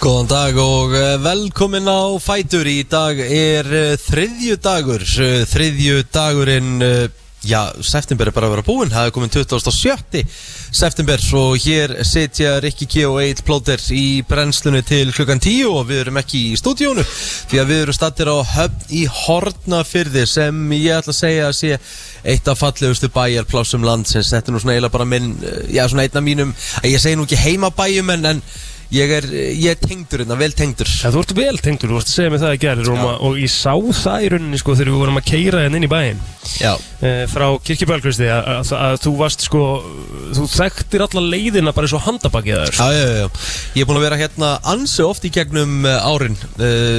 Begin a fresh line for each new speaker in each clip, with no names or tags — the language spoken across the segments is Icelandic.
Góðan dag og eh, velkomin á Fætur Í dag er eh, þriðju dagur Eh, Þriðju dagurinn, eh, já, september er bara að vera búinn Það er komin 27. september Og hér sitja Rikki K og Eil Plóter í brennslunni til klukkan 10 Og við erum ekki í stúdíónu Því að við erum stattir á höfn í Hortnafyrði Sem ég ætla að segja að sé eitt af fallegustu bæjarplásum landsins Þetta er nú svona eiginlega bara minn, eh, já, svona einn af mínum Ég segi nú ekki heimabæjum en, en Ég er, ég er tengdur hérna, vel tengdur
Ja, þú ert vel tengdur, þú varst að segja mig það í gerð og, og ég sá það í rauninni sko þegar við vorum að keira hérna inn í bæinn
Já,
e, frá kirkjubælgristi að, að, að þú varst sko, þú þekktir alla leiðina bara eins og handabakið þar sko.
já, já, já Ég er búin að vera hérna ansi oft í gegnum uh, árin uh,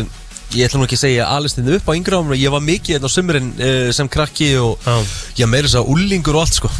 Ég ætla nú ekki að segja alistinu upp á yngra árum Ég var mikið hérna á sumurinn uh, sem krakki og
Já.
Já, meira þess að úlingur og allt sko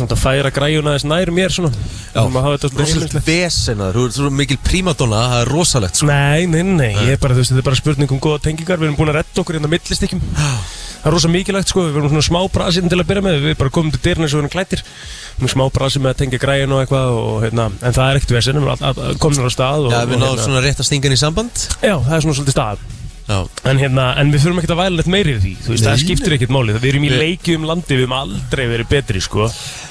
Þetta færa græjuna þess nær mér svona
Já,
Þú maður hafa þetta svona
rosalegt
heimilislegt.
vesen þar Þú ert svo mikil prímadonna, það er rosalegt sko
Nei, nei, nei, ég er bara, þú veist, þetta er bara spurning um góða tengingar Við erum búin að redda okkur hérna millistykkjum Það er rosa mikilvægt, sko, við erum svona smá brasinn til að byrja með Við bara komum til dyrna eins og við erum klættir Við erum smá brasinn með að tengja græjun og eitthvað og, hérna, En það er ekkert vesinn, við erum komin á stað og,
Já, við
og, hérna-
náðum svona rétt að stingan í samband
Já, það er svona svolítið stað
Já,
En, hérna, en við þurfum ekkert að væla neitt meiri því Þú veist, það
Nei,
skiptir ekkert máli Við erum í
Nei.
leiki um landi, við erum aldrei verið betri sko.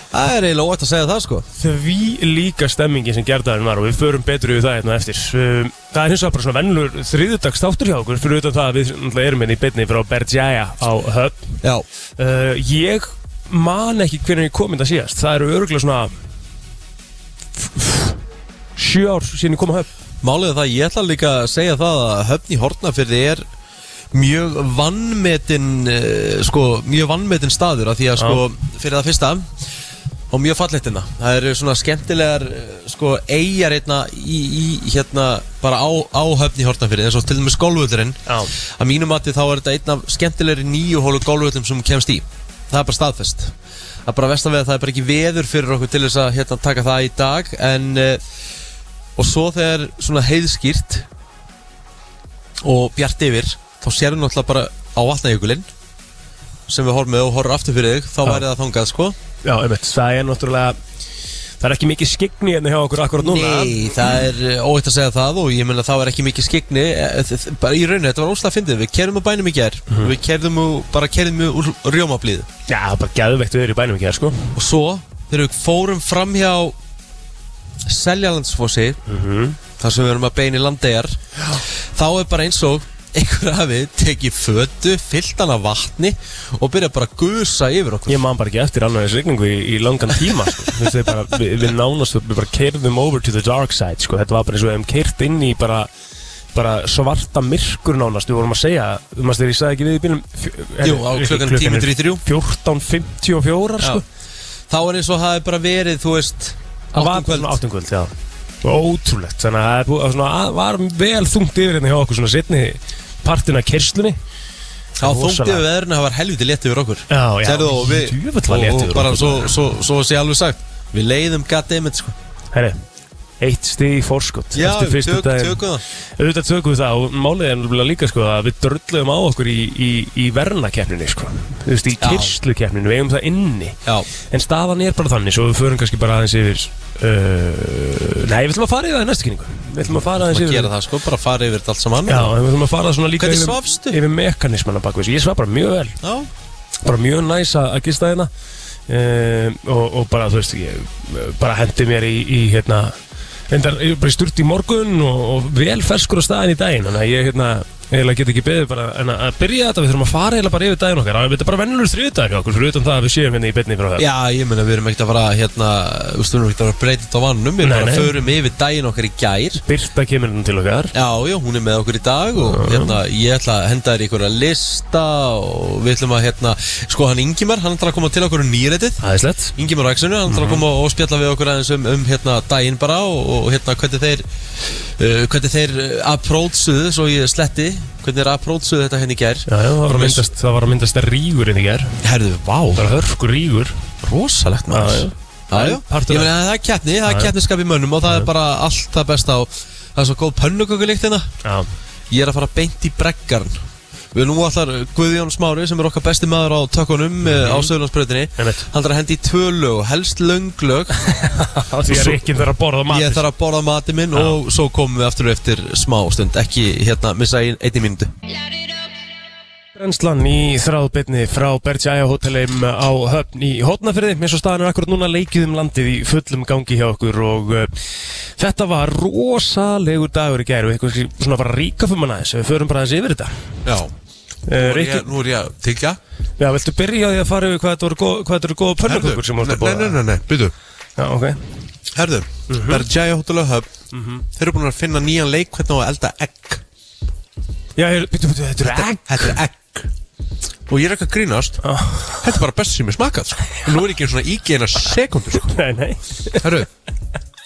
það er eiginlega óætt að segja það sko
Því líka stemmingi sem gerðaðin var Og við förum betri við það hérna á eftir um, Það er hins vegar bara svona vennlur þriðudags þáttur hjá okkur Fyrir utan það að við náttúrulega erum hérna í betni Frá Bergjaja á Höfn
Já,
uh, Ég man ekki hvernig ég kom þetta síðast Það eru örgulega svona Sjö ár síðan ég kom á Höfn
Málið er það, ég ætla líka að segja það að höfn í Hortnafyrði er mjög vannmetinn eh, sko, mjög vannmetinn staður af því að sko, fyrir það fyrsta og mjög fallegt hérna það eru svona skemmtilegar eh, sko, eigjar hérna í, í hérna bara á, á höfn í Hortnafyrði eins og til dæmis golfvöldurinn
Já.
að mínu mati þá er þetta einn af skemmtilegri nýjuhólu golfvöldum sem kemst í það er bara staðfest það er bara vestan við að það er bara ekki veður fyrir okkur til þess að hérna, taka það í dag en eh, og svo þegar svona heiðskýrt og bjart yfir þá sérðu náttúrulega bara á vatnajökulinn sem við horfum með og horfum aftur fyrir þig þá
Já.
væri það þangað sko
Já, einmitt, það er náttúrulega Það er ekki mikið skigni hérna hjá okkur akkurat núna
Nei, það er eh, óhætt að segja það og ég meina það var ekki mikið skigni eh, þ- þ- bara í rauninu, þetta var óslega fyndið við kerðum á bænum í gær
Mhm.
við kerðum úr, bara kerðum úr rjómablíð
Já, það er bara gæðvegt við erum í bænum ekki hér sko
og svo þegar við fórum fram hjá Seljalandsfossi þar sem við erum að beina í landegar þá er bara eins og einhver hafi tekið fötu, fyllt hann af vatni og byrja bara að gusa yfir okkur
Ég man bara ekki eftir alveg þessu rigningu í, í langan tíma sko. Þú veist, þeir bara, við, við nánast við bara keirðum over to the dark side sko. Þetta var bara eins og við hefum keirt inn í bara, bara svarta myrkur nánast Við vorum að segja, þú veist þegar ég sagði ekki við í bílum fjö-
Jú,
er-
á
er-
klukkan
klukkan
10
er
í þrjú
14.54
Já.
sko.
þá er eins og hafi bara verið, þú veist
Það var
áttum kvöld
svona áttum kvöld, já Ótrúlegt, þannig að það er búið- að svona, að- var vel þungt yfir hérna hjá okkur svona setni partin af kerslunni
þá þungtið
rosalega.
við veðurinn það var helviti létt yfir okkur
Já,
Sérðu, og við,
djöfull var létt
og,
yfir
og bara
okkur. sko.
svo, svo, svo sé alveg sagt við leiðum goddammit sko.
Herri, eitt stig í fórskott
já,
eftir
við
fyrstu
tök,
daginn.
tökum það
Auðvitað tökum við það og málið er náttúrulega líka sko að við dröllum á okkur í, í, í vernakeppninni sko Þú veist, í
Já.
kyrslukeppninni, við eigum það inni
já,
En staðan er bara þannig, svo við förum kannski bara aðeins yfir uh, Nei, við ætlum að fara í það í næstu kynningu Við ætlum að fara aðeins
maður
yfir
gera það sko, bara fara yfir þetta allt saman
Já, en við ætlum að fara svona líka
Hvernig svafstu?
yfir, yfir mekanismana bak við þessu Ég svaf bara mjög vel
já.
bara mjög næs að að gista hérna um, og, og bara þú veist ég eh, bara hendi mér í, í hérna endar, ég er bara sturt í morgun og, og vel ferskur á staðin í daginn þannig að ég hérna eiginlega get ekki beðið bara en að, að byrja þetta við þurfum að fara eiginlega bara yfir daginn okkar þetta er bara vennilur þriðdagur hjá okkur fyrir utan það að við séum hérna í beinni frá það
Já, ég meina við erum ekkert að fara hérna, þú veist, við erum ekkert að fara að breyta þetta á vannum Við
Nei,
bara
nei.
förum yfir daginn okkar í gær
Birta kemur hérna til okkar
Já, já, hún er með okkur í dag og hérna, ég ætla að henda þér í einhverja lista og við ætlum að hérna, sko hann Ingimar, hann ætlar að koma til okkur um nýrætið
aðeinslegt
Ingimar Ræksunu, hann
Mhm.
ætlar að koma og spjalla við okkur aðeins um, um hérna daginn bara og, og hérna hvernig þeir uh, hvernig þeir uh, approachuðu, svo ég sletti hvernig þeir approachuðu þetta henni í gær
Já, já, það var að
Bara með-
myndast, það var að myndast rígur inn í ger
Herðu, vá,
bara hörkur rígur
rosalegt
Já,
maður
já.
Já, já,
Partur
ég
af-
meina það er keppni, það er
Já, já.
keppniskap í mönnum og það er bara allt það besta og það er svo góð pönnukökulikt hérna
Já,
Ég er að fara beint í breggarn Við nú allar uh, Guðjón Smári sem er okkar besti maður á tökkunum mm á Söðurlandsbröðinni
Einmitt.
Hann þarf að hendi í tvö lög, helst löng lög
Því að Rikkin þarf að borða
Ég
matur
þarf að borða mati minn og svo komum við aftur eftir smá stund Ekki hérna, missa ein, einni mínútu
Light it up.
Brennslan í þráðbyrni frá Bergjaja hótelheim á höfn í hótnafyrði eins og staðan er akkurat núna leikið um landið í fullum gangi hjá okkur og uh, þetta var rosalegur dagur í gær og eitthvað svona bara ríka fyrir manna þess við förum bara þessi yfir þetta
Já,
uh, Rikki,
nú er ég að tyggja
já, viltu byrja á því að fara yfir hvað þetta voru góð- hvað þetta eru góða pönnukökur sem voru að bóða
nei, nei, byrju
Já, ok
Herðu,
Mhm.
Bergjaja Hotel og Hub Þeir eru búin að finna nýjan leik hvernig á að elda egg
Já, ég- bíddu, bíddu, þetta eru egg
Þetta er egg Og ég er ekki að grínast
Já.
Þetta er bara best sem ég smakað sko. Og Nú er ekki einu svona ígi eina sekundu sko.
Nei, nei
Herru,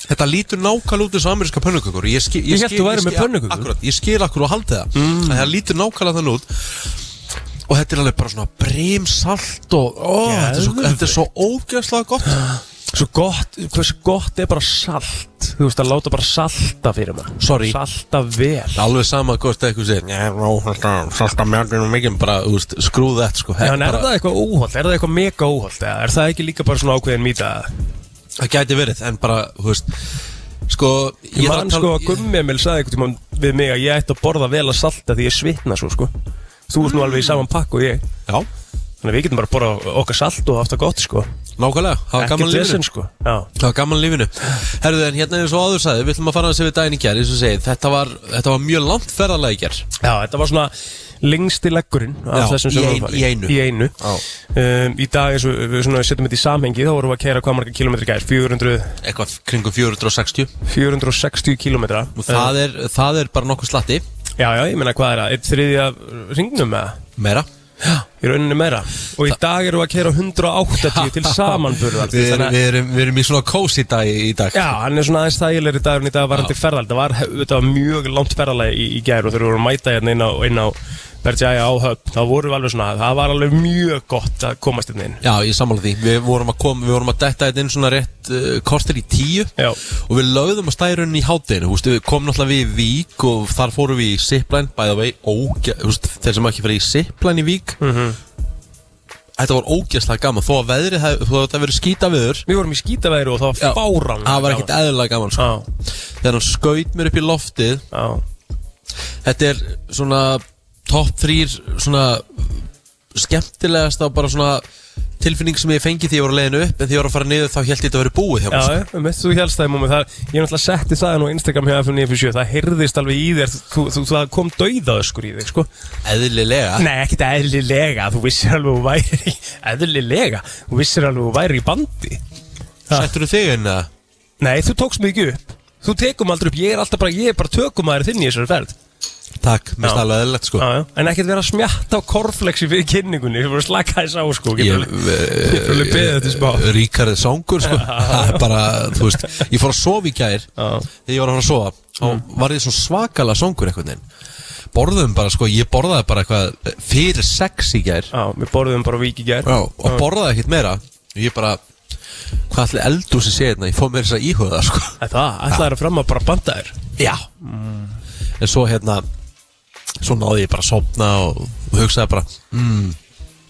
þetta lítur nákvæmlega út eins og ameríska pönnukökur Ég, skil,
Ég hélt þú værir með pönnukökur.
Akkurat, ég skil akkur og haldi það mm. Það lítur nákvæmlega þann út Og þetta er alveg bara svona brimsalt og ó, þetta, er svo,
Geðveikt.
þetta er svo ógeðslega gott
Svo gott, hversu gott er bara salt Þú veist að láta bara salta fyrir maður
Sorry.
Salta vel
Alveg sama hvort eitthvað segir "Nei, nó, þetta- Salta mjörnum mikið bara þú veist, skrúð þetta sko
Já,
Þetta
en er
bara,
það eitthvað óholt, er það eitthvað mega óholt eða er það ekki líka bara svona ákveðin mýta
það gæti verið En bara, þú veist Sko,
Ég
þarf
man sko að Gummi Emil sagði eitthvað tímann við mig að ég ætti að borða vel að salta því ég svitna svo sko Þú veist nú
Mm.
alveg í saman pakk og ég
Já,
Þannig að við getum bara að borða okkar salt og haft það gott sko
nákvæmlega, hafa gaman
Ekkert
lífinu
vesen sko Já,
Það var gaman lífinu Herðu en hérna eins og áður sagði Við ætlum að fara að við daginn í kjær Eins og segið Þetta var, þetta var mjög langt ferðalega í kjær
Já, þetta var svona lengsti leggurinn af
Já,
þessum sem
í
við
ein-
vorum að fara
í einu.
í, einu.
Já.
Um, í dag eins og við svona setjum þetta í samhengi þá vorum við að kæra hvað marga kilometri gær 400,
Eitthvað kringum 460
460 kilometra
Og það er, það er bara nokkuð slatti
Já, já, ég meina hvað er það, eitt þriðja ringnum eða
Meira
í rauninni meira og í dag eru við að kæra 180 til samanburðar
Við erum,
þannig að
við erum, við erum í svona kósi dag í í dag
Já, hann er svona aðeins þægilegri dagur en í dag varandi ferðal þetta var, þetta var mjög langt ferðalagi í, í gær og þegar við vorum að mæta hérna inn á, inn á Bergjaja áhöfn, þá vorum við alveg svona það var alveg mjög gott að komast hérna inn
Já, ég sammála því Við vorum að koma, við vorum að detta þetta inn svona rétt uh, kortir í tíu
Já.
Og við lögðum að stærun í hátinu Þú veist, við komum náttúrulega við í Vík Og þar fórum við í Zipline By the way, ógja, þú veist, þeir sem ekki fyrir í Zipline í Vík
Mhm.
Þetta var ógjastlega gaman Þó að veðrið, hef- þó að þetta verið skýta viður
Við vorum í skítaveðri og það
Já.
var fáran
Það var ekkert eðlilega gaman sko.
Já,
Þegar hann skaut mér upp í loftið
já,
Þetta er svona Top 3 svona Skemmtilegasta og bara svona Tilfinning sem ég fengi því ég var að leiðinu upp En því ég var að fara niður þá held ég þetta að vera búið hjá
já,
mér sko.
já, um mitt þú helst það í mómi það, Ég er náttúrulega setti það nú á Instagram hjá FM957 Það heyrðist alveg í þér, þú, þú, það kom dauðaðskur í þig, sko
Eðlilega
Nei, ekkert eðlilega, þú vissir alveg þú væri Eðlilega, þú vissir alveg þú væri í bandi
Settur þú þig inn að
Nei, þú tókst mig ekki upp Þú tekum aldrei upp, ég er alltaf bara, ég er bara tökum aðeir þinn í þessari ferð
Takk, mér
Já.
finnst alveg eðlilegt sko
já, já. En ekkert vera að smjatta á korflexi fyrir kynningunni Þú voru að slaka þess á, sko
Ég, eh,
Getur alveg- getur alveg beðið þetta smá
Ríkarið sángur Eh, sko Það er bara, þú veist Ég fór að sofa í gær
Já. Mm.
Þegar ég var að fara að sofa Þá var ég svona svakalega sángur einhvern veginn Borðum bara sko, ég borðaði bara eitthvað Fyrir sex í gær
Já, við borðum bara vík í gær
Já, og borðaði ekkert meira og ég bara hvað allir eldur sem sé hérna, ég fóð mér þess að íhuga það sko.
Það, ætlaði að fram að bara banda þér
já en svo hérna svo náði ég bara að sopna og, og hugsaði bara mm,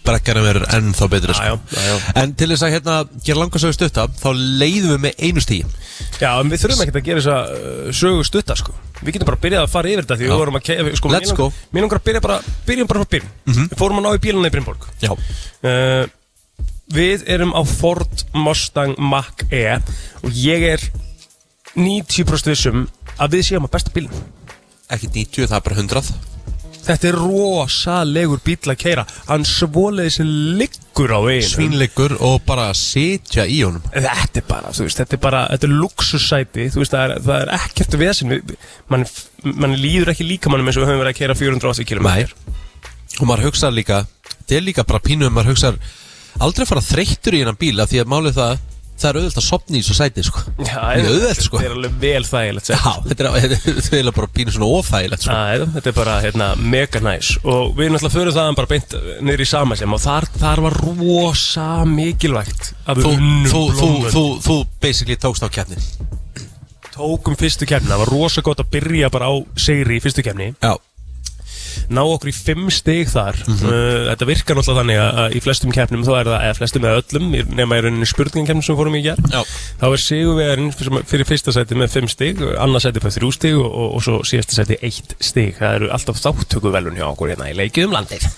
brekkarum er ennþá betri
Já, já,
sko.
já, já.
en til þess að hérna gera langarsögu stutta þá leiðum við með einu stíð
Já, en við þurfum ekkert að gera þessa uh, sögu stutta, sko Við getum bara að byrjað að fara yfir þetta Því
Já.
við vorum að kefa, sko
Let's
mér lang-
go. Mhm.
Mér langar að byrja bara, byrjum bara frá byrjum Við fórum að ná í bílunni í Brynborg
já,
uh, Við erum á Ford Mustang Mach-E Og ég er 90% vissum um að við séum að besta bílinn
ekki 90, það er bara 100
Þetta er rosalegur bíl að keira Hann svoleiðis liggur á veginu
svínleikur og bara sitja í honum
Þetta er bara, þú veist, þetta er bara, þetta er luxussæti, þú veist, það er, það er ekkert vesinn, við- mann man líður ekki líka mannum eins og við höfum verið að kera 480 km.
Nei. og maður hugsaði líka þetta er líka bara pínu um maður hugsaði aldrei fara þreyttur í hennan bíla því að málið það það er auðvelt að sopna í þessu sæti sko.
Já,
Mjög auðvelt sko
Þetta er alveg vel þægilegt, sko.
Já,
sett.
þetta er þetta er eiginlega bara pínu svona óþægilegt sko.
Já, þetta er bara, hérna, mega næs og við náttúrulega förum þaðan bara beint eh, niður í samasem og þar, þar var rosa mikilvægt að við
þú,
unnum
þú, þú,
blómun.
þú, þú basically tókst á keppnin
tókum fyrstu kemni, það var rosa gott að byrja bara á sigri í fyrstu kemni
Já,
ná okkur í fimm stig þar
Mhm.
uh, þetta virkar náttúrulega þannig að, að í flestum keppnum þá er það, eða flestum eða öllum í- nema í rauninni spurningakeppnum sem við fórum í gerð
Já.
þá er sigurvegarinn fyrir- fyrir fyrsta sæti með fimm stig, annarsæti fyrir þrjú stig og, og, og svo síðasta sæti eitt stig það eru alltaf þáttökuvelun hjá okkur hérna í leikið um landið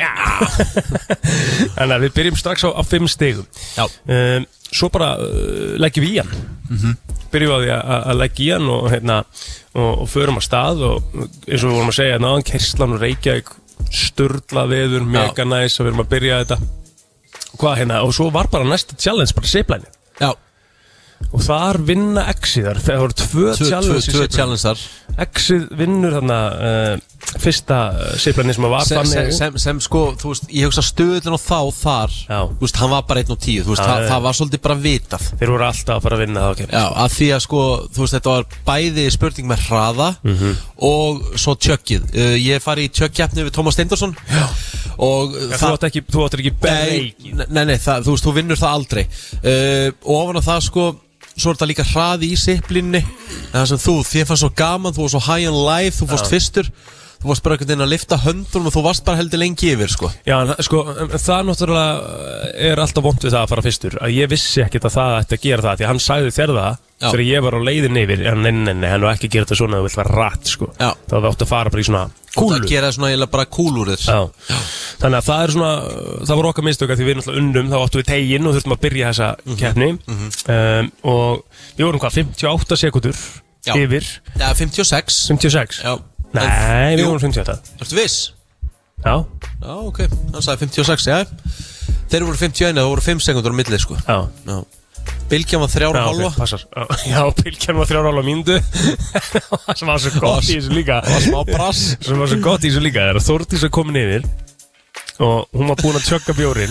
þannig að við byrjum strax á, á fimm stigum
Já.
um, svo bara uh, leggjum við í hann byrjum á því að- að að leggja í hann og, hérna, og, og förum að stað og eins og við vorum að segja náðan Kerslan og Reykjavík sturla veður, mega næs að við erum að byrja þetta hvað hérna, og svo var bara næsta challenge bara seiplænir
Já,
og þar vinna X-iðar það voru tvö,
tvö, tvö,
challenge í
tvö
Seyðisfirði.
challengear
X-ið vinnur þarna uh, fyrsta seiflarni sem að var
sem, sem,
þannig
sem, sem sko, þú veist, ég hugsa stöðlun og þá þar
Já.
Þú veist, hann var bara 1 og 10 Þú veist,
Já,
það,
já.
það var svolítið bara vitað
þeir voru alltaf að fara að vinna það okay.
Já, að því að sko, þú veist, þetta var bæði spurning með hraða
Mhm.
og svo tjökkið. Uh, ég fari í tjökkjafni við Tómas Steindorsson Já. og uh,
ja, þú átt ekki, þú átt ekki
Nei,
break
nei, nei það, þú veist, þú vinnur það aldrei uh, Og ofan á það, sko Svo er þetta líka hraði í siplinni Það sem þú, þér fannst svo gaman Þú varst svo high on life, þú fórst fyrstur Þú varst bara einhvern veginn að lifta höndunum Og þú varst bara heldur lengi yfir, sko
Já, en það- sko, en það náttúrulega er alltaf vond við það að fara fyrstur að ég vissi ekkert að það ætti að gera það því að hann sagði þér það
Já.
þegar ég var á leiðin yfir en nei, nei, nei, hann var ekki að gera þetta svona að þú vilt fara rætt sko.
Já.
þá það átti að fara bara í svona
Það
kúlu
gera svona eiginlega bara kúl úr þér
Já. Þannig að það er svona Það voru okkar mistök að því við náttúrulega unnum Þá áttum við teginn og þurftum að byrja þessa
Mhm.
keppni um, Og við vorum hvað 58 sekundur
Já.
yfir
Já, 56
56
Já
Nei, við
Jú,
vorum 58
Ertu viss?
Já,
Já, ok, hann sagði 56, já Þeir voru 51, það voru 5 sekundur á milli, sko
já
Já Bilgjan var 3
Já,
og
ok,
halva
passar Já, Já, bylgjan var þrjára ála míndu Það sem var svo gott í þessu líka
Það var smá brass
sem var svo gott í þessu líka er að Þórdís er komin yfir og hún var búin að tjögga bjórin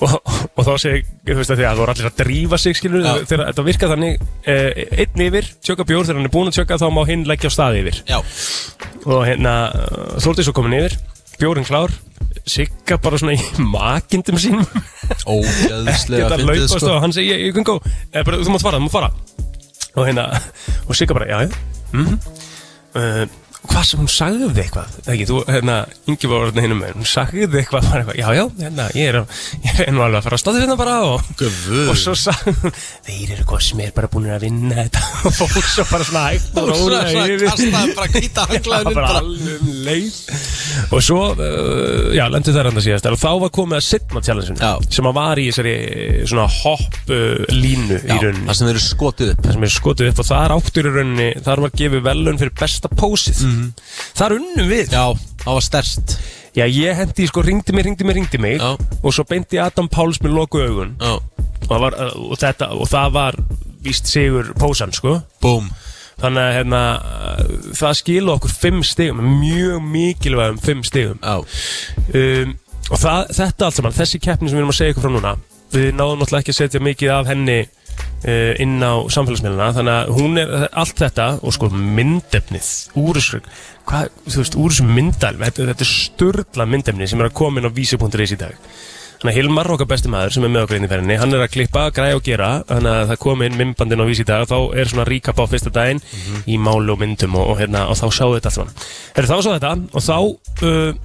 og, og þá segi, þú veist að því að það voru allir að drífa sig skilur,
Já.
þegar þetta virka þannig eh, einn yfir, tjögga bjór þegar hann er búin að tjögga þá má hinn leggja á staði yfir
Já,
og hérna, eh, Þórdís er komin yfir bjórin klár, sigga bara svona í makindum sínum
ógeðslega
geta
fyndið,
laupast
sko
og hann segi ég, ég kan go, eh, bara, þú mátt fara, þú mátt fara og hérna, og Sigga bara, já, já mm -hmm. uh, hvað sem hún sagði eitthvað, eða ekki, þú, hérna Ingi var hérna hinum með, hún sagði eitthvað bara eitthvað, já, já, hérna, ég er, að- ég er nú alveg að fara að staði hérna bara og
Guð.
og svo sagði hún, þeir eru hvað sem er bara búin að vinna þetta og fór svo bara svona hægt og rólega yfir
kastaði bara hvita
Það var
hanglaðinu
bara alveg um leið Og svo, uh, já, lendu þær hann að síðast Og þá var komið að sitna challenge
Já.
Sem að var í þessari eh, svona hopp uh, línu í rauninni
það sem þeir eru skotið upp
Það sem er skotið upp og þar áttur í rauninni Þar var gefið velun fyrir besta pósið Þar unnum við
Já, það var stærst
Já, ég hendi, sko, ringdi mig, ringdi mig, ringdi mig
Já.
Og svo beinti Adam Páls með loku augun
Já,
og, það var, eh, og, þetta, og það var víst sigur pósan, sko
búm
Þannig að hérna, eh, það skilur okkur fimm stigum, mjög mikilvægum fimm stigum
Já,
um, og það, þetta allt saman, þessi keppni sem við erum að segja ykkur frá núna við náðum náttúrulega ekki að setja mikið af henni uh, inn á samfélagsmiðluna þannig að hún er allt þetta og sko myndefnið úr þessu hvað, þú veist, úr þessu myndalmi þetta, þetta er störla myndefnið sem er að koma inn á vísi.is í dag Þannig að Hilmar, okkar besti maður sem er með okkur inn í ferðinni, hann er að klippa, græja og gera þannig að það komi inn myndbandin á vísi í dag og þá er svona recap á fyrsta daginn í máli og myndum og, og, hérna, og þá sjáðu þetta allt saman. Herru, þá sjáðu þetta og þá uh,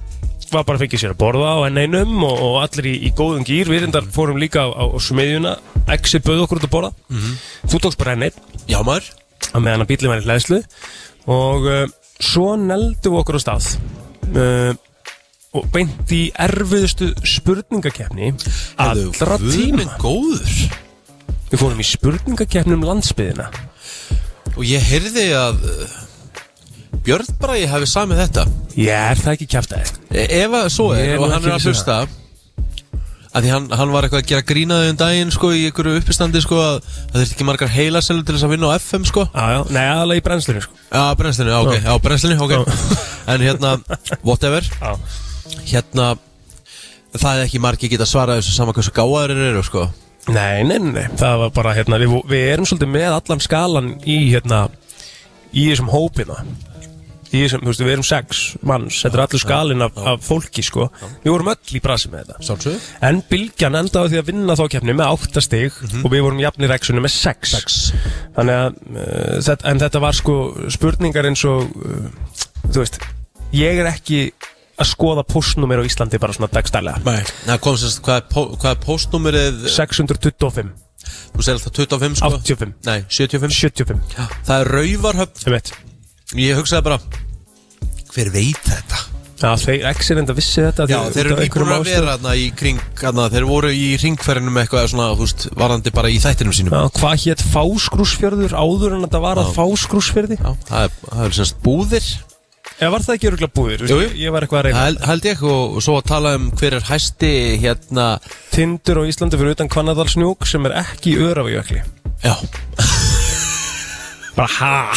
var bara að fengið sér að borða á enn einum og, og allir í, í góðum gýr, við reyndar fórum líka á, á, á smiðjuna, exi bauð okkur út að borða, þú tókst bara enn einn
já maður
á meðan að bílinn var í hlæðslu og uh, svo neldum við okkur á stað uh, og beint í erfiðustu spurningakeppni allra tíma
Guðminn góður
við fórum í spurningakeppni um landsbyðina
Og ég heyrði að uh, Björn Bragi hafi samið þetta
ég er það ekki kæft aðeins
E- Ef að svo
Ég
er
er
og
nú
hann
ekki
er að
viss um
hlusta að því hann, hann var eitthvað að gera grínaði um daginn sko í einhverju uppistandi sko að það þurfti ekki margar heilaselur til þess að vinna á FM sko
aðjá, nei aðalega í brennslunni sko
Já, brennslinu, já, ok, já, brennslinu, ok En hérna, whatever
Já.
Hérna Það er ekki margir geta svarað þessu saman hversu gáðar þeir eru, sko
Nei, nei, nei, nei, það var bara hérna, við, við erum svolítið með allan skalan í hérna, í þessum hópina í þessum, þú veist, við erum sex manns, þetta er allur skalin af, af fólki sko, við vorum öll í brasi með þetta
Sjálfsögðu.
En bylgjan endaði á því að vinna þá keppni með 8 stig og við vorum jafnir reksunni með 6 eh, Þannig að, uh, þetta, en þetta var sko spurningar eins og, uh, þú veist ég er ekki að skoða postnúmer á Íslandi bara svona dagstælega
Nei Það kom sérst, hvað er, pó- hvað er postnúmerið
625,
Þú segir alltaf 25 sko
85,
Nei, 75
75
Já, Það er rauvarhöfn
um eitt
Ég hugsaði bara Hver veit þetta?
Já, þeir exir enda vissi þetta
Já, þeir
þeir- út af
eru
einhverjum
nýbúin að
ástæðum.
vera þarna í kring þarna, Þeir voru í ringferðinum eitthvað svona, þú veist, varandi bara í þættinum sínum
Já, hvað hétt fáskrúsfjörður áður en þetta var að fáskrúsfjörði?
Já, það er, það er semst búðir
Eða var það ekki öruglega búðir?
Jú, jú.
Ég var eitthvað að reyna.
held, held ég og svo að tala um hver er hæsti hérna
Tindur á Íslandi fyrir utan Kvannadalsnjúk sem er ekki í Örafajökli.
Já,
Bara ha!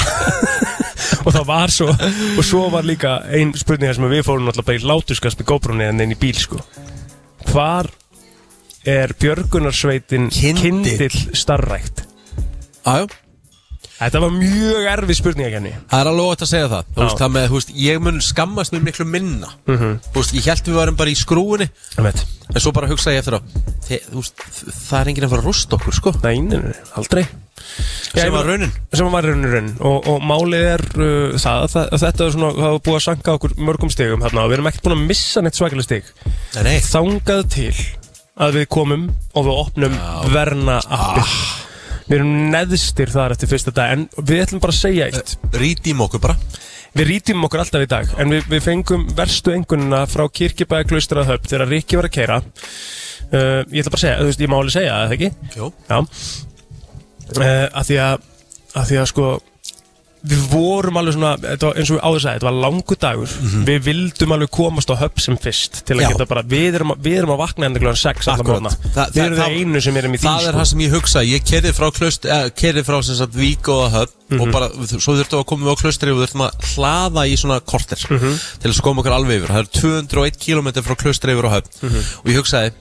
og það var svo, og svo var líka ein spurning þar sem við fórum náttúrulega bara í látuskast með GoPro-ni en inn í bíl sko. Hvar er björgunarsveitin
Kindill.
Kindill starrækt?
aðjó
Þetta var mjög erfið spurning að kenni.
Það er alveg ótt að segja það Þú
Já. Mhm.
veist, það með, þú veist, ég mun skammast mér miklu minna Þú veist, ég held við varum bara í skrúinni
Það veit.
En svo bara hugsaði ég eftir á þe- Þú veist, það er enginn að fara að rústa okkur, sko
Nei, nei, nei, aldrei. Já, ég
Sem var
meina-
raunin
sem var raun og raun og, og málið er uh, það að þa- að þetta er svona, það var búið að sanka okkur mörgum stigum hérna og við erum ekkert búin að missa neitt svakalega stig
Nei, nei,
þangað til að við komum og við opnum verna appið
Ah.
við erum neðstir þar eftir fyrsta dag en við ætlum bara að segja eitt
rítím okkur bara
við rítum okkur alltaf í dag en við, við fengum verstu engunina frá kirkibæði klaustrað þegar Ríkki var að keira uh, ég ætla bara að segja, þú veist, ég má alveg segja það ekki
Jó
Já uh, að, því að, að því að sko Við vorum alveg svona, þetta var, eins og við áður sagði, þetta var langu dagur Við vildum alveg komast á höpp sem fyrst Til að
Mhm. Já.
geta bara, við erum, að- við erum að vakna hérna enda kljóðan 6 allar
Akkúrat.
morgna
Þa-
Við
það-
erum það
það-
einu sem erum í sko. því
Það er það sem ég hugsa, ég kerði frá, klaust, eh, kerði frá sem sagt vík og höf
Mhm.
og bara, svo þurftum við að koma við á klaustri og þurftum að hlaða í svona korter
Mhm.
til þess að koma okkur alveg yfir, það er 201 km frá klaustri yfir og höf
Mhm.
og ég hugsaði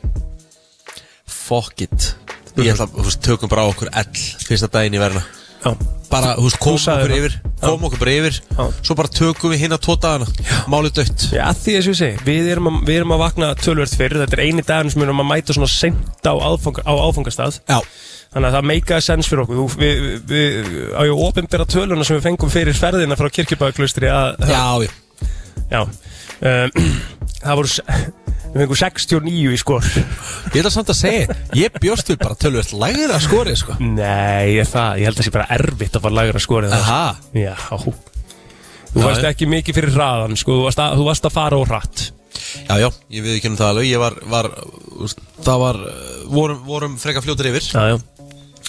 fuck it ég ætla, þú veist, tökum bara á okkur all fyrsta daginn í verna,
Já,
bara, þú veist, komum
sagðir
okkur
það.
yfir komum okkur bara yfir,
Já.
svo bara tökum við hinn að tóta hana, málið dött
Já, að því að ég segi, við erum að, við erum að vakna tölvert fyrir Þetta er eini dagur sem við erum að mæta svona sent á, áfang, á áfangastað
Já,
Þannig að það meikaði sens fyrir okkur Þú- Við, við, við, á ég ofinbera töluna sem við fengum fyrir ferðina frá kirkjubæðaklaustri að
já, já.
Já um, Það voru se- Við fengum 69 í skor
ég ætla samt að segja, ég bjóst við bara tölvöld lægra skori, sko
Nei, ég, það, ég held að það sé bara erfitt að fara lagra skorið það.
Aha.
Já Þú varst
já.
ekki mikið fyrir hraðan sko. þú, varst að, þú varst að fara á hratt
Já, já, ég við ekki um það alveg Ég var, var úst, það var uh, vorum, vorum freka fljótur yfir
já, já.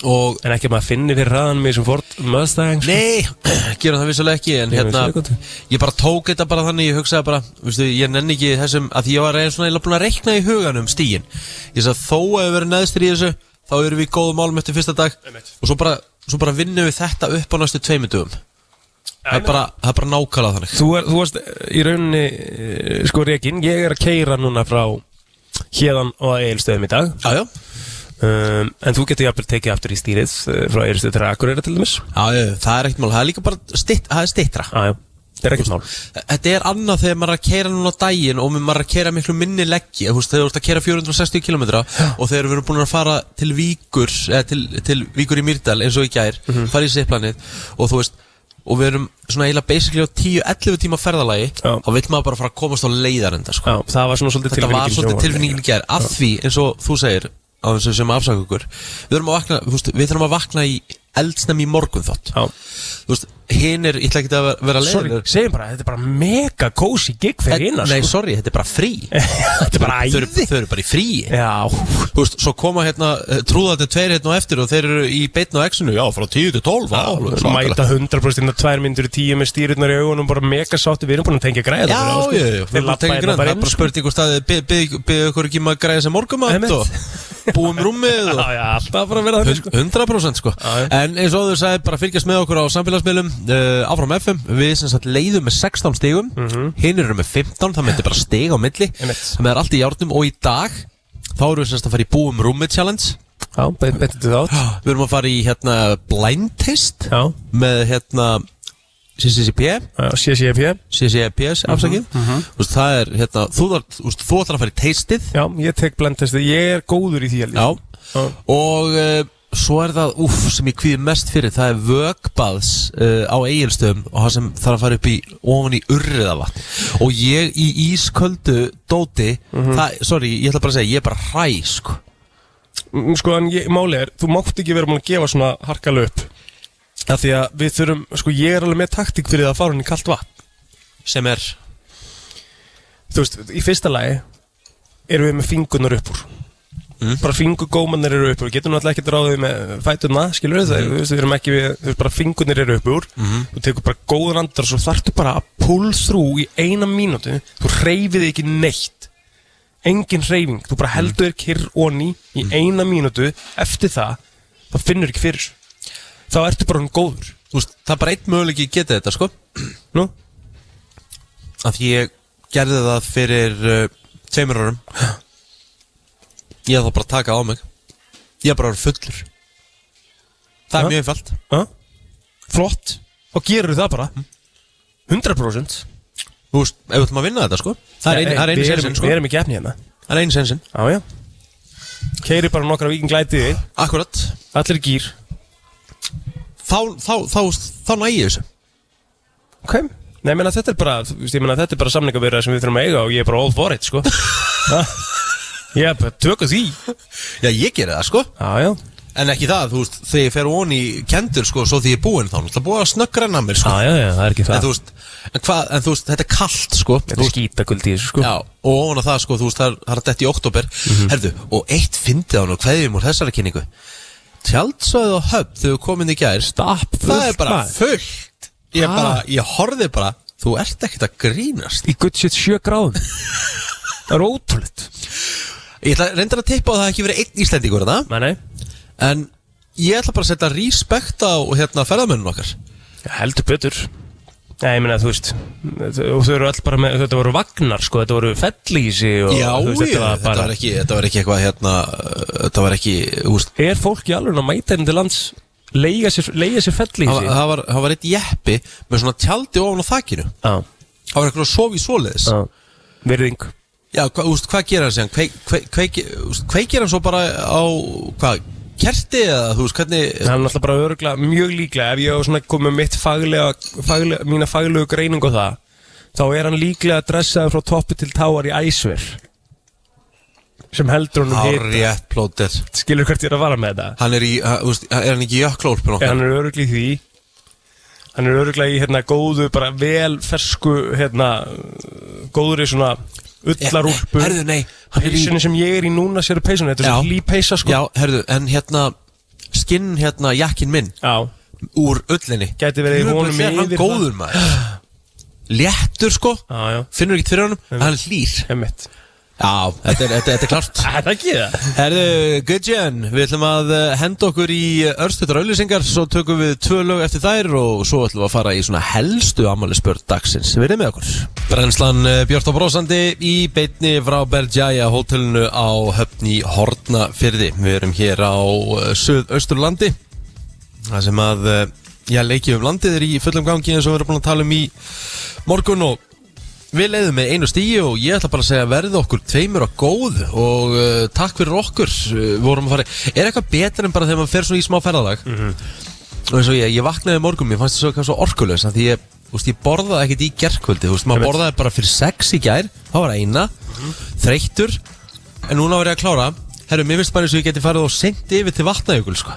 og
En ekki að maður finni fyrir hraðan með þessum Ford Mustang sko.
Nei, gerum það vissulega ekki En
Ég
hérna,
vissi það gott.
ég bara tók þetta bara þannig Ég hugsaði bara, veistu, ég nenni ekki þessum Að því ég var eða svona eða búin að reikna í huganum stíin Ég sagði þó að við verðum neðstir í þessu Þá erum við í góðum málum eftir fyrsta dag Og svo bara, svo bara vinnum við þetta upp á næstu tveimundum Það er bara, það er bara nákvæmlega þannig
þú, er, þú varst í rauninni eh, sko rekin, ég er að keira núna frá hérðan og eilstöðum í dag
Já, já,
um, en þú getur jafnvel tekið aftur í stýrið eh, frá eilstöð til Akureyra til dæmis
já, já það er ekkert mál Það er líka bara stitt, það er stittra
Já, já, það er ekkert mál
Þetta er annað þegar maður er að keira núna á daginn og maður er að keira miklu minni leggji þú veist, þegar þú ert að keira 460 km og þegar við erum búin að fara til víkur eða til, til víkur í Mýrdal eins og í gær fara í sipplanið og þú veist og við erum svona eiginlega basically á 10-11 tíma ferðalagi
Já.
þá vill maður bara fara að komast á leiðarenda sko.
Já, það var svona svolítið
þetta var
sem
svolítið
var.
tilfinningin í gær af því eins og þú segir á þessu sem afsaka okkur við, erum að vakna, þú veist, við þurfum að vakna í eldsnem í morgun þátt
Já,
hinn er, ég ætla ekki að vera- vera
sorry,
leiðinur
segjum bara, þetta er bara mega cozy gig fyrir
En-
innan
Nei,
sko.
sorry, þetta er bara frí
Þetta er bara
Þau eru-
æði
Þau eru bara í frí
Já,
Þú veist, svo koma hérna eh, trúðarnir tveir hérna á eftir og þeir eru í beitn á exinu Já, frá 10 til 12 á, alveg svakalega.
mæta 100% inn á 2 myndur í 10 með stýrurnar í augunum bara mega sátti, við erum búin að tengja græða
Já, já,
fyrir það, sko.
já,
Þeir
við bara
labba
tekið
hérna
grönd Það er
bara inn
bara
sko.
spurt ykkur staði Byggðu ykkur ekki um að græða sem morgumat
Einmitt.
og búum rúmið
Já,
og
já, alltaf bara að vera þannig
Hund-
sko
100% sko
Já, já.
En eins og þú sagði, bara fylgjast með okkur á samfélagsmiðlum uh, Áfram FM, við sem sagt leiðum með 16 stigum mm Hinn eru með 15, það myndi bara stig á milli
Mhm. Einmitt.
Það er allt í járnum og í dag Þá erum við sem sagt að fara í búum rúmið challenge
Já, betur þú þátt
Við erum að fara í hérna blind test
Já,
með hérna CCCP,
já, CCP
CCPS
Mhm,
afsakið Þú veist, það er hérna, þú, þar, þú, veist, þú ætlar að fara í tastið
Já, ég tek blendtestið, ég er góður í því held ég.
Já, og uh, svo er það, úff, sem ég kvíði mest fyrir það er vökbaðs uh, á eigilstöðum og það sem þarf að fara upp í ofan í urriðavatn og ég í ísköldu dóti það, sorry, ég ætla bara að segja, ég er bara hræ sko.
Mm, Sko, en ég, máli er, þú mátt ekki vera múin að gefa svona harkalu upp af því að við þurfum, sko, ég er alveg með taktík fyrir það að fara hún í kalt vatn
sem er,
þú veist, í fyrsta lagi erum við með fingunar upp úr
Mm.
bara fingugómanir eru upp úr við getum náttúrulega ekki ráðið með fætuna skilur við það, þú veist, við erum ekki við, þú veist, bara fingurnir eru upp úr, þú tekur bara góðan andar og svo þarftu bara að pull through í eina mínútu, þú reyfið ekki neitt engin reyfing þú bara heldur þér kyrr onni í eina mínútu, eftir það þá finnur ekki fyrir þessu. þá ertu bara hún góður
þú veist, það er bara einn möguleiki að geta þetta sko
Nú?
að ég gerði það fyrir uh, tveimur árum ég ætla bara að taka á mig ég er bara að vera fullur það er
Ja.
mjög einfalt
Ha? flott, þá gerur það bara 100%
þú veist, ef við ætlum að vinna þetta sko það er einu, það er einu
Við
sensin
erum-
sko
Við erum ekki efni hérna
það er einu sensin,
Já, já Keiri bara nokkra vikinglætið þig
akkurat
Allir í gýr
þá, þá, þá, þá, næ ég þessu
Ok Nei, ég meina þetta er bara þú veist, Ég meina þetta er bara samningavirða sem við þurfum að eiga Og ég er bara all for it, sko Ha? Ég er bara tökum því
já, ég gerði það sko
Já, já
en ekki það, þú veist, þegar ég fer ón í kendur sko, svo því ég er búinn þá náttúrulega búið að snöggranna mér sko
Já, já, já, það er ekki
en
það
þú veist, en hvað, en þú veist, þetta er kallt sko Þú
Þetta er skítakuld í þessu, sko
Já, og ofan að það sko, þú veist, það er- það er að detti í oktober
Mhm.
Herðu, og eitt fyndið á hann og kveðjum úr þessari kynningu Tjaldsvæðið á höfn þegar við komin í gær
Stapp
Það er bara
maður.
fullt Ég,
Ha?
bara, ég horfði bara, þú ert ekkert að grínast
Í gutt sétt sjö gráðum Það er ótrúlegt
Ég ætla reyndar að tippa á að það hafi ekki verið einn Íslendingur þetta
Nei, nei
En ég ætla bara að setja respekt á hérna ferðamönnum okkar
Já, Heldur betur Nei, ég meina, þú veist Og þau eru all bara með Þetta voru vagnar, sko Þetta voru fellísi og,
Já,
þú veist,
ég,
þetta var
þetta
bara
var ekki, þetta var ekki eitthvað hérna uh, Þetta var ekki, þú veist
Er fólk í alveg að mæta henni til lands leiga sér, leiga sér felli í
Það
sig?
það var, það var eitt jeppi með svona tjaldi ofan á þakinu
Já,
Það var eitthvað að sofa í svoleiðis
já Ah, Virðing
Já, hva, úst, hvað gerir hann síðan? Kveik, kveik, kveik, úst, kveikir hann svo bara á hvað, kerti eða þú veist hvernig
Það er náttúrulega bara öruglega, mjög líklega ef ég á svona komið með mitt faglega, faglega mína faglegu greiningu á það þá er hann líklega að dressaði frá toppi til táar í æsver sem heldur honum hitt
Hárétt plóter
skilur hvert ég er að vara með þetta
Hann er í, ha- úst, er hann ekki í jökklólpun
en
okkar?
hann er öruglega í því hann er öruglega í hérna góðu bara vel fersku hérna góður í svona ullarúlpu
Herðu, nei, hann er í
peysunni sem ég er í núna sér er peysunni, þetta er
Já.
svo hlý peysa sko
Já, herðu, en hérna skinn hérna jakkin minn
Já.
úr ullinni
Gæti verið í honum
yfir Hann
yfir
góður maður Léttur sko,
Já, já,
finnur ekki fyrir honum Hann er hlýr
emmitt
Já, þetta er, þetta, þetta er klart
Það er ekki það
Herðu, Gudjan, við ætlum að eh, henda okkur í örstuðar auðlýsingar svo tökum við tvö lög eftir þær og svo ætlum við að fara í svona helstu amalispörð dagsins. Verðið með okkur. Brennslan eh, Björt og Brósandi í beitni frá Bergjaja hótelinu á höfni Hortnafyrði. Við erum hér á eh, Suðausturlandi það sem að eh, já, leikið um landið er í fullum gangi eins og við erum búin að tala um í morgun og Við leiðum með einu stíu og ég ætla bara að segja verði okkur tveimur og góð og uh, takk fyrir okkur uh, vorum að fara Er eitthvað betra en bara þegar maður fer svona í smá ferðalag
Mhm.
og eins og ég, ég vaknaði í morgun, ég fannst þess að svo orkulegs af því ég, úst, ég borðaði ekkert í gerkvöldi úst, maður
Einmitt.
borðaði bara fyrir sex í gær það var eina, þreyttur en núna var ég að klára Herru, mér finnst bara eins og ég geti farið og seint yfir til vatnajökul sko.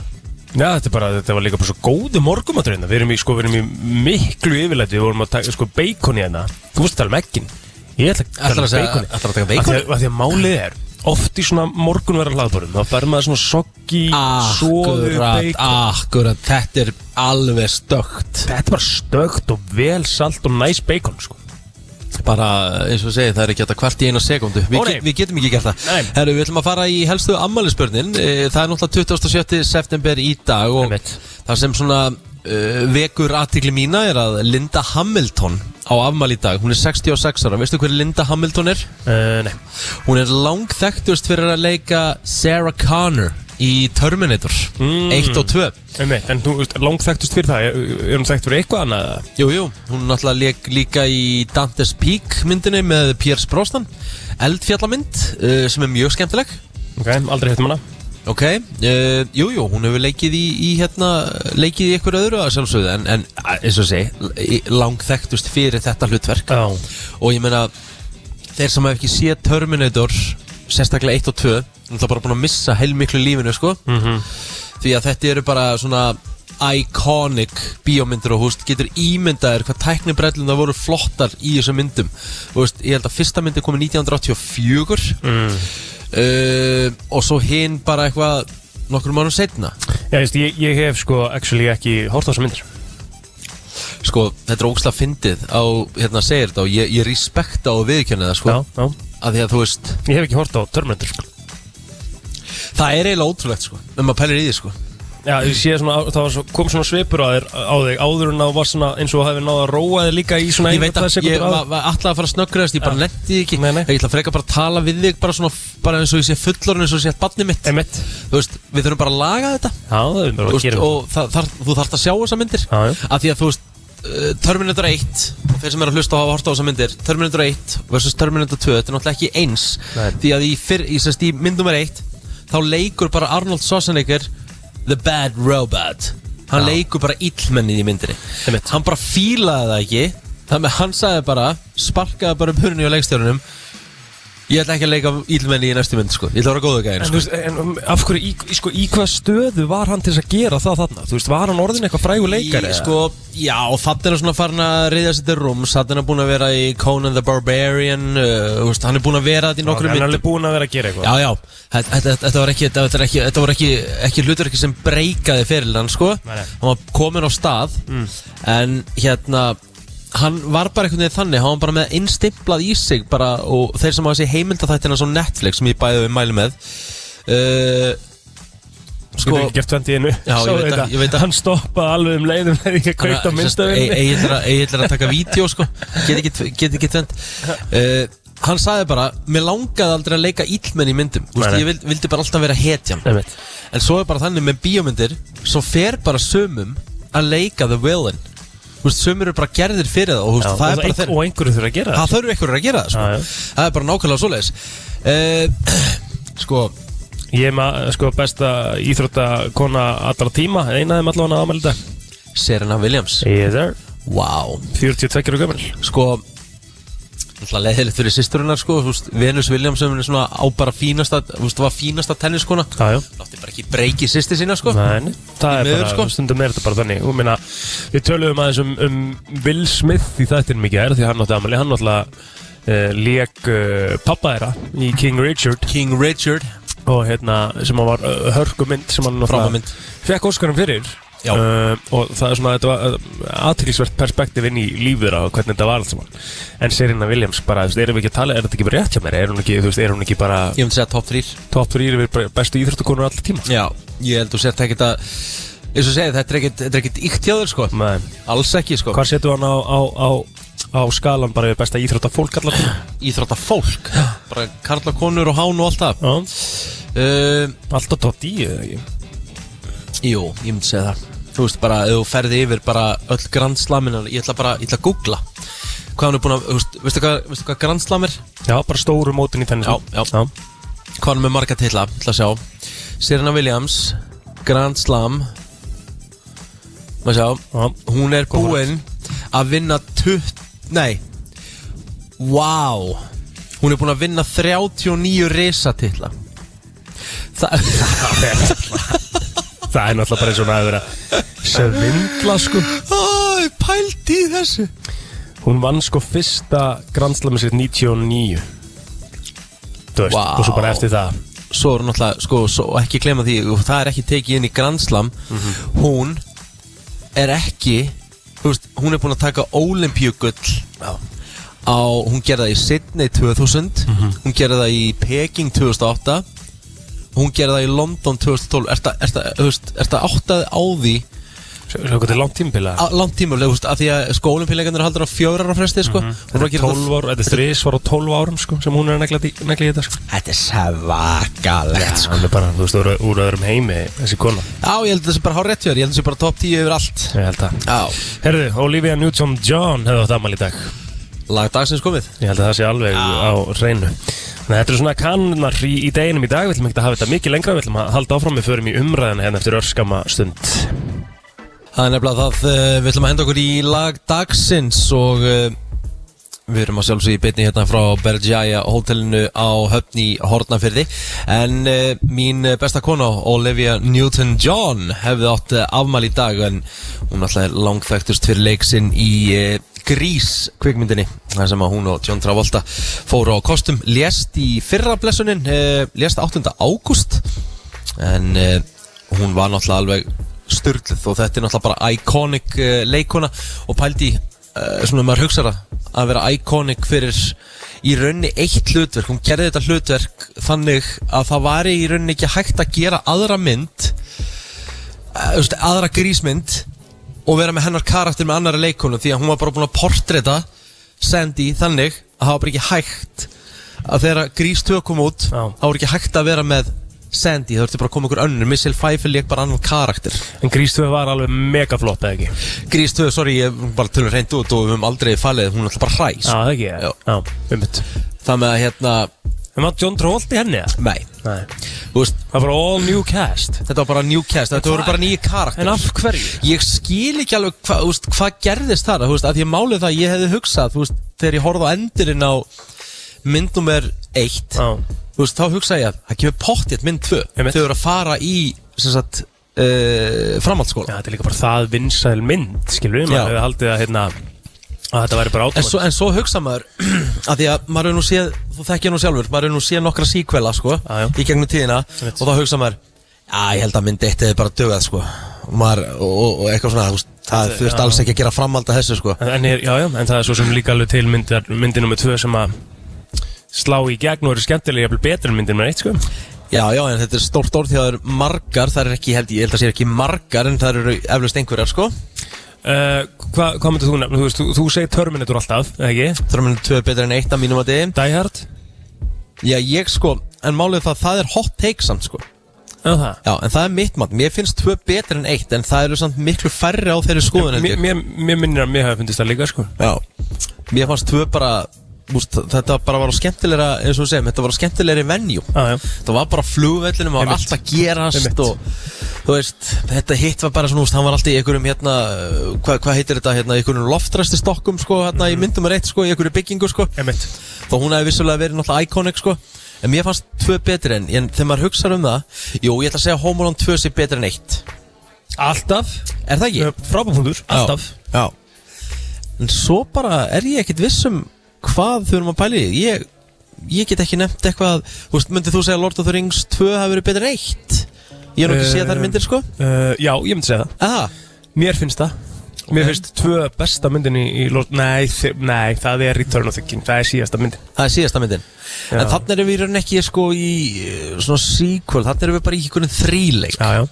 Já, þetta, er bara, þetta var líka bara svo góðu morgumatur hérna Við erum í, sko, við erum í miklu yfirlæti Við vorum að taka sko, bacon í hérna Þú veist tala um ekkin Ég ætla að
Ætlarðu að
tala um
segja-
bacon
ætlarðu að taka bacon?
Af því að- af því að málið er Oft í svona morgunverðar hlaðbörum Þá fer maður svona soggi, soðu,
Akkurat,
bacon
akkurat Þetta er alveg stökt
Þetta er bara stögt og vel salt og næs bacon sko.
bara eins og segið það er ekki hægt að kvart í eina sekundu Vi,
Ó, nei.
get, við getum ekki gert
Nei.
það Herru, við ætlum að fara í helstu ammælisbörnin það er náttúrulega 27. september í dag og
Einmitt.
það sem svona uh, vekur aðtikli mína er að Linda Hamilton á afmæli í dag hún er 66 ára, veistu hver Linda Hamilton er?
uh, Nei,
hún er langþekktust fyrir að leika Sarah Connor í Terminator
Mm.
1 og 2
einmitt, en þú veist, langþægtust fyrir það Er hún þægt fyrir eitthvað annað? eða?
Jú, jú, hún náttúrulega leik líka í Dantes Peak myndinni með Piers Brosnan Eldfjallamynd uh, eh, sem er mjög skemmtileg
Ok, aldrei um hefði manna
Ok, uh, jú, jú, hún hefur leikið í, í hérna, leikið í ykkur öðru að sjálfsögðu en, en að- eins og segi, langþektust fyrir þetta hlutverk
Já,
og ég meina, þeir sem hef ekki séð Terminator, sérstaklega 1 og 2 hún er bara búin að missa heilmiklu í lífinu, sko
Mhm.
því að þetta eru bara svona iconic bíómyndir og húst getur ímyndaðir hvað tæknibrellum það voru flottar í þessum myndum og veist, ég held að fyrsta myndi komið 1984 mm. Uh, og svo hinn bara eitthvað nokkur mánu setna
já veist, ég, ég hef sko actually ekki hórt á þessar myndir
sko, þetta er ógslag fyndið á, hérna segir þetta og ég, ég respekta og viðkjönni það sko,
Já, já,
að því að þú veist
ég hef ekki hórt á Terminator sko
það er eiginlega ótrúlegt sko, ef maður pælir í því sko
Já, ég sé svona, það var svo, kom svona svipur á þér á þig áður en það var svona eins og hafi náða að róa þig líka í svona
Ég veit að ég
sekundur
var var alltaf að fara að snöggrast, ég bara ja. lendi ekki
Nei, nei.
Ég ætla að freka bara að tala við þig bara, svona, bara eins og ég sé fullorinn eins og ég sé barni mitt
Emitt
Þú veist, við þurfum bara að laga þetta
Já, það er
Þú
bara að
veist,
gera það.
og það, þar, þú þarft að sjá þessa myndir
Já, já.
Af því að þú veist, uh, Terminator 1 og þeir sem eru að hlusta og hafa hort á þessa myndir Terminator 1 versus Terminator 2, þetta er náttúrulega ekki eins
Nei.
Því að í, fyrr, í, sest, í mynd nummer 1 þá leikur bara Arnold Schwarzenegger The Bad Robot Hann
Já.
leikur bara illmennið í myndinni
Einmitt.
Hann bara fílaði það ekki Þannig að hann sagði bara, sparkaði bara um hurni á leikstjórunum Ég ætla ekki að leika illmenni í næstu mynd, sko Ég ætla að vera góðu gæðin,
En,
sko
þú veist, en um, af hverju, í, í- sko, í hvað stöðu var hann til þess að gera það þarna? Þú veist, var hann orðin eitthvað frægur leikari?
Í,
eða?
sko, já, þarna er hann svona farin að reyðja sér til rúms Þarna er búin að vera í Conan the Barbarian uh, þú veist, Hann er búin að vera þetta í
Ok,
nokkrum
Hann er
myndum
alveg búinn að vera að gera eitthvað
Já, já, þetta, þetta, þetta var ekki, þetta, þetta, er ekki, þetta var ekki, ekki hlutverki sem breykaði fyrir hann, sko
Nei, Mm. nei.
Hann var komin á stað En hérna, hann var bara einhvern veginn þannig Hann var bara með innstimplað í sig bara Og þeir sem hafa sér heimildaþættina svo Netflix Sem ég bæði við mæli með uh,
Sko, getur ekki gert 20 innu
Já, ég veit að- ég veit að-
Hann stoppaði alveg um leiðum þegar ég kveikt á myndstafinni
Egil e- er að taka vídeo sko Get ekki, get ekki tvend uh, Hann sagði bara Mér langaði aldrei að leika íllmenn í myndum Þú veist,
Nei, nei.
Ég vild, vildi bara alltaf vera hetjan
Einmitt.
En svo er bara þannig með bíómyndir Svo fer bara sömum að leika the villain Þú veist, Sömur eru bara gerðir fyrir það Og, þú
Já,
veist,
Og
það er bara
ein-
þeir
og einhverju þurfa að gera það
Það þurfi ykkur að gera það sko.
Já, já.
Það er bara nákvæmlega svoleiðis uh, Sko
Ég er maður, sko, besta íþróttakona allra tíma Einaðum allavega ámæli dag
Serena Williams
Ég er þar
Wow
42 og gömul
sko alltaf leðilegt fyrir sýsturinnar sko þú veist, Venus Williams sem er svona á bara fínasta þú veist, var fínasta tenniskona
Já, já
látti bara ekki breyki sýsti sína sko
Nei, það er
Því miður,
bara,
sko.
stundum er þetta bara þannig Ég meina, við töluðum aðeins um, um Will Smith í þættinum í gær Því hann átti aðmæli, hann náttúrulega uh, Lék uh, pappa þeirra í King Richard
King Richard
Og hérna, sem hann var uh, hörkumynd Sem hann
Frábærmynd.
fekk Óskarum fyrir
Já.
Uh, og það er svona þetta var uh, aðtýrlisvert perspektíf inn í lífið þeirra og hvernig þetta var allt saman en Serena Williams bara, þú veist, erum við ekki að tala er þetta ekki bara rétt hjá mér, er hún ekki, þú veist, er hún ekki bara
ég myndi segja top 3
topp fyrir yfir bara bestu íþróttakonur allra tíma
já ég held þú sért ekkert að eins og segið þetta er ekkert, þetta er ekkert íkt hjá þér sko
Nei.
alls ekki sko
Hvar setur hann á, á, á, á skalan bara við besta íþrótta fólk allar
íþrótta fólk bara karla konur og hán og allt það
Já,
uh,
alltaf tótt í eða ekki
jú ég myndi segja það þú veist bara ef þú ferði yfir bara öll grannslaminan ég ætla bara ég ætla að googla hvað hann er búin að þú veist, veistu hvað, veistu hvað grannslam er
Já, bara stóru mótin í tennis
Já, já. Hvað er með marga titla? Ætla að sjá Serena Williams Grand Slam Má sjá
já.
Hún er búinn að vinna tutt Nei Vá Hún er búin að vinna 39 risatitla Þa,
Það er það er náttúrulega bara eins og hún hafi verið að svindla sko
Æ, pælt í þessu
Hún vann sko fyrsta grannslami sitt 99 Þú veist,
Vá.
og svo bara eftir það
Svo er hún náttúrulega, sko, svo, ekki klema því og Það er ekki tekið inn í Grand Slam Hún er ekki þú veist, Hún er búin að taka Olympiugull
Já,
á, hún gerði það í Sydney 2000 hún gerði það í Peking 2008 hún gerði það í London 2012 er þetta áttað á því
svo svo hvað er langt tímpila
á, langt tímulega, veist, af því að skólumpinleikandur haldur á fjórar á fresti sko. mm -hmm.
12 ár, þetta er þrís á 12 árum sko sem hún er að negla í- negla í þetta sko
þetta er svakalegt sko.
Hún er bara, þú veist, úr, úr öðrum heimi þessi kona
já, ég held að þessi bara hár rétt fyrir ég held að þessi bara top 10 yfir allt
Ég held að
já,
Herðu, Olivia Newton-John hefði átt afmæli í dag
lag dagsins komið
Ég held að það sé alveg á hreinu Þannig að þetta eru svona kannar í, í deginum í dag, við ætlum ekki að hafa þetta mikið lengra, við ætlum að halda áfram, við förum í umræðina hérna eftir örskama stund.
Það er nefnilega það, eh, við ætlum að henda okkur í lag dagsins og eh, við erum að sjálfsögja í beinni hérna frá Bergjaja hótelinu á höfn í Hortnafyrði en uh, mín besta kona Olivia Newton-John hefði átt uh, afmæl í dag en hún alltaf er langþægtust fyrir leiksinn í uh, Grís kvikmyndinni þar sem að hún og John Travolta fóru á kostum lést í fyrra blessunin uh, lést 8. ágúst en uh, hún var náttúrulega alveg styrluð og þetta er náttúrulega bara iconic uh, leikona og pældi uh, svona maður hugsar það, að vera iconic fyrir í rauninni eitt hlutverk hún gerði þetta hlutverk þannig að það var í rauninni ekki hægt að gera aðra mynd uh, þú veist, aðra grísmynd og vera með hennar karakter með annara leikonu því að hún var bara búin að portreta Sandy þannig að það var bara ekki hægt að þegar grís tökum út
Já.
þá er ekki hægt að vera með Sandy, það ertu bara að koma ykkur önnur Missile Pfeiffer leik bara annan karakter
En Grístöð var alveg mega flott, eða ekki?
Grís 2, sorry, ég bara tölur reynd út og við höfum aldrei falið, hún er alltaf bara hræs
Já, það ekki, já.
Já.
Já, umhett.
Það með að hérna,
En var John Travolta í henni, eða?
nei,
Nei.
þú veist,
Það var all new cast.
þetta var bara new cast, þetta voru bara nýju karakter
En af hverju?
Ég skil ekki alveg hva, úst, hvað gerðist þar þú veist, að ég málið það að ég hefði hugsað þú veist, þegar ég horfði á endurinn á myndum er eitt
Já.
þú veist, þá hugsaði ég að það kemur pottjétt mynd 2
Einmitt.
þau eru að fara í sem sagt, uh,
Já,
framhaldsskóla
þetta er líka bara það vinsæl mynd, skilur við,
Já.
maður hefði haldið að, hérna, að þetta væri bara
en
átum.
svo, en svo hugsa maður að því að maður er nú séð, þú þekkja nú sjálfur maður er nú séð nokkra síkvela sko
Já, já.
í gegnum tíðina og
Einmitt.
þá hugsa maður Já, ég held að myndi eitt eða bara dögað sko og, maður, og, og, og eitthvað svona, þú veist, það þurft alls ekki að gera framhald að þessu sko
En, en, er, já, já, en það er svo sem líka alveg til myndar, myndi nummer tvö sem að slá í gegn og eru skemmtilega jafnvel betur en myndir nummer eitt, sko.
Já, já, en þetta er stórt orð því að það eru margar, það er ekki, held ég, ég held að sé ekki margar en það eru eflaust einhverjar, sko
Uh, hva, hvað myndir þú nefna? Þú, veist, þú, þú segir Terminator alltaf, eða ekki?
Þrjóminu 2 er betra en eitt að mínum að þið
Die Hard?
Já, ég sko, en málið er það, það er hot take samt, sko
Já, það.
Já, en það er mitt mann, mér finnst 2 betra en eitt en það eru samt miklu færri á þeirri skoðun, held
Mér,
ég
mér, mér minnir að mér hafa fundist það líka, sko.
Já, mér fannst 2 bara, úst, þetta bara var á skemmtilegra, eins og við segjum, þetta var á skemmtilegri venjú
Já, já.
Það var bara flugvellinu, maður var
Einmitt.
allt að gerast
Einmitt.
og þú veist, þetta hitt var bara svona, þú veist, hann var alltaf í einhverjum hérna, uh, hvað hva heitir þetta, hérna, í einhverjum loftræsti stokkum, sko, hérna,
Mhm.
í myndum er eitt, sko, í einhverju byggingu, sko,
Emitt.
þó hún hefði vissulega verið náttúrulega iconic, sko, en mér fannst tvö betri en, en þegar maður hugsa um það, jú, ég ætla að segja að Home Alone 2 sé betri en eitt,
Alltaf.
er það ekki?
Yeah. Frábapunktur. Alltaf.
Já, já. En svo bara er ég ekkit viss um hvað þau erum að pæli, ég, ég get ekki nefnt eitthvað, þú veist, myndið þú segja Lord of the Rings 2 hafi verið betur en eitt? Ég er nú ekki
Eh,
séð þær myndir sko
Uh, já, ég myndi segja það.
Aha,
Mér finnst það. Mér finnst tvö besta myndin í, í Lord... Nei, þi- nei, það er Return of the King. Það er síðasta myndin.
það er síðasta myndin
Já.
En þannig erum við í rauninni ekki sko í eh, svona sequel, þannig erum við bara í einhvern þríleik
Já, já.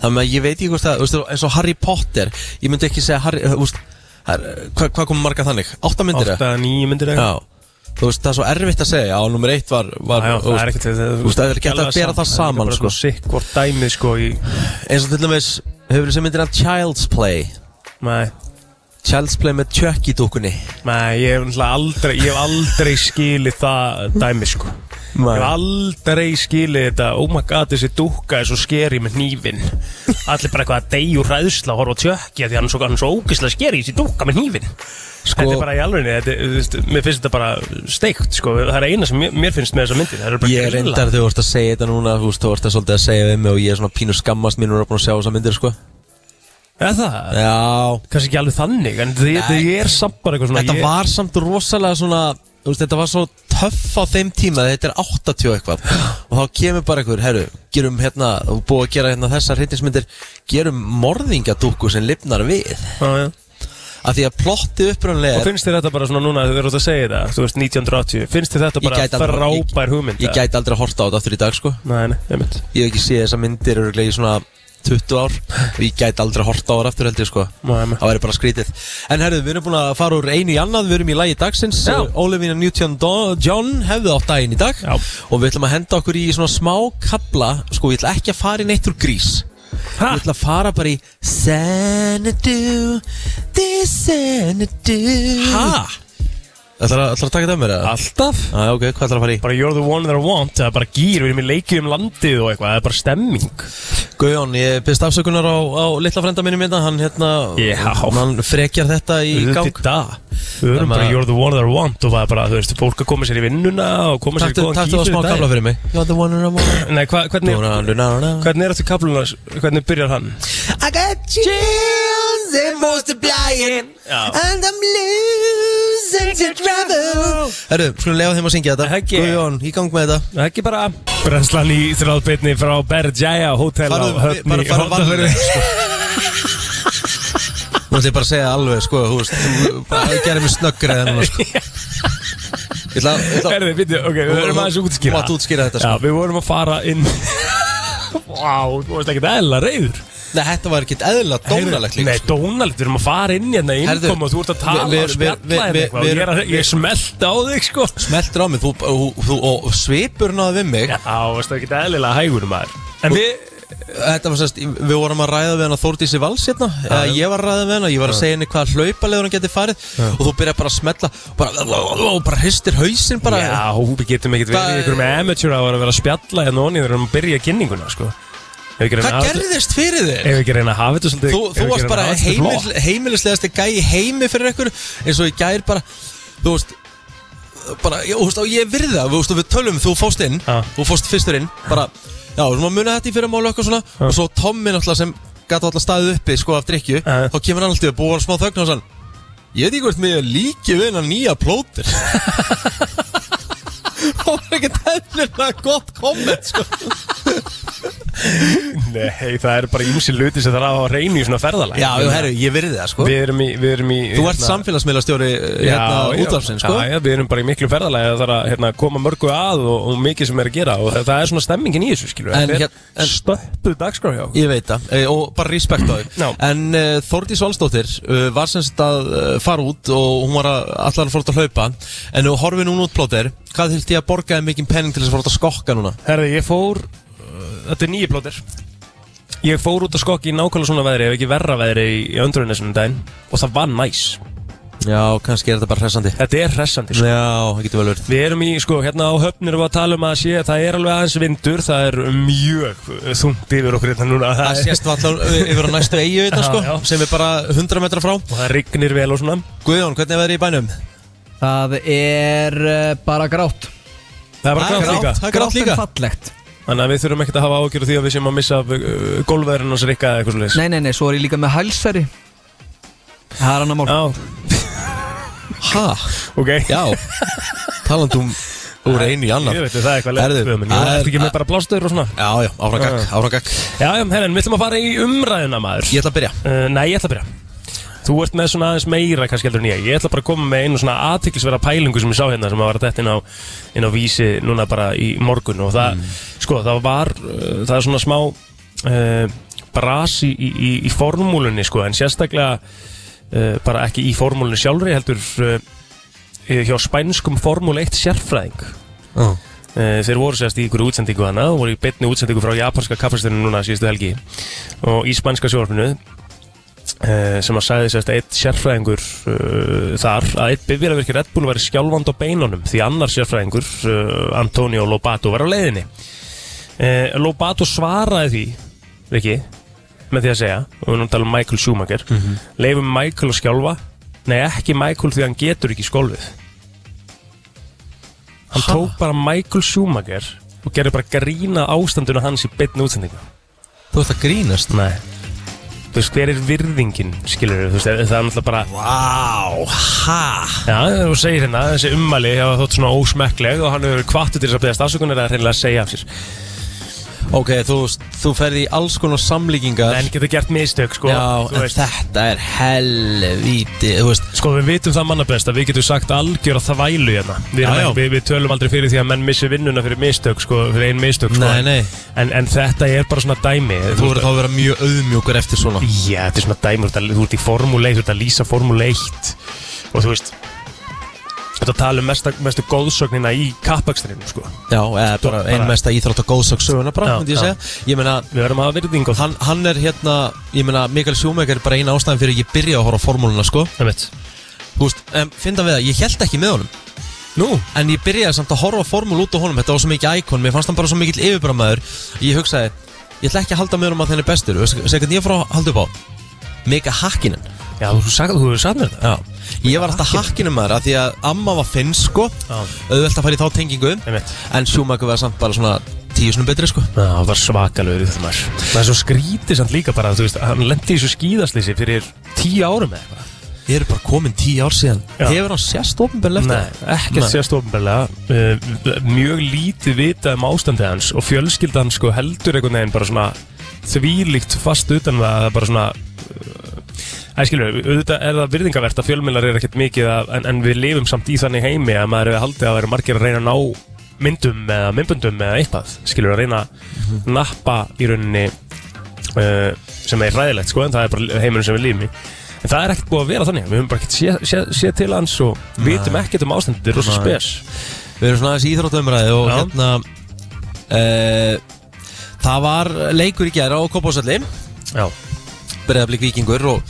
Þannig að ég veit ekki hvort það, þú veist, eins og Harry Potter Ég myndi ekki segja Harry, eh, þú veist, hvað hva hvað kom marga þannig? Átta myndir eða?
Átta, nýju myndir eða?
Já, þú veist, það er svo erfitt að segja, á nummer eitt var, var
Já, já,
þú
það er
veist,
ekkert það-
þú veist, það er ekki hægt að bera það saman,
Það er líka bara
sko.
sikk hvort dæmið sko í
Eins og til dæmis, hefur þessi myndina Child's Play
Nei,
Child's Play með Chucky dúkunni
nei, ég hef náttúrulega aldrei Ég hef aldrei skilið það dæmið sko Ég hef aldrei skilið þetta Oh my god, þessi dúkka er svo skeri með hnífin Allir bara eitthvað að deyju hræðsla að horfa á tjökki Því hann er svo, hann er svo ógislega skeri þessi dúkka með hnífin
Sko,
Þetta er bara í alvegni þetta, er- þú veist, Mér finnst þetta bara steikt sko Það er eina sem mér, mér finnst með þessa myndir Það eru bara
Ég er
grilla.
reyndar þegar þú vorst að segja þetta núna Þú veist, þú vorst að svolítið að segja við mig Og ég er svona pínu skammast mín og er búin að sjá þessar myndir, sko
Er það?
Já
Kanski ekki alveg þannig, en þetta er samt bara eitthvað svona
Þetta
ég-
var samt rosalega svona þú veist, Þetta var svo töff á þeim tíma Þetta er 80 og eitthvað Og þá kemur bara einhver, herru, gerum hérna Og búið að gera hérna þessar hittinsmyndir Gerum morðingadúku sem lifnar við
Já, já.
Af því að plottið upprunlega
Og
er
finnst þér þetta bara svona núna þegar þú verður að segja þetta, þú veist 1980, finnst þér þetta
Ég
bara
gæti aldrei-
frábær hugmynd?
Ég gæti aldrei að horta á þetta aftur í dag, sko
Nei, nei, ég mynd.
Ég hef ekki séð þessar myndir örgulega í svona 20 ár og ég gæti aldrei að horta á þar aftur held ég sko
Nei, nei.
Það væri bara skrítið En herðu, við erum búin að fara úr einu í annað Við erum í lagi dagsins
Já.
Olivina Newton-John hefði átt daginn í dag
Já.
Og við ætlum að henda okkur í svona smá kabla Sko, ég ætla ekki að fara í neitt úr grís
Ha?
Ég ætla að fara bara í Xanadu This Xanadu
Ha?
Ætlar að taka þetta af mér eða?
Alltaf
Já, já, ok, hvað ætlar að fara í?
Bara you're the one that I want Það er bara gýr, við erum í leikið um landið og eitthvað Það er bara stemming
Guðjón, ég byrst afsökunar á, á litla frenda mínum minna, hann hérna,
Já.
hann frekjar þetta í gang.
Auðvitað. Við
Þannig
erum bara
að-
you're the one that I want Og það er bara, þú veist, fólk að koma sér í vinnuna Og koma sér í
Taktu
góðan
taktu
gýr
það smá
fyrir
kafla
daginn.
fyrir mig. You're the one and I'm on.
Nei, hva, hvernig,
I
hvernig er þetta kapluna Hvernig byrjar hann?
got chills and multiplying
Já.
And I'm losing to travel Herru, skulum lega þeim að syngja þetta
Hegge.
Guðjón, í gang með þetta
Það er ekki bara Brennslan í þráðbyrni frá Berjaya Hotel á
Farðu,
Höfni
bara farðu
Hornafirði.
vanlega sko. Nú ætlum ég bara að segja alveg sko, þú veist, þú bara gerir mig snöggri en núna sko. Ég ætla að- ég ætla að
Herði, býttu, ok, við
Þú-
verðum
þú-
aðeins að
þú
útskýra
mátt útskýra þetta, sko.
Já, við vorum að fara inn Vá, þú veist ekki eðla reyður
Nei, þetta var ekkert eðla dónalegt líka
Nei,
sko.
dónalegt, við erum að fara inn hérna í
Herðu,
innkom og þú ert að tala
við- við-
og
við- við-
spjalla hérna eitthvað og
við-
ég, er að- ég smelt á þig, sko
Smeltir á mig, þú, þú, þú, og svipur náðu við mig
Já, þú veist ekki eðlilega hægur maður En við,
Þetta var sérst, við vorum að ræða við hana Þórdísi Vals hérna, eða ég var að ræða við hana ég var að segja henni hvað hlaupalegur hann geti farið og þú byrjar bara að smella bara, og bara hristir hausinn bara
já, við getum ekkert verið
Hvað-
í einhverjum amateur að vera að spjalla hérna onni þegar við erum að byrja kynninguna, sko Ef við ekki reyna
Hvað
að hafa þetta-
gerðist fyrir þig?
ef við ekki reyna að hafa þetta svolítið
Þú,
ef við
þú
ekki
varst
reyna að
bara
hafa þetta svolítið flott.
heimil, heimilislegasti gæi í heimi fyrir ykkur eins og ég gær bara þú veist bara, já, þú veist, og ég virði það, þú veist, og við tölum þú fóst inn,
Já.
þú fóst fyrstur inn bara, já, þú maður muna þetta í fyrir málu eitthvað svona og svo Tommi náttúrulega sem gæti alltaf staðið uppi, sko, af drikju
Já.
þá kemur hann alltaf upp og var smá þögn og sann ég veit ekki hvort mig er líki við hennar nýja plótir það var ekkert eðlilega gott komment, sko
Nei, það eru bara ímsi luti sem það er að hafa á reynu í svona ferðalag
já, já, herru, ég virði það, sko
Við erum í, við erum í
Þú ert samfélagsmiðlastjóri hérna, útvarfsins, sko?
Já, já, við erum bara í miklu ferðalagi að það er að hérna, koma mörgu að og, og mikið sem er að gera og það, það er svona stemmingin í þessu, skilur
En
Þetta er
hér- en-
stöppuð dagskrá hjá okkur.
Ég veit það, eh, og bara respekt á þau
Já.
En uh, Þórdís Valsdóttir uh, var semst að uh, fara út og hún var að, allar að fara út að hlaupa En þú horfið núna út plóter, hvað þurfti ég að borga þér mikinn penning til þess að fara út að skokka núna?
Herði, ég fór uh, Þetta er nýju plótir Ég fór út að skokki í nákvæmlega svona veðri ef ekki verra veðri í, í öndrunni sinni daginn og það var næs
Já, kannski er þetta bara hressandi Já,
Þetta er hressandi, sko
það getur vel verið
Við erum í, sko, hérna á höfnir og að tala um að sé að það er alveg aðeins vindur, það er mjög þungt yfir okkur hérna núna
Það
er-
sést vallar yfir á næstu eigu þetta
Já,
sko,
já.
sem er bara 100 metra frá
og það rignir vel og svona
Guðjón, hvernig er verið í bænum?
Það er uh, bara grátt
Það er bara
Það er
grátt líka
Það er grátt líka.
en fallegt
Þannig að við þurfum ekkert að hafa ágjörðu því að við séum að missa af uh, gólfverðin hans rikka eða eitthvað slúðis
Nei, nei, nei, svo er ég líka með hælsferi Það er annar mál
Já,
Ha?
ok
Já, talandum úr einu í annan
Ég veit það er eitthvað
Herðu,
leitt En ég
það er-
ætti ekki með bara blástöður og svona
Já, já, áfram gakk, áfram gakk
Já, já, herren, við ætlum að fara í umræðina maður
Ég ætla að byrja
uh, Nei, ég ætla að byrja Þú ert með svona aðeins meira kannski heldur en ég Ég ætla bara að koma með einu svona aðtiklisvera pælingu sem ég sá hérna sem að var þetta inn á, inn á vísi núna bara í morgun og það, sko, það var uh, það er svona smá uh, bras í, í, í, í formúlunni sko, en sérstaklega uh, bara ekki í formúlunni sjálfri heldur uh, hjá spænskum formúl 1 sérfræðing
Já.
Eh, þeir voru sérst í ykkur útsendingu hana og voru í betni útsendingu frá japanska kaffesturinn núna síðustu helgi og í spænska sjórfinu sem að sagði sérst eitt sérfræðingur uh, þar að eitt bifjaravirki Red Bull væri skjálfand á beinunum því annar sérfræðingur uh, Antonio Lobato var á leiðinni uh, Lobato svaraði því Riki, með því að segja og við erum að tala um Michael Schumacher mm leifum Michael að skjálfa nei ekki Michael því hann getur ekki skólfið Hann
Ha?
tók bara Michael Schumacher og gerði bara grína ástanduna hans í beinni útsendingu.
Þú ert að grínast
Nei. Þú veist, hver er virðingin, skilur þú veist, það er náttúrulega bara,
Vá, ha?
já, þú segir hérna, þessi ummæli hafa þótt svona ósmekkleg og hann hefur kvartu til þess að beðast afsökunar eða reynilega að segja af sér.
Ok, þú, þú ferði í alls konar samlíkingar
Menn getur gert mistök, sko,
Já,
þú
en
veist.
þetta er helvíti Þú veist,
Sko, við vitum það manna best að við getum sagt algjör að það vælu hérna. Við,
Já, já.
erum- við, við tölum aldrei fyrir því að menn missi vinnuna fyrir mistök, sko, fyrir ein mistök, sko.
Nei, nei.
En, en þetta er bara svona dæmi.
þú verður þá að vera mjög auðmjúkur eftir svona
Já, þetta er svona dæmi, þú ert að- þú ert í formule 1, þú ert að lýsa formule 1 og þú veist Þú ert að tala um mesta, mestu góðsögnina í kappakstrinum, sko
Já, eða bara
bara-
einn mesta íþrótt og góðsöksöguna bara,
Já,
myndi ég
já.
segja Ég meina,
Við verðum að hafa virðing og það
hann, hann er hérna Ég meina, Mikael Sjómek er bara eina ástæðan fyrir að ég byrja að horfa á formúluna, sko
Það veit,
Þú Þú veist, um, finna við það, ég held ekki með honum
Nú,
En ég byrjaði samt að horfa formúl út á honum Þetta var svo mikið íkon, mér fannst hann bara svo mikill yfirbrammaður Ég hugsaði, ég ætla ekki að halda með honum að þenni bestur Þú veist hvernig ég fór að halda upp á Mika Hakkinen
já, þú sagði þú hefur sagt mér þetta
Já, ég var alltaf hakkinu maður af því að amma var finn sko
Já.
auðvelt að fara í þá tengingu
Einmitt.
en Schumacher var samt bara svona tíu svona betri sko
Já, það var svakalögur í þetta maður Það er svo skrítið samt líka bara, þú veist, hann lendi í þessu skíðaslýsi fyrir tíu árum eða eitthvað
Ég er bara komin tíu ár síðan
Já.
Hefur hann sérst ofnbjörn eftir
Nei, ekkert
Nei.
sérst ofnbælega uh, Mjög lítið vitað um ástandið hans og fjölskyldan sko heldur einhvern veginn bara svona þvílíkt fast utan það að það bara svona Það skilur, auðvitað er það virðingavert að fjölmiðlar er ekkert mikið að, en, en við lifum samt í þannig heimi að maður hefur haldið að vera margir að reyna að ná myndum eða myndbundum eða eitthvað skilur, að reyna
Mhm.
að nappa í rauninni uh, sem er ræðilegt sko, en það er bara heimurinn sem við lifum í en það er ekkert búið að vera þannig við höfum bara ekkert séð sé, sé til hans og vitum ekkert um ástandið, þetta er rosa
Nei.
spes
Við erum svona aðeins í íþróttumræði og
Já.
hérna uh, Það var leikur í gera á Kópásalli
Já,
Breiðablík Víkingur og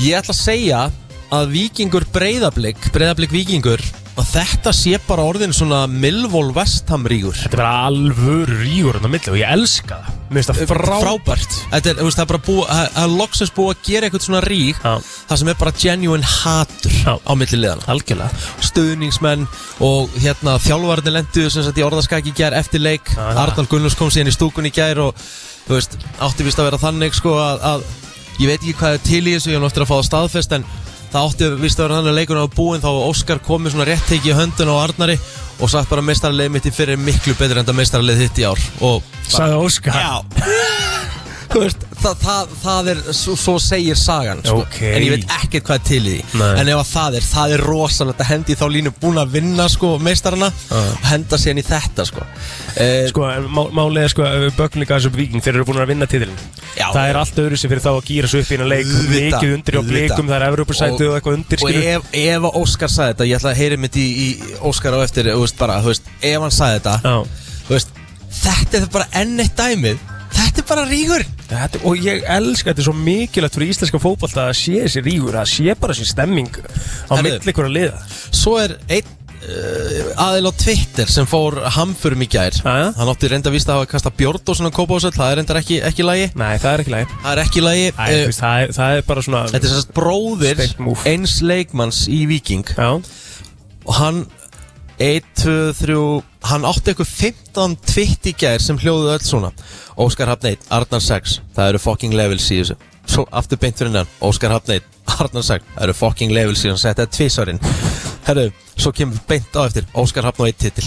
ég ætla að segja að Víkingur Breiðablík Breiðablík Víkingur að þetta sé bara orðin svona Milvól Vesthamrígur
þetta er bara alvöru rígur þarna á milli og ég elska það Mér finnst það frábært
frábært Þetta er, þú veist, það er bara búið, það- það er loksins búið að gera eitthvað svona rík
Já.
Það sem er bara genuine hatur
Já.
á milli liðana
Algjörlega
Stöðningsmenn og hérna þjálfarnir lendu sem sagt í orðaskaki í gær eftir leik
Já, já.
Arnald Gunnlaugs kom síðan í stúkun í gær og þú veist, átti vist að vera þannig sko að, að ég veit ekki hvað er til í þessu, ég er nú eftir að fá það staðfest en það átti vist að vera þannig að leikunum á búin þá var Óskar komið svona rétt tekið í höndun á Arnari og sagt bara meistarleið mitt í fyrir miklu betur en það meistarleið þitt í ár og
Sæði Óskar
Já Þú veist, það, það, það er, svo, svo segir sagan sko.
Ok.
En ég veit ekkert hvað er til í því
Nei.
En ef að það er, það er rosalegt að hendi þá línu búin að vinna sko, meistarana og henda sér í þetta sko. Eh,
Sko, en má- málið er sko, ef við bögnum líka þessu upp viking, þeir eru búin að vinna titilin
Já.
Það er allt öðru fyrir þá að gýra svo upp í hennar Sko, leik
Auðvitað,
Mikið undir á
auðvitað.
blikum, það er Evrópusætið og eitthvað undir
Og
skilur.
ef, ef að Óskar sagði þetta Ég ætla að heyri mitt í, í Óskar á eftir þú veist, bara, þú veist, Ef hann sagði þetta
Já.
þú veist, Þetta er bara enn eitt dæmið Þetta er bara ríkur
Þetta, og ég elska þetta er svo mikilvægt fyrir íslenska fótbolta að sé þessi rígur, að sé bara þessi stemming á
Herðu.
milli ykkur að liða
Svo er einn uh, aðil á Twitter sem fór hamförum í gær
Jæja.
Hann átti reynda að vísta að hafa kasta björd og svona kópa og Það er reyndar ekki, ekki lægi
Nei, það er ekki læg
Það er ekki lægi
Æ, uh, veist, það, er, það er bara svona
Þetta er sérst bróðir
Steigt múf.
eins leikmanns í Viking
Já,
Og hann 1, 2, 3 Hann átti eitthvað 15 tvitt í gær sem hljóðu öll svona Óskar Hafneit, Arnar 6 Það eru fucking levels í þessu Svo aftur beint fyrir hann Óskar Hafneit, Arnar 6 Það eru fucking levels í þessu Þetta er tvisarinn Herru, svo kemur beint á eftir Óskar Hafn og eitt titil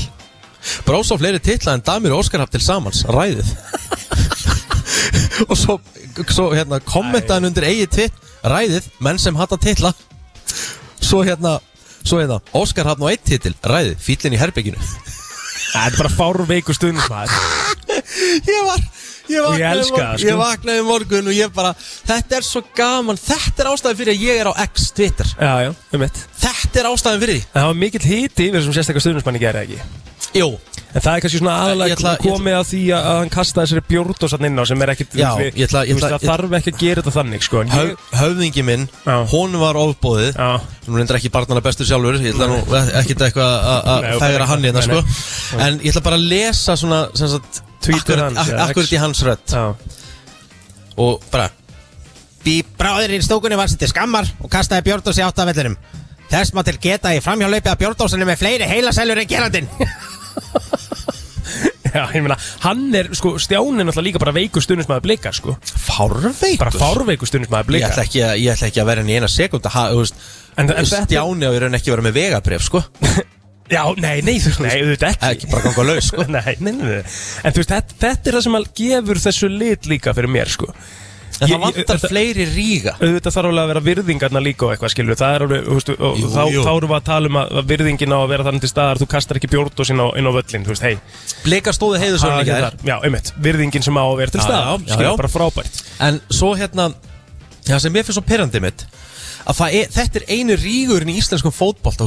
Brós á fleiri titla en Damir og Óskar Hafn til samans Ræðið Og svo, svo hérna, kommentaðan undir eigið tvitt Ræðið, menn sem hata titla Svo hérna Svo hérna, Óskar hafði nú eitt titil, ræðið, fýllin í herbygginu
það er bara fárveiku stund Þetta
Ég var, ég
Og
vaknaði,
ég elska það, sko.
ég vaknaði um morgun og ég bara Þetta er svo gaman, þetta er ástæðan fyrir að ég er á X Twitter
Já, já, um mitt
Þetta er ástæðan fyrir því
Það var mikill hiti yfir þessum sérstaklega stundismanni gera ekki
Jú,
En það er kannski svona
Ég
aðalega
ætla- ég
komið að því að að hann kastaði þessari bjórd og sann inn á sem er ekkit
Já,
við-
ég ætla- ég
þú veist,
ætla-
Það þarf ekki að gera þetta þannig sko en
höf,
ég-
höfðingi minn,
Já.
hún var ofbóðið
Já.
Nú reyndir ekki barnana bestur sjálfur Ég ætla nú ekkit eitthvað að- að
Nei, ok,
færa hann hérna
nei,
sko
nei.
En ég ætla bara að lesa svona, sem sagt
Tweetið
akkurat-
hans,
ak-
eða X.
Akkurat í hans rödd
Já,
og bara Bí bráðirinn stókunni var sér til skammar og kastaði Björndósi átt af vellinum Þess má til geta í framhjálaupi að Björndósinu með fleiri heilasælur en gerandinn
Já, ég meina, hann er, sko, Stjáni er náttúrulega líka bara veikur stundismæður blika, sko
Fárveikur?
Bara fárveikur stundismæður
Ég
blika
ætla, ekki að, ég ætla ekki að vera henni í eina sekund
En- en þetta-
Stjáni á í raun ekki að vera með vegabref sko.
Já, nei, nei, þú veist, nei, auðvitað ekki
Ekki bara ganga laus, sko.
Nei, nei, nei, nei En þú veist, þetta, þetta er það sem að gefur þessu lit líka fyrir mér, sko
En
Ég-
það
ég-
vantar
þetta-
fleiri ríga
Auðvitað þarf alveg að vera virðingarna líka og eitthvað, skilur Það er alveg, þú veist, og
Jú,
þá,
jú.
þá erum við að tala um að að virðingin á að vera þannig til staðar Þú kastar ekki bjórdos inn á, inn á völlin, þú veist, hei
Blika stóði heiðu svo
það
henni
er
gær
hérna þar. Já, einmitt, virðingin sem á að vera til
Já,
staðar,
já, já,
skilur,
já.
bara frábært
En svo hérna Það sem mér finnst svo perrandið mitt að það er, þetta er einu rígurinn í íslenskum fótbolt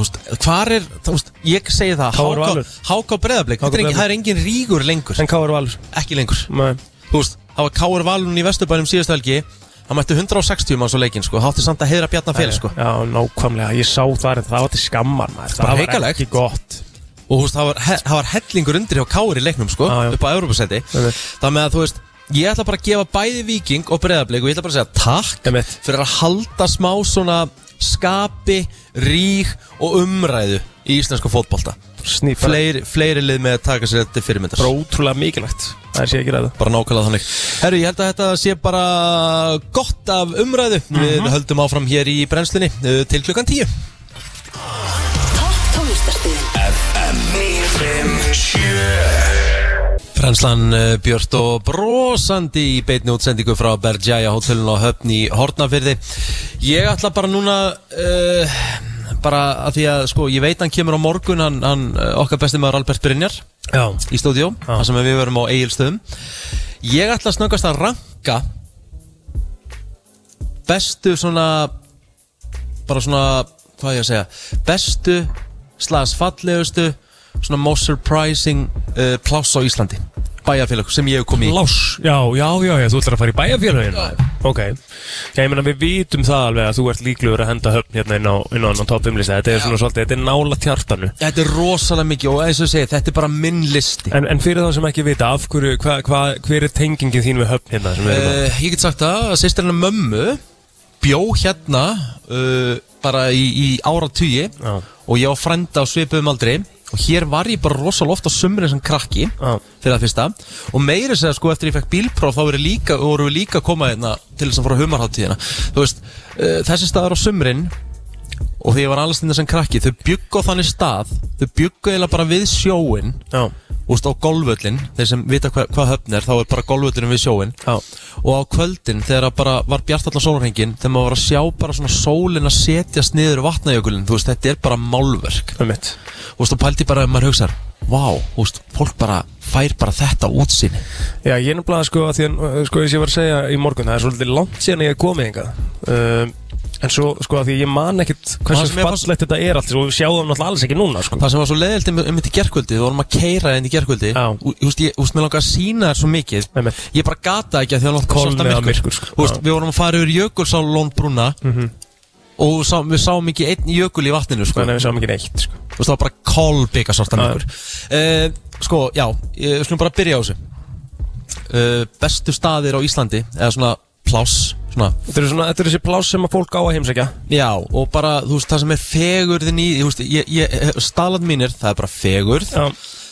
Hvar er, þú veist, ég segi það
Þá er Valur.
Háká breðablík,
HK Breiðablik.
það er engin rígur lengur
En hvað er valur?
Ekki lengur
Nei.
Þú veist, það var Káur Valun í Vesturbænum síðustu helgi Hann mætti 160 manns á leikinn sko Hátti samt að heiðra Bjarnar Fél sko
Já, nákvæmlega, ég sá það en það var til skammar
Bara
maður. Það var
hrikalegt.
ekki gott
Og þú veist, það var, he, það var hellingur undir hjá Káur í leiknum sko
Já, já.
Upp á Evropasæti
Einmitt.
Það með að þú veist Ég ætla bara að gefa bæði viking og breyðarbleik Og ég ætla bara að segja takk
Einmitt.
Fyrir að halda smá svona skapi, rík og umræðu Í íslensku fótbolta
Sníf, bara
Fleiri, fleiri lið með að taka sér þetta fyrirmyndar
ótrúlega mikilvægt Það er sér ekki ræða
bara nákvæmlega þannig Herru, ég held að þetta sé bara gott af umræðu
Mhm.
Við höldum áfram hér í brennslunni uh, til klukkan 10
Topp tónlistarstíðin
Brennslan uh, Björn og brosandi í beitni útsendingu frá Bergjaja hotellin á höfn í Hortnafyrði Ég ætla bara núna uh, bara að því að sko ég veit hann kemur á morgun hann, hann uh, okkar besti maður Albert Brynjar
Já,
í stúdíó,
Já.
þar sem við verum á Egilstöðum Ég ætla að snöggast að ranka bestu svona bara svona, hvað á ég að segja bestu slags fallegustu svona most surprising uh, pláss á Íslandi bæjarfélag sem ég hef komið í
Lás, já, já, já, já, þú ætlar að fara í bæjarfélagin Ok, já, ég meina við vitum það alveg að þú ert líklegur að henda höfn hérna inn á, inn á, á toppimlista Þetta er svona svolítið, þetta er nála tjartanu
Þetta er rosalega mikið og eins og ég segi, þetta er bara minn listi
En, en fyrir þá sem ekki vita, af hverju, hva, hva, hver er tengingin þín við höfn hérna sem við erum að
uh, Ég get sagt það að sýstirna mömmu bjó hérna uh, bara í, í áratugi
Já.
og ég á frænda á svipuðum aldri og hér var ég bara rosalega oft á sumri sem krakki
Já.
fyrir það fyrsta og meira segja sko eftir ég fekk bílpróf þá voru líka, voru við líka að koma hérna til þess að fara á humarháttíðina þú veist, uh, þessi staðar á sumrin og því ég var alveg stundar sem krakki þau bjuggu á þannig stað þau bjuggu eiginlega bara við sjóin
Já,
úst á golvöllin, þeir sem vita hva, hvað höfn er þá er bara golvöllin við sjóin
já,
og á kvöldin þegar að bara var bjart allan sólurhengin þegar maður var að sjá bara svona sólin að setjast niður vatnajökulin, þú veist, þetta er bara málverk,
um mitt
þú veist, og pældi bara ef maður hugsar, vá, þú veist, fólk bara fær bara þetta útsinni
Já, ég er nefnilega sko að því að, uh, sko, eins og ég var að segja í morgun, það er svolítið langt síðan ég er komið hingað um, En svo, sko, að því að ég man ekkit
Það
hversu
sem ég fannst-
fallegt þetta er allt og við sjáum náttúrulega alls ekki núna, sko
það sem var svo leiðilt um mitt í gerkvöldi, við vorum að keira inn í gerkvöldi,
Já.
þú veist, ég, þú veist, mér langar að sína þér svo mikið
Einmitt.
ég bara gata ekki að því að langt
Kolni að myrkur, sko.
þú veist,
Já. Mhm.
við vorum að fara yfir jökulsá lónbrúna og sá, við sáum ekki einn jökul í vatninu, sko
Þannig að við sáum ekki neitt, sko
Þú veist, það var bara kolbygga svartan ykkur uh, Sko, já, ég skulum bara byrja á þessu uh, Bestu staðir á Íslandi Eða svona pláss svona,
Þetta eru svona, þetta eru þessi pláss sem að fólk á að heimsækja
Já, og bara, þú veist, það sem er fegurðin í Þú veist, ég, ég, staðland mínir Það er bara fegurð
Já.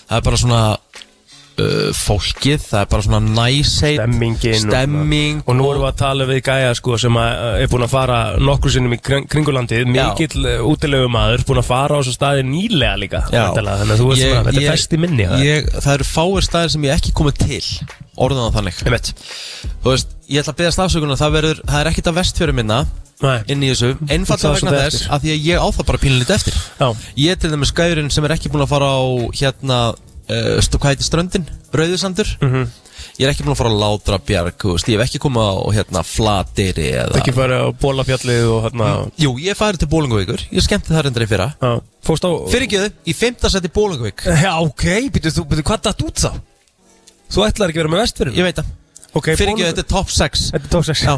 Það er bara svona uh, Fólkið, það er bara svona næseit
Stemmingin og-
Stemming
Og nú erum við að tala við gæja, sko, sem að uh, er búin að fara nokkur sinnum í kring, kringulandið
Já.
Mikill útilegu maður, búin að fara á þessu staði nýlega líka
Já.
væntanlega, Þannig að þú veist
Ég-
svona, þetta
ég-
er fest í minni það er.
ég, Það eru fáir staðir sem ég hef ekki komið til Orðan á þannig
Einmitt.
Þú veist, ég ætla að beðast afsökunar Það, verður, það er ekkit að vestfjöru minna
Nei.
inn í þessu
Það
Einfallega
er
vegna
svolítið
þess
eftir.
að því að ég á það bara pínlítið eftir
Já.
Ég er til dæmis skæðurinn sem er ekki búin að fara á hérna uh, stu, Hvað heitir ströndin? Rauðusandur
Mhm.
-hmm. Ég er ekki búin að fara á Látrabjarg þú veist, Ég hef ekki komið á hérna Flateri eða...
Ekki fara á bólafjallið og hérna
Jú, ég farið til Bólingavíkur Ég skemmti það reyndar í fyrra
Já. Fórst á
Fyrirgjöðu, í fimmta seti Bólingavík
Já, ok, býtu, þú, býtu, hvað datt út þá? Þú ætlar ekki að vera með vestfyrir
Ég veit það
Ok,
Fyrirgjöðu, þetta er top 6
Þetta er tók sex
Já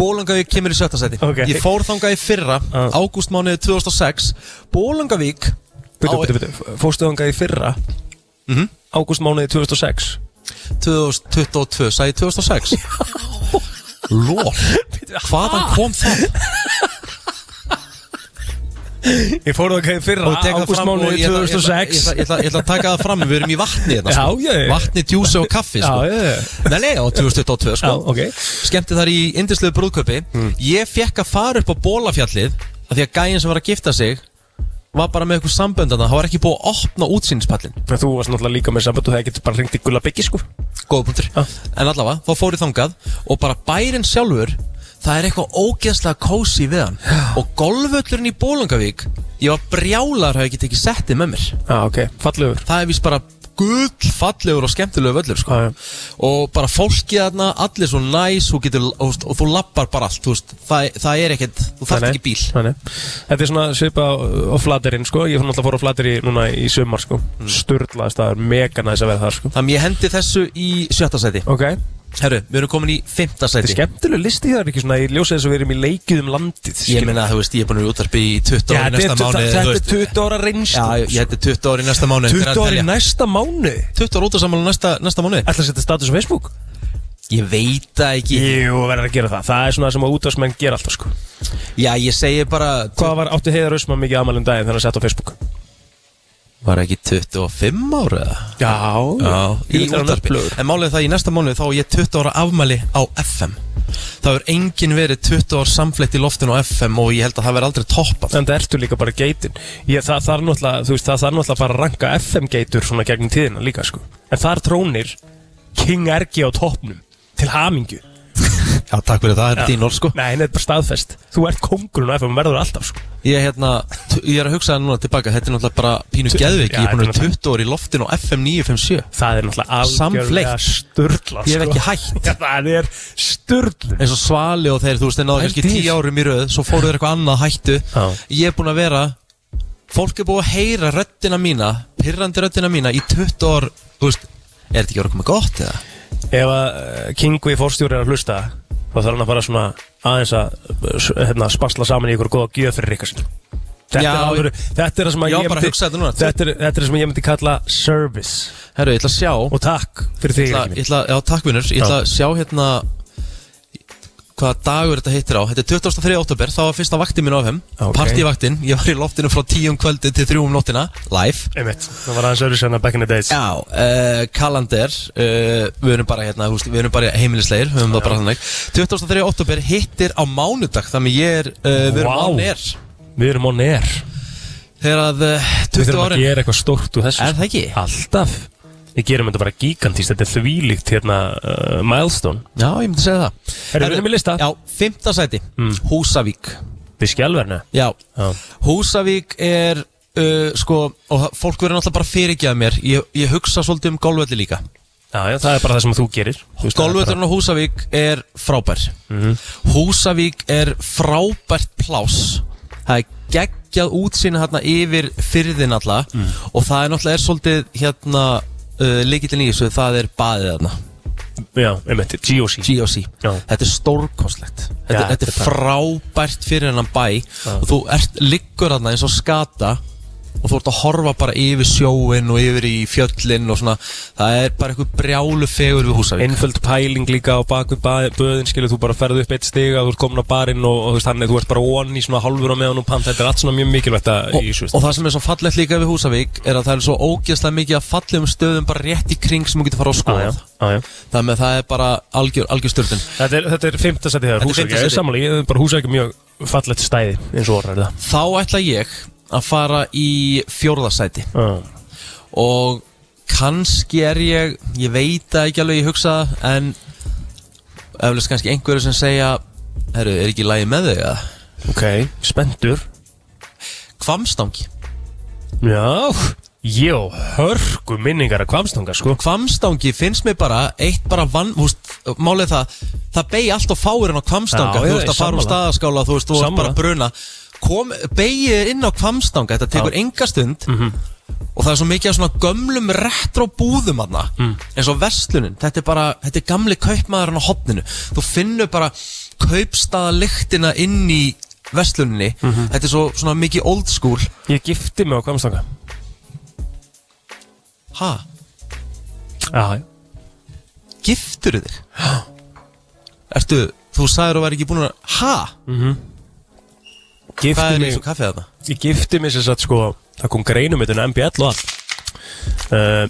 Bólangavík kemur í sjötta seti
Ok.
Ég fór þangað í fyrra,
Ah.
ágústmánuði 2006 Bólangavík
Býtu,
á-
býtu, býtu, fórstu þangað í fyrra
Mhm.
Ágústmánuði 2006
2022, sagði ég 2006 Lól Hvaðan kom það?
Ég fór það ekki fyrra
Og tek það fram og
ágústmánuði
ég ætla- ég ætla- Ég
2006
ætla- ég ætla ég ætla að taka það fram, við erum í vatni hérna, sko.
Já, já, já.
Vatni, djúsi og kaffi sko.
Já, já, já.
Nei, nei, á 2022 sko.
Já, ok.
Skemmti þar í indislegu brúðköpi
Hmm.
Ég fekk að fara upp á Bólafjallið af Því að gæinn sem var að gifta sig Var bara með eitthvað samböndana Það var ekki búið að opna útsýnispallin
En Þú varst náttúrulega líka með samband og það getur bara hringt í gulla byggi sko
Góða punktur
Já.
En allavega, þá fór ég þangað Og bara bærin sjálfur Það er eitthvað ógeðslega kósi við hann Og golföllurinn í Bólungavík Ég var brjálar hafi ekki tekið settið með mér
Já, ok, fallegur
Það er vist bara gull fallegur og skemmtilegu völlur sko.
Já, já.
Og bara fólkið þarna Allir svo næs og, getur, og, veist, og þú lappar bara allt þú veist, það, það er ekkert Þú þarft ekki bíl
nei, nei. Þetta er svona svipa á, á flatterinn sko Ég fór náttúrulega fór á flatteri núna í sumar sko mm. Sturlaði staðar, mega næs að vera þar sko
Þannig ég hendi þessu í sjötta seti
Ok,
Herru, við erum komin í fymta
Þetta
sæti
er skemmtilega listi þar, ekki svona, ég ljósi þess að við erum í leikið um landið
Ég
skilur.
meina, þú veist, ég er búin að vera útarpi í 20
Já,
ári
þetta
næsta
er-
mánuð
þetta
þú
er
veist.
20 ára
Já,
reynslu
ég- þetta er 20 ári næsta mánuð
20 ári næsta mánu
20 ári út af samanlega næsta, næsta mánuð
Ætla að setja status á Facebook?
Ég veit það ekki
Jú, verður að gera það Það er svona sem að útvarsmenn gera alltaf sko
Já, ég segi bara
Hvað var átti heiðar Ösman mikið amal um daginn þegar hann sett á Facebook?
Var ekki 25 ára eða?
Já,
í útarpi En málið er það í næsta mánuð þá er ég 20 ára afmæli á FM Það hefur enginn verið 20 ára samfleytt í loftinu á FM og ég held að það verði aldrei toppað
En það ertu líka bara geitin Ég, það, það, er náttúrulega, þú veist, það, það er náttúrulega bara að ranka FM geitur svona gegnum tíðina líka sko. En það er trónir King Ergi á toppnum Til hamingju
Já, takk fyrir það, það er þín orð sko
Nei, þetta er bara staðfest Þú ert kongurinn á FM og verður alltaf sko.
Ég, hérna, t- ég er að hugsa það núna tilbaka, þetta er náttúrulega bara pínu geðvik Ég
Já,
er búin að
þetta
vera
er
20 ára í loftinu á FM 957
Það er náttúrulega algjörlega
Samfleytt.
sturla
Ég hef
sko.
ekki hætt
Já, Það er sturlun
eins og Svali og þeir, þú veist, þeir náðu kannski
Pældi í
10
þessu.
árum í röð Svo fóruðu þeir eitthvað annað hættu
Já.
Ég er búin að vera Fólk er búin að heyra röddina mína Pirrandi röddina mína í 20 ár Þú veist, er þetta ekki orðið komið gott eða?
Ef að eh, Kingvi fórstjóri er að hlusta þá þarf hann að fara svona aðeins að eh, s- hérna, spasla saman í ykkur góða gjöf fyrir ykkar sinni Þetta,
Já,
er, alvöru, þetta er það sem að
ég var
ég
bara að hugsa þetta núna.
þetta, er, þetta er það sem ég myndi kalla service
Herru, ég ætla að sjá
og takk fyrir því
ég ætla, ég ætla, Já, takk vinnur Ég ætla
Já.
að sjá hérna Hvaða dagur þetta hittir á Þetta er 23. oktober, það var fyrsta vaktin mín á FM
Ok.
Partívaktin, ég var í loftinu frá 10 um kvöldi til 3 um nóttina Live
Einmitt, það var aðeins öðru senna back in the days
Já, uh, kalender uh, Við erum bara hérna, húst, við erum bara heimilisleir Við höfum það bara þannig 23. oktober hittir á mánudag Þannig ég er, uh, við erum
Vá.
án er
Við erum on air
Þegar að uh, 20
Við þurfum að
árin
gera eitthvað stórt úr þessu sko.
Er það ekki?
Alltaf Við gerum þetta bara gigantist, þetta er þvílíkt hérna uh, milestone
Já, ég myndi segja það
Herru, við erum í lista.
Já, 5. sæti Húsavík
Við skjálverna
Hmm. Já,
Já,
Húsavík er uh, sko, og það- fólk verður náttúrulega bara fyrirgjað mér ég, ég hugsa svolítið um golvöldi líka
já, já, það er bara það sem þú gerir Þú veist, það er bara- Mhm.
Golvöldurinn á Húsavík er frábær Húsavík er frábært plás Það er geggjað útsýna hérna yfir fyrðin alla
Mhm.
og það er náttúrulega er svolítið hérna uh, líkillin í þessu, það er baðið hérna
Já, einmitt, GOC
GOC,
Já.
þetta er stórkostlegt þetta,
Já,
þetta er
þetta-
frábært fyrir hennan bæ og þú ert, liggur þarna eins og skata og þú ert að horfa bara yfir sjóin og yfir í fjöllin og svona það er bara eitthvað brjálu fegur við Húsavík
einföld pæling líka á bakvið böðin skilur þú bara ferðu upp eitt stiga þú ert komin á barinn og, og þú veist þannig þú ert bara on í svona halvur á meðan og pant þetta er allt svona mjög mikilvægt að
og,
í þessu
og það sem er svo fallegt líka við Húsavík er að það er svo ógeðslega mikið að fallegum stöðum bara rétt í kring sem þú getur fara á skoða þannig að það er bara algjör, algjör störtun
þetta er, þetta er fymta
Þetta
setið þegar
er
húsæk
fimmta
ég
sæti.
er sammála ég er bara húsæk mjög fallegt stæði eins og orðar það
þá ætla ég að fara í fjórðasæti Ah,
Já.
og kannski er ég ég veit það ekki alveg ég hugsa það en eflust kannski einhverju sem segja herru, er ekki lægi með þig að
ok spendur
Kvamstangi
já Jó, hörgu minningar að kvamstanga sko
Kvamstangi finnst mér bara eitt bara vann húst, málið það það beigi allt og fáir inn á Kvamstanga
Já,
þú
ég
veist
er
að fara úr
sammála.
staðaskála þú veist, þú veist
Sammála.
bara að bruna Kom, beigir inn á Kvamstanga þetta tekur
Já. Mhm.
enga stund og það er svo mikið af svona gömlum retro búðum aðna
Mm.
eins og vestlunin þetta er bara, þetta er gamli kaupmaðurinn á hotninu þú finnur bara kaupstaðalyktina inn í vestluninni
Mhm.
þetta er svo svona mikið old school
Ég gifti mig á kvamstanga
ha,
Já,
giftur þig ertu, þú sagður að væri ekki búin að ha, hvað
gifti
er í
mig
þessu kaffið þarna?
Ég gifti mig sem sagt sko Það kom greinum þetta um en MBL og allt uh,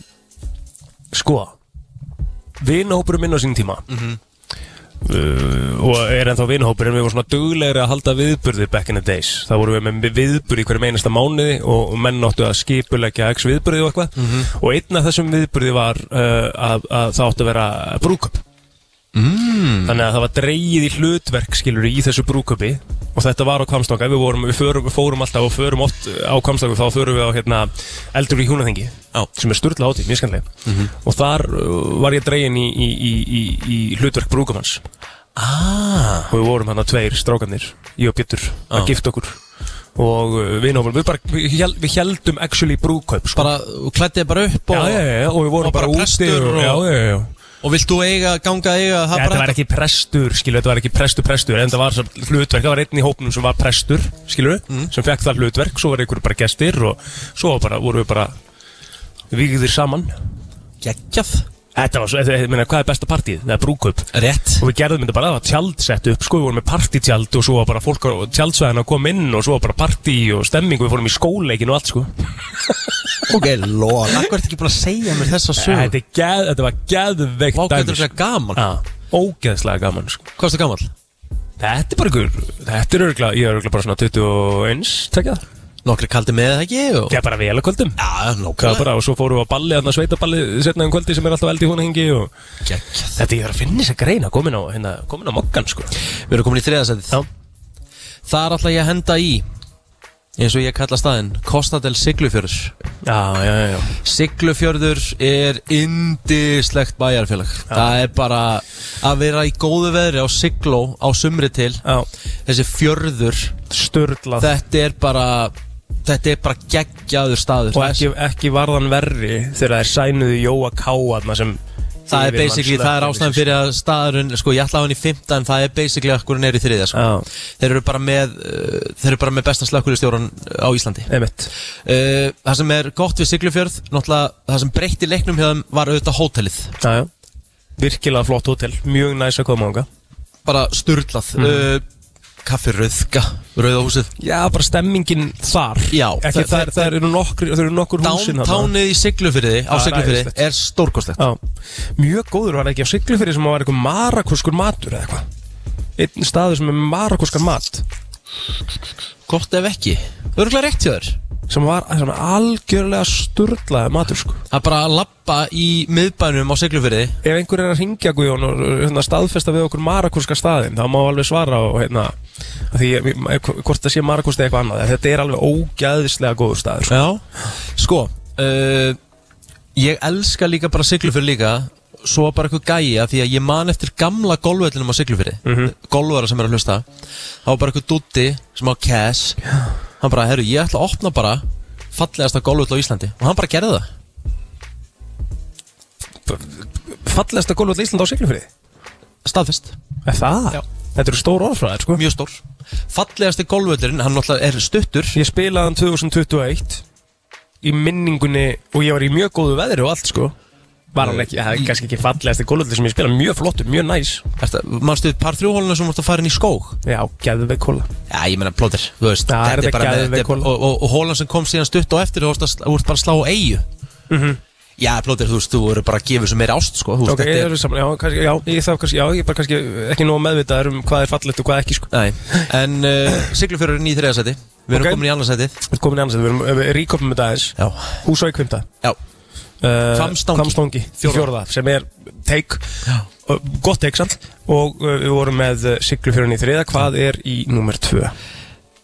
Sko Vinahópurum minn á sín tíma uh, Og er ennþá vinahópur En við vorum svona duglegri að halda viðburði Back in the days Það vorum við með viðburði í hverjum einasta mánuði Og og menn áttu að skipulegja x viðburði og eitthvað Og einn af þessum viðburði var uh, að, að það áttu að vera brúköp
Mm.
Þannig að það var dreigið í hlutverk skilur í þessu brúköpi og þetta var á Kvamstanga, við, vorum, við förum, fórum alltaf og förum oft eh, á Kvamstanga þá förum við á hérna, eldur í húnaþengi
Já. Mhm.
sem er sturla átíð, mjög skanlega og þar uh, var ég dregin í, í, í, í, í hlutverk brúköpans
ah,
og við vorum hann að tveir strákanir, ég og Pétur að
Já.
gifta okkur og uh, við, náum, við, bara, við, hel- við heldum actually brúköp sko.
bara, klættið bara upp og
já, já, já, og við
og
vorum
bara
bara, úti
prestur og-
já, já, já.
Og vilt þú eiga, ganga að eiga það
Ja, þetta var ekki prestur, skilur, þetta var ekki prestur, prestur En það var sem hlutverk, það var einn í hópnum sem var prestur, skilur
Mm.
Sem fekk það hlutverk, svo var einhverju bara gestir Og svo var bara, voru við bara Vígðir saman
geggjað
Þetta var svo, þetta, þetta- meina, hvað er besta partíð? Það er brúkup
Rétt
Og við gerðum þetta bara, það var tjald sett upp Sko, við vorum með partítjald og svo var bara fólk á tjaldsvæðina að koma inn Og svo var bara partí og stemming og Við fórum í skóleikin og allt, sko
Ok, lóa, akkur ertu ekki búin að segja mér þessa sögur
Þetta, er geð, þetta var geðveikt
Vá, hvað
dæmi,
þetta er
sko.
þetta gaman
Já, Ógeðslega gaman, sko
Hvað er þetta gaman?
Þetta er bara ykkur, þetta er örgla, ég er örgla bara svona 21, tekja það
Nokkri kaldi með það ekki og...
Ég er bara vel að kvöldum
Já,
Það er
nokkri
bara, og svo fórum við á balli, þannig að sveitaballi setna um kvöldi sem er alltaf eld í hún hengi og
Geggjað
Þetta ég er að finna þess að greina, komin á, hérna, komin á mokkan, sko
Við erum komin í þriðasætið
Já.
Þar ætla ég að henda í eins og ég kalla staðinn Kostadel Siglufjörður
Já, já, já, já
Siglufjörður er indislegt bæjarfélag Það er bara að vera í góðu veðri á Sigló á sumri til
Já,
Þessi fjörður
störlað
Þetta er bara Þetta er bara geggjaður staður
Og ekki, ekki varðan verri þegar það er sænuðu Jóa Káaðna sem
Það er basically, það er ástæðan fyrir að staðurinn, sko ég ætla á hann í fymta en það er basically akkur hann er í þriðja, sko.
Já,
Þeir eru bara með, uh, þeir eru bara með besta slökkulistjóran á Íslandi.
einmitt
Uh, það sem er gott við Siglufjörð, náttúrulega það sem breytti leiknum hjá þeim var auðvitað hótelið.
Já, já Virkilega flott hótel, mjög næs að koma ánga
Bara sturlað,
Mhm.
uh, kaffi rauðka, rauðahúsið.
Já, bara stemmingin þar
Já,
Ekki
það-
þar,
það-
þar eru nokkur, það eru nokkur húsin þarna.
Downtownnið í Siglufjörði, á
Það er
Siglufjörði,
æðislegt.
er stórkostlegt.
Já, mjög góður var það ekki á siglu fyrir sem að var eitthvað marakúskur matur eða eitthvað Einn staður sem er með marakúskan mat
Gott ef ekki. Örgulega rétt hjá þér.
sem var sem er algjörlega sturlaði matur sko
Að bara lappa í miðbænum á Siglufjörði,
Ef einhver er að ringja Guðjón og uh, hérna, staðfesta við okkur marakúska staðinn þá má alveg svara og hérna af því ég- ég- hvort það sé marakúst eða eitthvað annað en þetta er alveg ógæðislega góður staður sko.
Já, sko uh, Ég elska líka bara siglufyrir líka Svo bara eitthvað gæja Því að ég man eftir gamla golfvellinum á siglufyrir mm
Mhm.
Golfara sem er að hlusta Það var bara eitthvað dutti sem á cash Hann bara, herru, ég ætla að opna bara Fallegasta golfvöll á Íslandi Og hann bara gerði það
Fallegasta gólfvöld Ísland á siglu fyrir
Staðfest,
Það?
Já.
Þetta eru stór orðfræðir sko
mjög stór Fallegasti golfvöllurinn, hann náttúrulega er stuttur
Ég spilaði hann 2021 í minningunni og ég var í mjög góðu veðri og allt sko Var
Mm.
hann ekki, það er kannski ekki fallegasti kólöldi sem ég spilaði, mjög flottur, mjög næs
Ertu- Manstu par þrjúhóluna sem voru að fara inn í skóg
Já, geðveik kóla
Já, ég meina plóðir, þú veist
Já,
þetta
þetta
er bara
geðveik
með,
hola.
og, og, og hólan sem kom síðan stutt og eftir þú ert, að, sl- þú ert bara að slá á eigu Já, plóðir, þú veist, þú eru bara að gefa þessu meira ást, sko þú veist,
Mhm. Ok,
þetta
ég er saman, já, kannski, já, ég þarf kannski, já, ég er bara kannski ekki nóg meðvitaður um hvað er fallegt og hvað ekki sko
Nei, en uh, Siglufjörður er í þriða seti Við erum
Ok.
komin í annað setið
Við erum komin í annars, við erum, við ríkopum þetta aðeins
Já,
Húsá í kvimta
já,
Uh,
Hvammstangi.
Hvammstangi,
Fjórða.
fjórða, sem er teik, uh, gott teik samt og uh, við vorum með uh, Siglufjörun í þriða, hvað er í nummer tvö?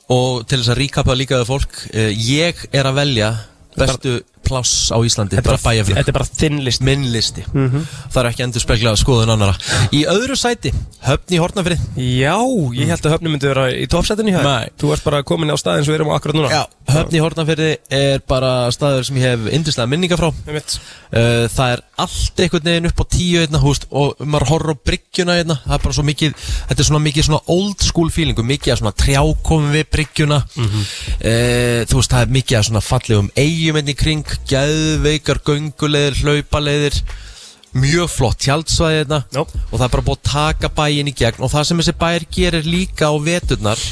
og til þess að ríkapa líkaðu fólk uh, Ég er að velja bestu pláss á Íslandi
Þetta er
Bara bæjarflög,
Þetta er bara þinn list
minn listi Mhm. Það er ekki endur speklað skoðun annara Í öðru sæti, höfn í Hortnafrið
Já, ég held að höfnum myndi vera í toppsætinu hér
Nei.
Þú ert bara komin á staðin sem við erum á akkurat núna
Já, höfn í Hortnafrið er bara staður sem ég hef yndislega minninga frá
Einmitt.
Uh, það er allt einhvern veginn upp á tíu einna, húst, og maður horfir á bryggjuna einna, það er bara svo mikið þetta er svona mikið svona old school feelingu mikið að svona trjákomum við bryggjuna uh, þú veist það er mikið að svona fallegum eigum einni kring gæðveikar, göngulegir, hlaupalegir mjög flott tjaldsvæði einna
Já.
og það er bara búið að taka bæin í gegn og það sem þessi bæir gerir líka á veturnar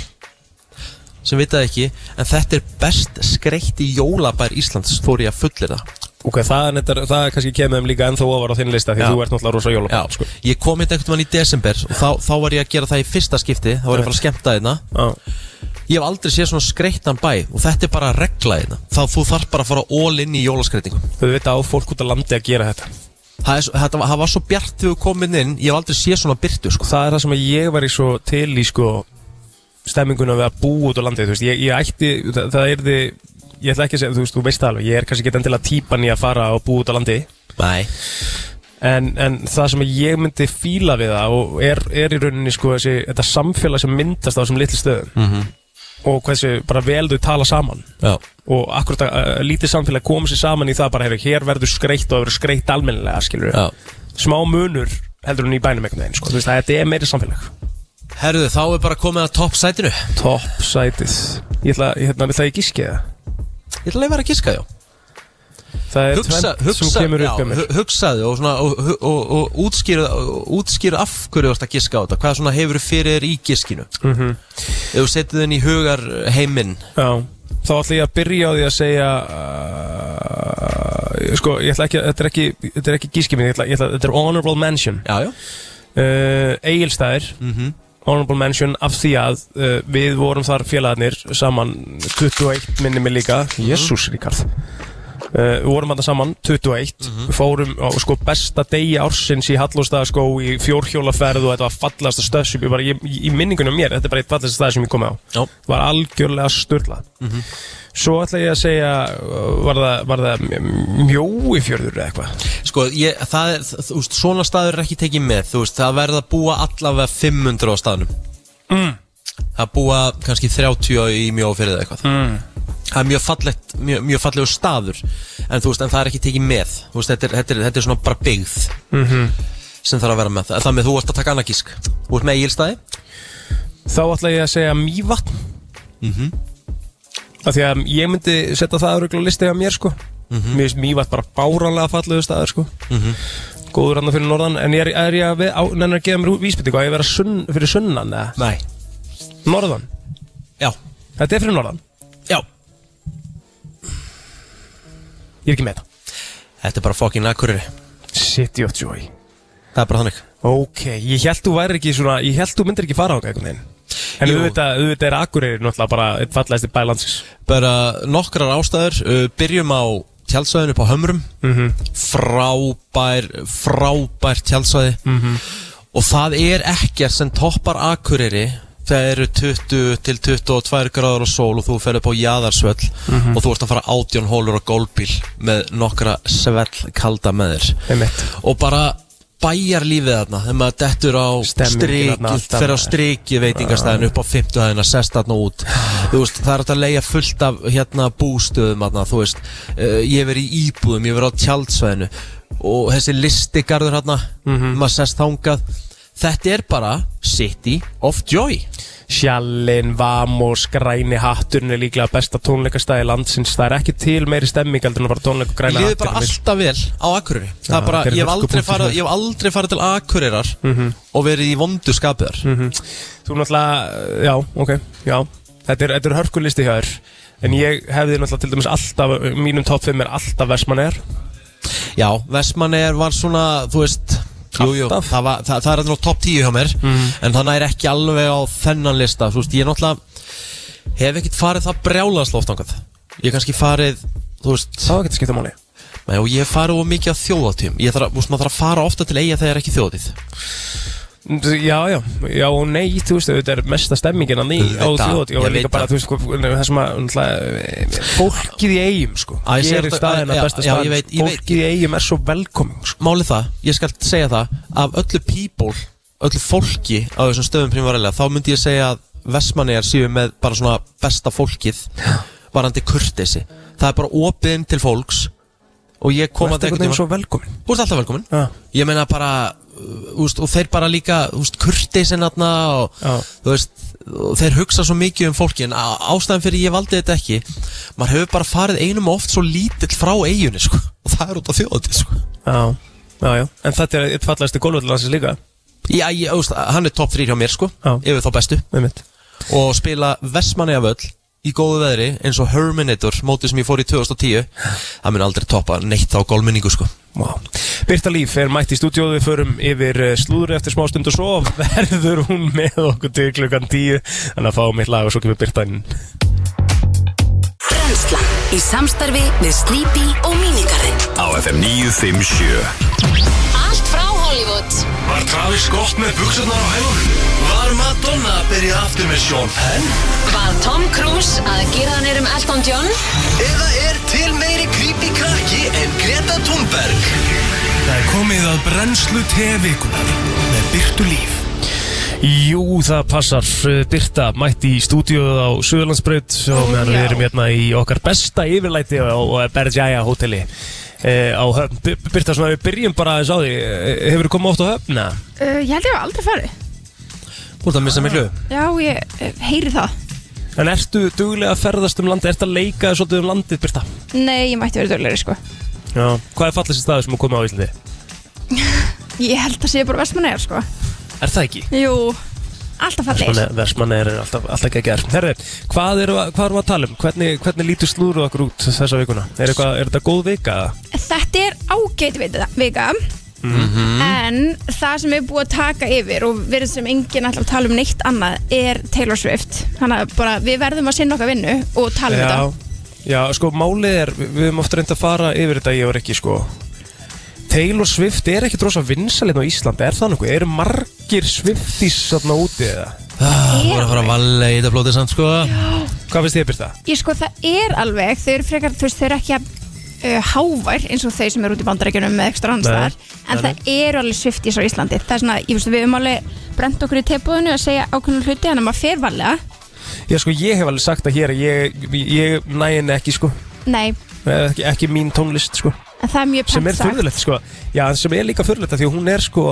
sem vitað ekki en þetta er best skreitti jólabær Íslands fór ég að fullir það
Ok, það er, nettar, það er kannski kemur þeim líka ennþá ofar á þinn lista Því
Já.
þú ert náttúrulega rosa
Já,
jólabæn sko.
ég kom hérna einhvern veginn í desember og þá, þá var ég að gera það í fyrsta skipti þá var ég bara að skemmta hérna
Já.
ég hef aldrei séð svona skreittan bæ og þetta er bara að regla hérna þá þú þarf bara að fara all in í jólaskreitingum
Þau veit á fólk út að landi að gera þetta
það, er, svo- þetta, var- það var svo bjart þegar við komin inn ég hef aldrei séð svona byrtu sko.
Það er það sem að ég var í svo til í sko Stemminguna við að búa út á landi Þú veist, ég, ég ætti, það, það er því Ég ætla ekki að segja, þú veist, þú veist það alveg Ég er kannski ekki endilega típan í að fara og búa út á landi
Nei,
en, en það sem ég myndi fíla við það og er, er í rauninni sko þessi, þetta samfélag sem myndast á þessum litlu stöðum
Mhm.
-hmm. og hversu bara vel þau tala saman
já,
og akkurat að, að lítið samfélag komið sér saman í það bara hefur hér verður skreitt og verður skreitt almennilega skilur
já
smá munur heldur hún í bænum einhvern veginn sko. Þú veist, þetta er meiri samfélag
Herðu, þá er bara komið að topp sætinu
Top sætið Ég ætla, ég ætla, ég ætla að ég gíski það
Ég ætla að vera að giska, já
Það er
hugsa,
tvennt
hugsa,
sem kemur upp
já,
hjá mér
hu- hugsaðu og, svona, og, og, og, og útskýra, útskýra af hverju þú ert að giska á þetta hvað svona hefur fyrir þér í giskinu
mm -hmm.
ef þú setið þinn í hugar heiminn
Já, þá ætla ég að byrja á því að segja uh, Sko, ég ætla ekki, að- þetta er ekki, þetta er ekki gíski mín ég ætla, ég ætla, Þetta er honorable mention
já, já,
uh, Egilstæðir
Mhm.
Honorable mention af því að uh, við vorum þar félagarnir saman 21 minni mig líka Jésús Ríkard uh, Við vorum þarna saman 21
Mhm.
Fórum á sko besta degi ársins í Hallóstaðaskó í fjórhjólaferð og þetta var fallasta stöð sem ég bara ég, í minningunum mér, þetta er bara eitt fallasta stað sem ég komið á
já. Mhm.
var algjörlega störla Svo ætla ég að segja uh, var það, var það mjói fjörður eða eitthvað
Sko, ég, það er, þú veist, svona staður er ekki tekið með, þú veist, það verða að búa allavega 500 á staðnum. Mm. Það búa kannski 30 í mjög fyrir eða eitthvað. Mm. Það er mjög fallegt, mjög, mjög fallegur staður, en þú veist, en það er ekki tekið með. Þú veist, þetta er, þetta er, þetta er svona bara byggð sem þarf að vera með það. Það með þú ert að taka annað gísk. Þú ert með Egilstaði?
Þá ætla ég að segja Mývatn mm
Mhm.
Af því að ég myndi setja það öruglega listi af mér sko
Mhm.
Mér finnst Mývatn bara báranlega fallegu staður sko Góður hann fyrir norðan En ég er, er ég að við, á, nennar að gefa mér vísbyttingu Að ég vera sunn, fyrir sunnan eða
Nei.
Norðan,
Já.
þetta er fyrir norðan
Já.
Ég er ekki með það
Þetta er bara fucking akkurri.
City of Joy
Það er bara þannig.
Ok, ég held þú væri ekki svona Ég held þú myndir ekki fara á einhvern veginn En
Jú.
auðvitað, auðvitað er Akureyri náttúrulega bara eitt fallegasti bælandsins
bara nokkrar ástæður uh, byrjum á tjálsvæðinu upp á hömrum frábær frábær tjálsvæði og það er ekkert sem toppar akureyri það eru 20 til 22 gráður og sól og þú fer upp á jaðarsvöll og þú ert að fara átjón hólur og gólbíl með nokkra svell kalda með þér
Einmitt.
og bara bæjarlífið þarna þegar maður dettur á
Stemmingin þarna
strikið
alltaf.
fer á striki veitingastæðin upp á 50 hæðina sest þarna út þú veist það er hægt að leia fullt af hérna bústöðum þarna þú veist uh, ég verið í íbúðum ég verið á tjaldsvæðinu og þessi listigarður hérna
Mhm.
maður sest þangað þetta er bara City of Joy
Sjallin, Vamos, Græni Hatturinn er líklega besta tónleikastæði landsins Það er ekki til meiri stemming heldur en að fara á tónleik og
Ég
Græni
líður bara
Hatturinn
alltaf vel á Akureyri Það er
Já,
bara,
þetta er Mhm.
ég hef aldrei
hörkupunktur
farið
hér.
Ég hef aldrei farið til Akureyrar Og verið í vondu skapiðar
Mhm. Þú náttúrulega, já, ok, já Þetta er, þetta er hörkulisti hjá þér En ég hefði náttúrulega til dæmis alltaf Mínum topp 5 er alltaf Vestmannegar
Já, Vestmannegar var svona, þú veist Jú, jú,
Alltaf.
það, var, það, það er alveg top 10 hjá mér En þannig er ekki alveg á þennan lista Þú veist, ég náttúrulega Hef ekkert farið það brjálast oft angað Ég hef kannski farið, þú veist
Það var ekki að skipta máli
Nei, og ég hef farið of mikið á þjóðatíum Ég þarf að, þú veist, maður þarf að fara ofta til eiga þegar er ekki þjóðatíð
Já, já, já og nei, þú veist, þetta er mesta stemmingin að ný á
Auðvitað,
þjóðat og
ég
líka
veit
bara,
það.
þú veist, hvað- það sem að náttúrulega, fólkið í eigum, sko,
Á, ég segi
gerir
þetta-
staðina
já,
besta
já, ég
staðin,
veit- ég veit.
fólkið í eigum er svo velkoming, sko,
Máli það, ég skal segja það Af öllu people, öllu fólki Á þessum stöðum primarilega Þá myndi ég segja að Vestmannegar séu með bara svona besta fólkið Varandi kurtesi Það er bara opinn til fólks Og ég
þú
kom
ert
að
einhvern veginn svo velkomin.
Þú ert alltaf velkomin
Já.
Ég meina bara uh, úst, Og þeir bara líka úst, kurteisin aðna og,
Já.
þú veist, og þeir hugsa svo mikið um fólki En á- ástæðan fyrir ég valdi þetta ekki Maður hefur bara farið einum og oft svo lítill frá eiginni sko. Og það er út á þjóðatíð sko.
Já, já, já, en þetta er eitt fallegasti gólvöldalansins líka
Já, ég, úst, hann er topp 3 hjá mér sko
Já.
Yfir þá bestu
með mitt
Og spila Vestmannegjavöll í góðu veðri eins og Herminator, mótið sem ég fór í 2010 það mun aldrei toppa neitt á gólminningu sko.
wow. Birta Líf er mætt í stúdíóðu við förum yfir eh, slúður eftir smá stund og svo verður hún með okkur til klukkan tíu þannig að fáum eitt lag og svo kemur Birta inn
Brennslan í samstarfi við Sleepy og Minigarinn
á FM 957
Allt frá Hollywood
Var Travis gott með buksunar á hælunum? Var Madonna að byrja aftur með Sean Penn?
Var Tom Cruise að gera hann erum Elton John
Eða er til meiri creepy krakki en Greta Thunberg? Það er komið að brennslu tevikunar með byrtu líf
Jú, það passar Eh, Birta mætt í stúdíóðu á Suðurlandsbraut og meðan við erum hérna í okkar besta yfirlæti á Bergjæja hóteli eh, á höfn B- Birta, svona við byrjum bara aðeins á því Eh, Hefur þú komið oft á höfn? Nei
Uh, ég held ég hafa aldrei farið.
Þú ert að missa miklu
Já, ég uh, heyri það.
En ertu duglega að ferðast um landi? Ertu að leika þér svolítið um landið, Birta?
Nei, ég mætti verið dörleiri, sko.
Já Hvað er fallist í staður sem þú komið á Íslandi?
Ég held að sé bara vestmannegar, sko.
Er það ekki?
Jú, alltaf fallegir.
Versmann er alltaf, alltaf ekki að gera Herri, hvað erum við að tala um? Hvernig, hvernig lítur slúru okkur út þessa vikuna? Er, eitthvað, er þetta góð vika?
Þetta er ágæt vita- vika, en það sem er búið að taka yfir og verið sem enginn ætlar að tala um neitt annað er Taylor Swift. Þannig að bara við verðum að sinna okkar vinnu og tala um þetta.
já, sko, málið er Við við höfum oft reynd að fara yfir þetta ég var ekki, sko Taylor Swift er ekkert rosa vinsalinn á Íslandi Er það nokkuð? Eru margir Swifties þarna úti eða?
Þú Ah, voru að fara að valla í þetta blótið samt sko
Hvað finnst þið, Birta?
Ég sko, það er alveg, þau eru frekar, þú veist, þau eru ekki að uh, hávar eins og þau sem eru út í bandarækjunum með ekstra annars
Nei,
staðar, en það eru alveg Swifties á Íslandi. Það er svona, ég veist, við höfum alveg brent okkur í teipuðinu að segja ákveðnum hluti, en að maður fer varlega.
Já, sko, ég hef alveg sagt að hér að Ég, ég næin ekki, sko
Nei,
ekki, ekki mín tónlist, sko
en það er mjög
Sem er
pent sagt.
furðulegt, sko Já, en sem er líka furðulegt af Því að hún er, sko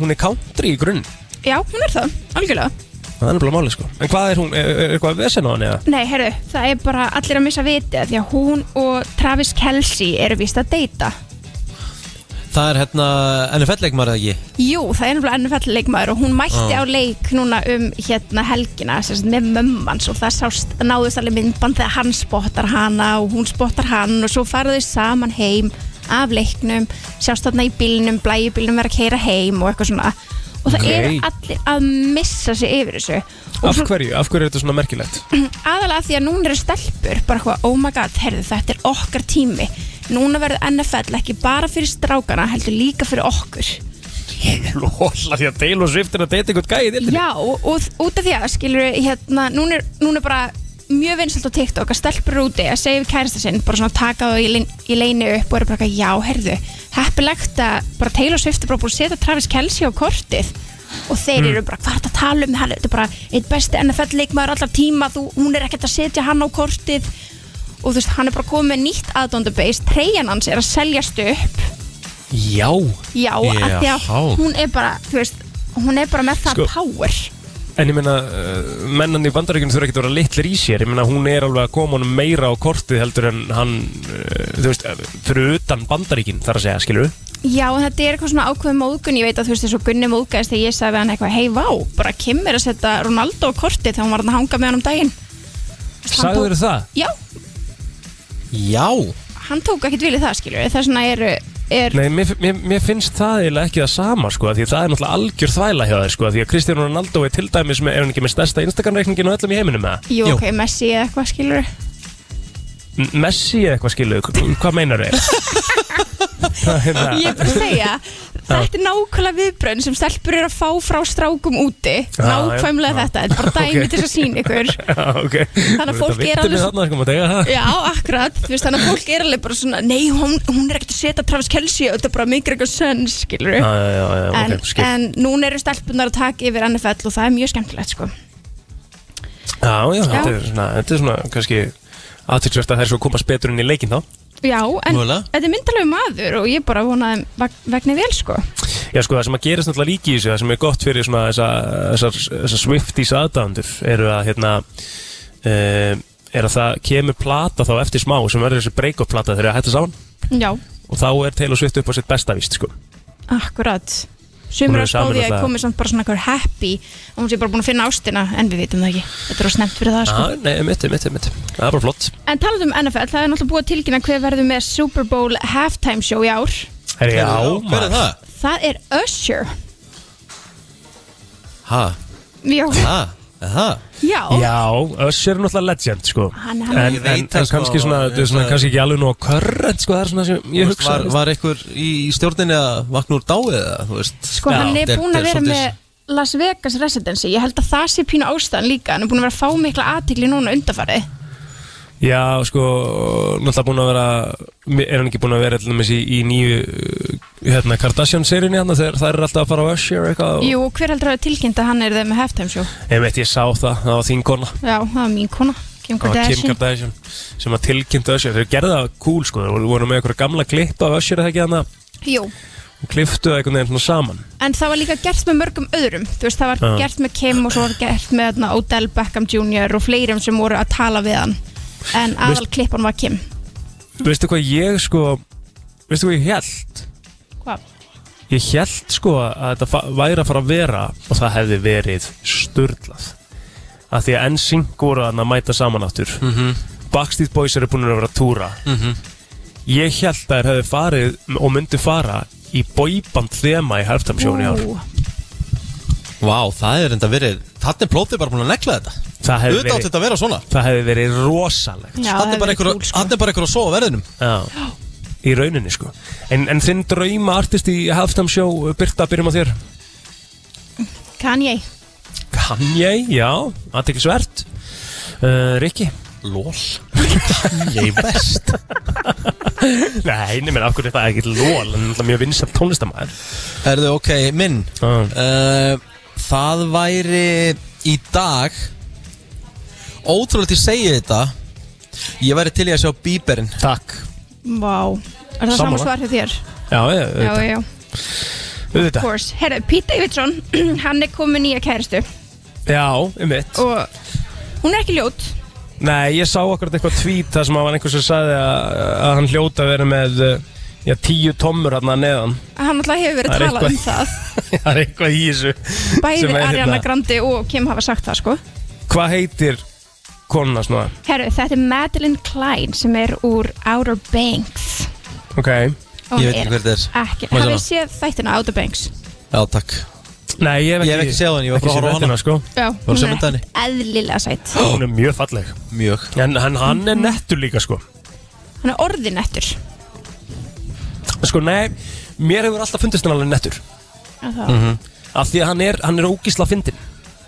Hún er country í grunn
Já, hún er það, algjörlega.
Það er nefnilega málið sko En hvað er hún, er, er eitthvað vesen á hann eða?
Nei, heyrðu, það er bara allir að missa vitið því að hún og Travis Kelce eru vist að deyta.
Það er hérna NFL-leikmar eða ekki
Jú, það er náttúrulega NFL leikmaður og hún mætti
Já.
á leik núna um hérna helgina sem sagt, með mömmans og það sást, náðust alveg myndband þegar hann spottar hana og hún spottar hann og svo fara þau saman heim af leiknum, sjást þarna í bílnum, blæju bílnum vera að keira heim og eitthvað svona og það
Ókei.
eru allir að missa sig yfir þessu og
Af
svo-
hverju, af hverju er þetta svona merkilegt?
aðalega af því að núna eru stelpur bara eitthvað, oh my god, heyrðu þetta er okkar tími núna verður NFL ekki bara fyrir strákana, heldur líka fyrir okkur
Lóla því að Taylor Swift er að deyta einhvern gæði til
já, og, og út af því að skilur hérna, núna er, núna er bara mjög vinsalt á TikTok að stelpur eru úti að segja við kærasta sinn, bara svona taka þau í, lein, í leini upp og eru bara eitthvað, já, heyrðu heppilegt að bara Taylor Swift er bara búin að setja Travis Kelce á kortið og þeir eru
Mm.
bara, hvað er þetta að tala um hann er- þetta er bara eitt besti NFL leikmaður allar tíma þú, hún er ekkert að setja hann á kortið og þú veist, hann er bara komið með nýtt aðdóndabase, treyjan hans er að seljast upp
Já
já, af því að
Jahá.
hún er bara þú veist, hún er bara með það
Sko-
power
En ég meina, uh, mennan í bandaríkjunum þurfa ekki að vera litlir í sér Ég meina, hún er alveg að koma honum meira á kortið heldur en hann uh, Þú veist, eh, fyrir utan bandaríkin þar að segja, skilur
Já, en þetta er eitthvað svona ákveð móðgun, ég veit að þú veist þessu Gunni móðgæðist þegar ég sagði við hann eitthvað, hei vá, bara Kim er að setja Ronaldo á korti þegar hún var þarna að hanga með hann um daginn. Þú veist, hann
Sagður það?
Já,
Já
hann tók ekkert vilja það, skilur við, þess vegna er, er
Nei, mér, mér, mér finnst það eiginlega ekki það sama sko, af því að það er náttúrulega algjör þvæla hjá þér sko, af því að Kristján Ronaldo er til dæmis með, er hann ekki með stærsta Instagram-reikningin á öllum í heiminum með
jú,
Jú.
ok, Messi eða eitthvað, skilur við.
Messi eða eitthvað skilu, hvað meinar þið?
Ég er bara að segja, þetta er nákvæmlega viðbrönd sem stelpur eru að fá frá strákum úti,
Já,
nákvæmlega
já.
þetta, þetta er bara dæmi
Ok.
til þess að sína ykkur.
Já, ok
Þannig að fólk er alveg
alveg
svo-
Þarna, sko, maður tegja það
Já, akkurat, þú veist, þannig að fólk er alveg bara svona, nei, hún, hún er ekkert að setja Travis Kelce og þetta er bara mikil eitthvað sönn, skilur við.
Já, já, já, já,
en,
ok, skil
en núna eru stelpunar að taka yfir NFL og það er mjög skemmtilegt sko.
Já, já, þetta er svona, þetta er svona, kannski aðtilsvært að það er svo að komast betur inn í leikinn þá
Já, en
Mögulega.
þetta er myndalegu maður og ég bara vona þeim vegni vel sko.
Já, sko, það sem að gerist náttúrulega líki í þessu, það sem er gott fyrir svona þessa, þessar, þessar Swifties aðdæðandur eru að, hérna, uh, er að það kemur plata þá eftir smá sem verður þessi break-up plata þegar það hættar saman
Já,
og þá er Taylor Swift upp á sitt besta víst, sko.
akkurat
Hún
Sumir
er
að spáði
sameinuð
að
það.
komið samt bara svona eitthvað happy og hún sé bara búin að finna ástina en við vitum það ekki, þetta er á snemt fyrir það sko.
Já, nei, mitt, mitt, mitt, það er bara flott.
En talað um NFL, það er náttúrulega búið að tilkynna hver verður með Super Bowl halftime show í ár
Herri, já,
Hver er
maður.
það?
Það er Usher
Ha?
Já,
Ha? Ha?
já,
Já, Usher er náttúrulega legend sko
Hann- hann-
en,
Ég
en,
veit
en
það, sko,
kannski svona,
ég
þú veist, svona
það-
kannski ekki alveg nú á körrent sko, það er svona sem
Þú
ég
veist,
hugsa
Var, var einhver í í stjórninni að vakna úr dáið eða, þú veist
Sko
Já,
hann er
þetta
búin að vera
svolítið-
með Las Vegas residency, ég held að það sé pínu ástæðan líka, hann er búin að vera að fá mikla aðtikli núna undarfæri
Já, sko, náttúrulega búin að vera er hann ekki búin að vera allir í, í nýju uh, hérna, Kardashian-seríunni hann þegar það er alltaf að fara á Usher eitthvað og-
Jú, og hver heldur að hafa tilkynnt að hann er þeim með halftime show?
Ég veit, ég sá það, það var þín kona
Já, það var mín kona Kim
Það var Kim
Kardashian
Kardashian sem að tilkynntu Usher þau gerðu það cool sko þau voru með einhverja gamla klippa af Usher eða ekki hann og
Jú,
kliftu það einhvern veginn svona saman
en það var líka gert með mörgum öðrum Þú veist, það var
Já.
gert með Kim og svo var gert með na, Odell Beckham Jr. og fleirum sem voru að tala við hann En aðal klippan var Kim
veistu hvað ég sko veistu hvað ég held
Hvað?
ég held sko að þetta fa- væri að fara að vera og það hefði verið sturglað að því að NSYNC voru þarna að mæta saman aftur Backstreet Boys eru búin að vera að túra ég held að þeir hefði farið og myndi fara í boyband þema í halftamsjónu í ár
Ú,
Vá, það er enda verið Þannig plótið bara búin að negla þetta
það hefði
Auðvitað átti
verið,
þetta að vera svona
það hefði verið rosalegt
Já,
Þannig bara
það er
einhver
kúl, sko.
Þannig bara einhver að sofa á verðinum
Já. í rauninni sko en, en þinn drauma artist í halftamsjó Birta, byrjum á þér
Kanye
Kanye, já, aðteklisvert uh, Rikki
Lól Ég er best
Nei, nefnir, af hverju er það ekki lól En það er mjög Ah. vinsað tónlistamæður
Herðu, ok, minn
Já.
uh, Það væri í dag Ótrúlega til að segja þetta Ég væri til í að sjá bíberinn
Takk
Vá, er það
Sammála.
saman svar hjá þér?
Já, já,
Já,
auðvitað,
já, of
auðvitað.
course Herra, Pete Davidson, hann er komið nýja kæristu
Já, um mitt
Og hún er ekki ljót
Nei, ég sá akkurat eitthvað tweet Það sem að var einhver sem sagði að, að hann hljóta að vera með uh, Já, tíu tommur hann að neðan
Hann alltaf hefur verið
Það
að
er
tala um
eitthvað-
það
Það er eitthvað í þessu
Bæði
sem er
Ariana
hérna-
Grande og Kim hafa sagt það sko
Hvað heitir konuna svona?
Herru, þetta er Madeline Klein sem er úr Outer Banks
Ok
Ég
og hún
veit ekki
er
hver þetta
ekki,
Má ég sjá
hafið
hana?
séð þættina Outer Banks
er Já, takk
Nei, ég hef ekki,
Ég hef ekki séð hann, ég var
ekki
bara að
séð
horfa á hana.
þættina, sko.
Já,
Var
hún
sem
er
myndaði
eðlilega sætt
Hún er mjög falleg
Mjög
En hann, hann er nettur líka sko
Hann er orðinettur
Sko, nei, mér hefur alltaf fundist hann alveg nettur
Mm.
Já,
Af því að hann er, hann er ógísla fyndin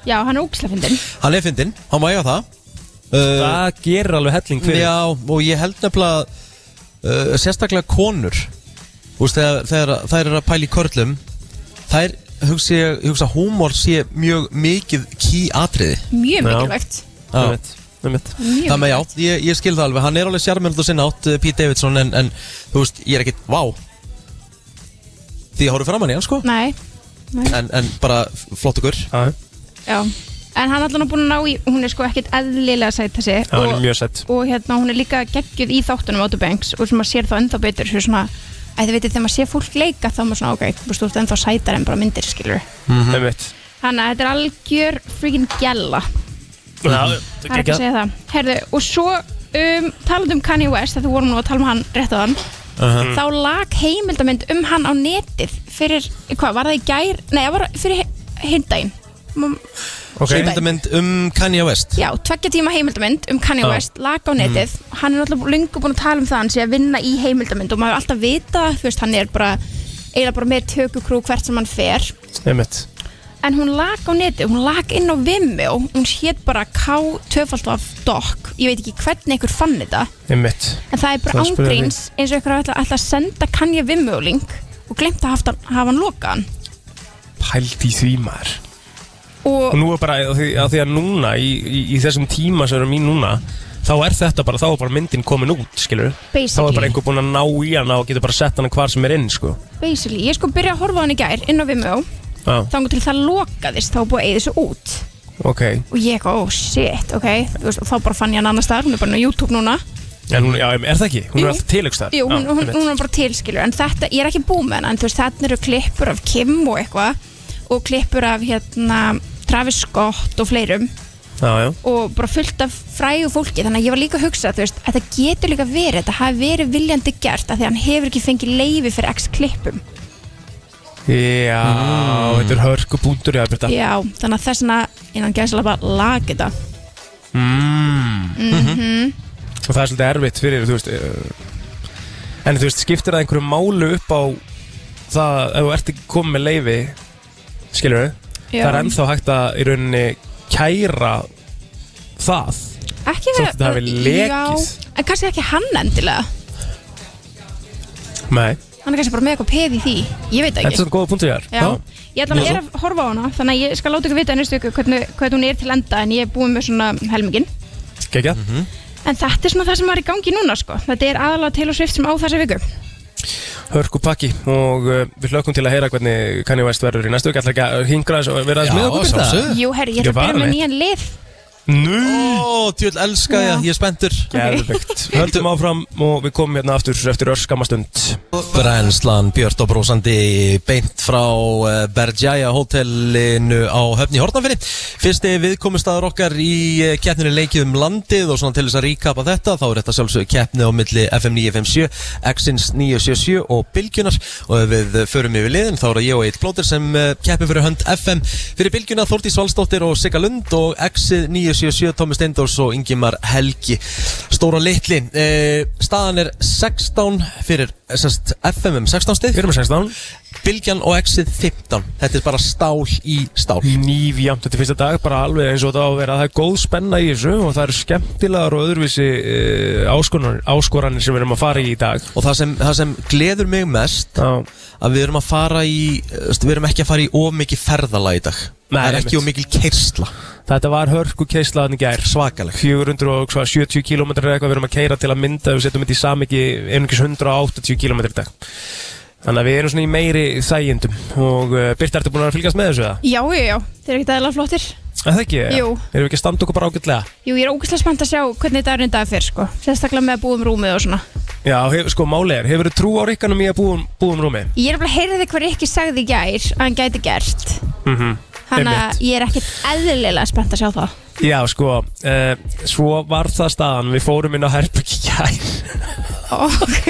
hann er ógslafindin
Hann er fyndinn, hann má eiga það uh,
Það gerir alveg helling fyrir
Já, og ég held nefnilega uh, Sérstaklega konur Þú veist, þegar, þegar þær eru að pæla í körlum Þær, hugsa ég, ég hugsa að Húmor sé mjög mikið ký atriði
Mjög
Já.
mikilvægt
Já.
Einmitt, einmitt.
Mjög
Það með já, ég, ég skil það alveg, hann er alveg sjarmjöld og sinna átt, eh, Pete Davidson, en, en þú veist, ég er ekkit, vá Því ég horfði framan í hann, sko
mikilvægt. Nei,
En, en bara flott okkur
Já,
já En hann er allan búin að ná í, hún er sko ekkit eðlilega sætt þessi
já, hann er
og-
mjög sett
og hérna hún er líka geggjuð í þáttunum Outer Banks og sem maður sér þá ennþá betur svo svona, að þið veitir þegar maður sér fólk leika þá er maður svona ok, þú veist, þú ert ennþá sætar en bara myndir skilur
Einmitt
þannig að þetta er algjör freaking gælla
Já,
það er ekki að
geggjað.
segja það Herðu, og svo um, talandi um Kanye West þegar þú vorum nú að tala um hann rétt á hann þá lag heimildamind um hann á netið fyrir, hvað, var það í gær nei, það var fyrir hindaginn
Ok.
okay. Heimildamynd um Kanye West
Já, tveggja tíma heimildamynd um Kanye
Já. Mm.
West lag á netið, hann er náttúrulega lungu búin að tala um það hann sé að vinna í heimildamynd og maður er alltaf vita, þú veist, hann er bara eiginlega bara með tökukrú hvert sem hann fer
Einmitt
en hún lag á netið, hún lag inn á Vimeo hún hét bara K2Doc ég veit ekki hvernig einhver fann þetta
Einmitt
en það er
Það
bara
er spurning.
ángríns eins og einhver ætla, ætla að senda Kanye Vimeo link og glemt að hafa, hafa hann lokaðan
Pælt í því maður Og
og
nú er bara, að því, að því að núna í, í, í þessum tíma sem erum í núna Þá er þetta bara, þá er bara myndin komin út, skilur Þá er bara
basically,
einhver búinn að ná í hana og getur bara sett hana hvar sem er inn, sko
basically, ég sko byrja að horfa á hann í gær inn á Vimeo,
Já,
þangur til það lokaðist þá var búið að eigið þessu út
ok
og ég eitthvað, oh shit, ok Þú veist, og þá bara fann ég hann annars staðar, hún er bara á YouTube núna
En hún, já, er það ekki? Hún
Jú.
er alltaf tilökstar
Jú, hún, hún, hún er bara tilskilur en þetta, ég er ekki búið með hann en þú veist, þarna eru klippur af Kim og eitthvað og klippur af hérna Travis Scott og fleirum
Já, já
og bara fullt af frægu fólki þannig að ég var líka að hugsa, þú veist, að það getur líka verið þetta hafi verið viljandi gert af því að hann hefur ekki fengið leifi fyrir x klippum
Já, þetta er hörkubúndur, já, Birta
já, þannig að þess vegna innan gæðslega bara lag þetta
og það er svolítið erfitt fyrir þú veist eh, en þú veist skiptir það einhverju málu upp á það ef þú ert ekki komið með leifi skilur við það er ennþá hægt að í rauninni kæra það
ekki
Þótt þetta hafi lekið.
já, en kannski ekki hann endilega
nei
hann er kannski bara með eitthvað peð í því ég veit það
þetta er
ekki
svona góða punktur ég
Já.
er
ég ætla að er að horfa á hana þannig að ég skal láta ykkur vita í næstu ykkur hvernig, hvernig hún er til enda en ég er búin með svona helmingin
Gekja
Mhm.
En þetta er svona það sem var í gangi núna sko. Þetta er aðalega til og svift sem á þessa viku
Hörku pakki og uh, við hlökkum til að heyra hvernig Kanye West verður í næstu ekki alltaf ekki að hingra þess að vera
Já,
aðeins með okkur
sjálfsögðu.
Birta?
Jú, herri,
Ekki
ég ætla að byrja með
varanlegt.
nýjan lið
Nú
Ó, djöld, elska ég, ég er spenntur
Geðveikt. Höldum áfram og við komum hérna aftur eftir örskamastund
Brænslan Björn og Brósandi beint frá eh, Bergjæja hótelinu á höfni Hortnafjörni Fyrsti viðkomustadur okkar í eh, keppninu leikið um landið og svona til þess að ríkapa þetta þá er þetta sjálfsög keppni á milli FM 957, Exins 977 og Bilgjunar og ef við eh, förum yfir liðin þá er það ég og Eitt Plóter sem eh, keppir fyrir hönd FM fyrir Bilgjuna Þórtís Valsdóttir og Sigga Lund og Exið 977 Tómi Steindors og Ingimar Helgi Stóra litli eh, staðan er 16 fyrir eh, sest, FM um 16
Við
stið
erum að 16
Bilgjan og Exið 15 þetta er bara stál í stál
Nýfjamt, þetta er fyrsta dag, bara alveg eins og þetta á að vera Það er góð spenna í þessu og það eru skemmtilegar og öðruvísi uh, áskoranir, áskoranir sem við erum að fara í í dag
og það sem, það sem gleður mig mest
Já,
að við erum að fara í eh, við erum ekki að fara í of mikið ferðala í dag
Nei,
það er ekki
einmitt.
of mikil keirsla
Þetta var hörku keislaðan í gær
svakaleg
470 km eða eitthvað við erum að keira til að mynda við setjum þetta í samiki einungis 180 km í dag þannig að við erum svona í meiri þægindum og uh, Birta, ertu búin að fylgjast með þessu eða?
Já, já, já, þeir eru ekkert aðalega flottir
Er Það ekki?
Jú.
Erum við ekki að standa okkur bara ágætlega?
Jú, ég er ógeðslega spennt að sjá hvernig dagurinn í dag fyrr sko. Sérstaklega með að búa um rúmið og svona
Já, hef, sko máli er, hefur þú trú á rikkanum í að búum, búum rúmi?
Ég er bara að heyra þig hvað Rikki sagði í gær að hann gæti gert
Mm
Mhm.
-hmm.
Þannig að ég er ekkert eðlilega spennt að sjá það
Já, sko, uh, svo var það staðan við fórum inn á herbyggi gær
Ok,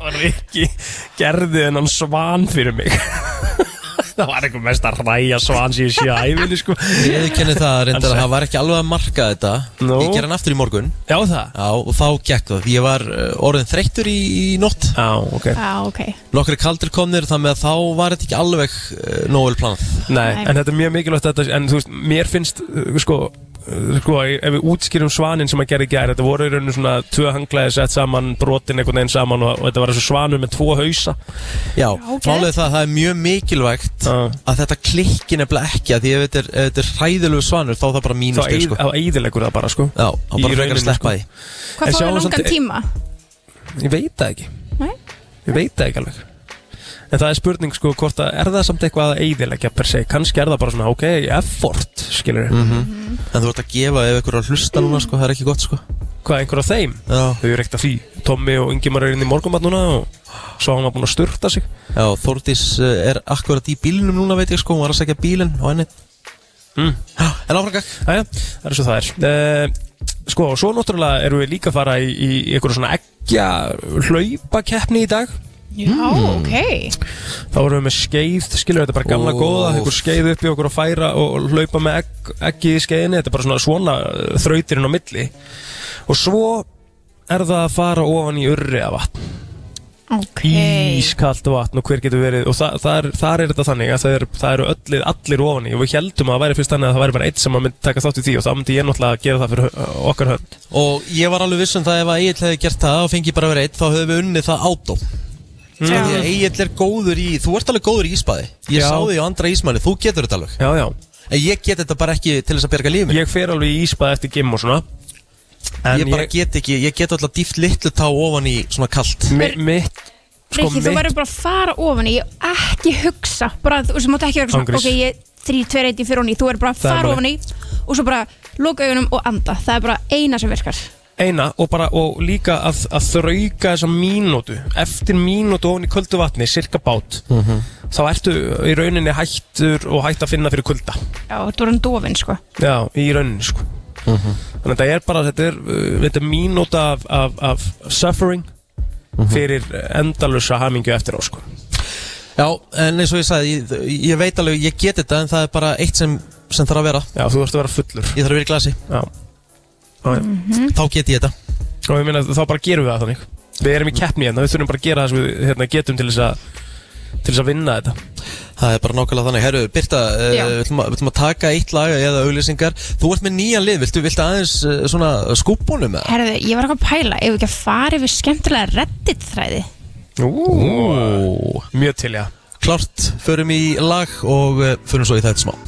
og Rikki gerði þennan svan fyrir mig það var eitthvað mest að ræja svan sem ég sé að æfinni sko
Ég kenni það reyndar að
Hann
það var ekki alveg að marka þetta
Nú.
Ég ger hann aftur í morgun
Já það
Já, og þá gekk það Ég var uh, orðin þreyttur í, í nótt
Já, ok
já, ok
Nokkri kaldir komnir þannig að þá var þetta ekki alveg uh, nógul planað
Nei,
Nei.
en þetta er mjög mikilvægt þetta, en þú veist, mér finnst uh, sko, uh, sko, ef við útskýrum svanin sem að gera í gær, þetta voru í rauninu svona tvö hanglaði sett saman, brotin einhvern veginn saman og, og þetta var þessu svanur með tvo hausa
Já,
ok.
málið er það að það er mjög mikilvægt
Já.
að þetta klikki nefnilega ekki að því ef þetta er, ef þetta er hræðilegu svanur þá er það bara
þá
mínustig
eyð-
sko.
þá eyðilegur það bara, sko
Já, þá
Í
bara frekar
rauninni,
að sleppa
sko.
því
Hvað
En
fáum
sjáum
við
samt-
langan tíma?
Ég veit það ekki,
Nei?
ég veit það ekki alveg En það er spurning, sko, hvort að er það samt eitthvað að eyðilegja per se, kannski er það bara svona, ok, effort, skilur
En þú ert að gefa ef ykkur er að hlusta núna sko, það er ekki gott sko
Hvað, einhver af þeim?
Já,
Þau eru ekkert að því, Tommi og Ingimar eru inn í morgumat núna og svo hann var búin að sturta sig
Já Þórdís uh, er akkurat í bílinum núna veit ég sko, hún var að segja bílinn á henni
Mm.
Já, en áfram gakk
Æja, það er svo það er uh, Sko, og svo náttúrulega erum við líka að fara í, í einhverju svona eggja hlaupakeppni í dag
Já, ok
Þá erum við með skeið, skilur þetta er bara gamla
Ó.
góða einhver skeið upp í okkur að færa og hlaupa með egg, eggi í skeiðinni Þetta er bara svona svona eh, þrautirinn á milli Og svo er það að fara ofan í urriða vatn
Ok
Ískalt vatn og hver getur verið Og það, það er, þar er þetta þannig að það, er, það eru öllir, allir ofan í Og við heldum að það væri fyrst þannig að það væri bara eitt sem að myndi taka þátt í því Og þá myndi ég náttúrulega gera það fyrir eh, okkar hönd
Og ég var alveg viss um það ef að Egil hefði gert það og fengið bara verið eitt þá höfum við unnið það átó mm. Því að Egil er góður í, þú ert alveg góður í íspaði Ég
Já.
sá því á andra ísmanni, þú getur þetta alveg
Já, já,
En ég get þetta bara ekki til þess að berga lífið mitt.
ég fer alveg í íspað eftir gimm og svona En
Ég bara get ekki, ég get alltaf dýft litlu tá ofan í svona kalt
mi Mitt Sko
Rikki, þú
mitt
verður bara að fara ofan í og ekki hugsa bara, þú þú mátt ekki vera svona,
Ángriðs.
ok, ég þrý, tveir, eitt í fyrir honni, þú verður bara að
Það er
fara
málið.
ofan í og svo bara loka augunum og anda það er bara eina sem virkar
eina og bara og líka að, að þrauka þessa mínútu Eftir mínútu ofan í kuldu vatni, cirka bát Þá ertu í rauninni hættur og hætt að finna fyrir kulda
Já, þú verður dofin, sko
Já, í rauninni sko Þannig að þetta er bara, þetta er, uh, þetta er mínúta af, af, af suffering Fyrir endalusa hamingju eftir á sko
Já, en eins og ég sagði, ég, ég veit alveg, ég get þetta en það er bara eitt sem, sem þarf að vera
Já, þú ert að vera fullur
Ég þarf að vera í glasi,
Já, já, já.
þá get ég þetta
og ég meina þá bara gerum við það þannig við erum í keppni hérna, við þurfum bara að gera það sem við hérna, getum til þess að til þess að vinna þetta
Það er bara nákvæmlega þannig, herru, Birta, uh,
Já.
við ætlum að- við ætlum að taka eitt lag eða auglýsingar Þú ert með nýjan lið, viltu, viltu aðeins uh, svona skúbunum eða?
Herðu, ég var eitthvað að pæla, ef við ekki að fara yfir skemmtilega reddit þræði
Ú. mjög til já
eh, Klart, förum í lag og uh, förum svo í þetta smá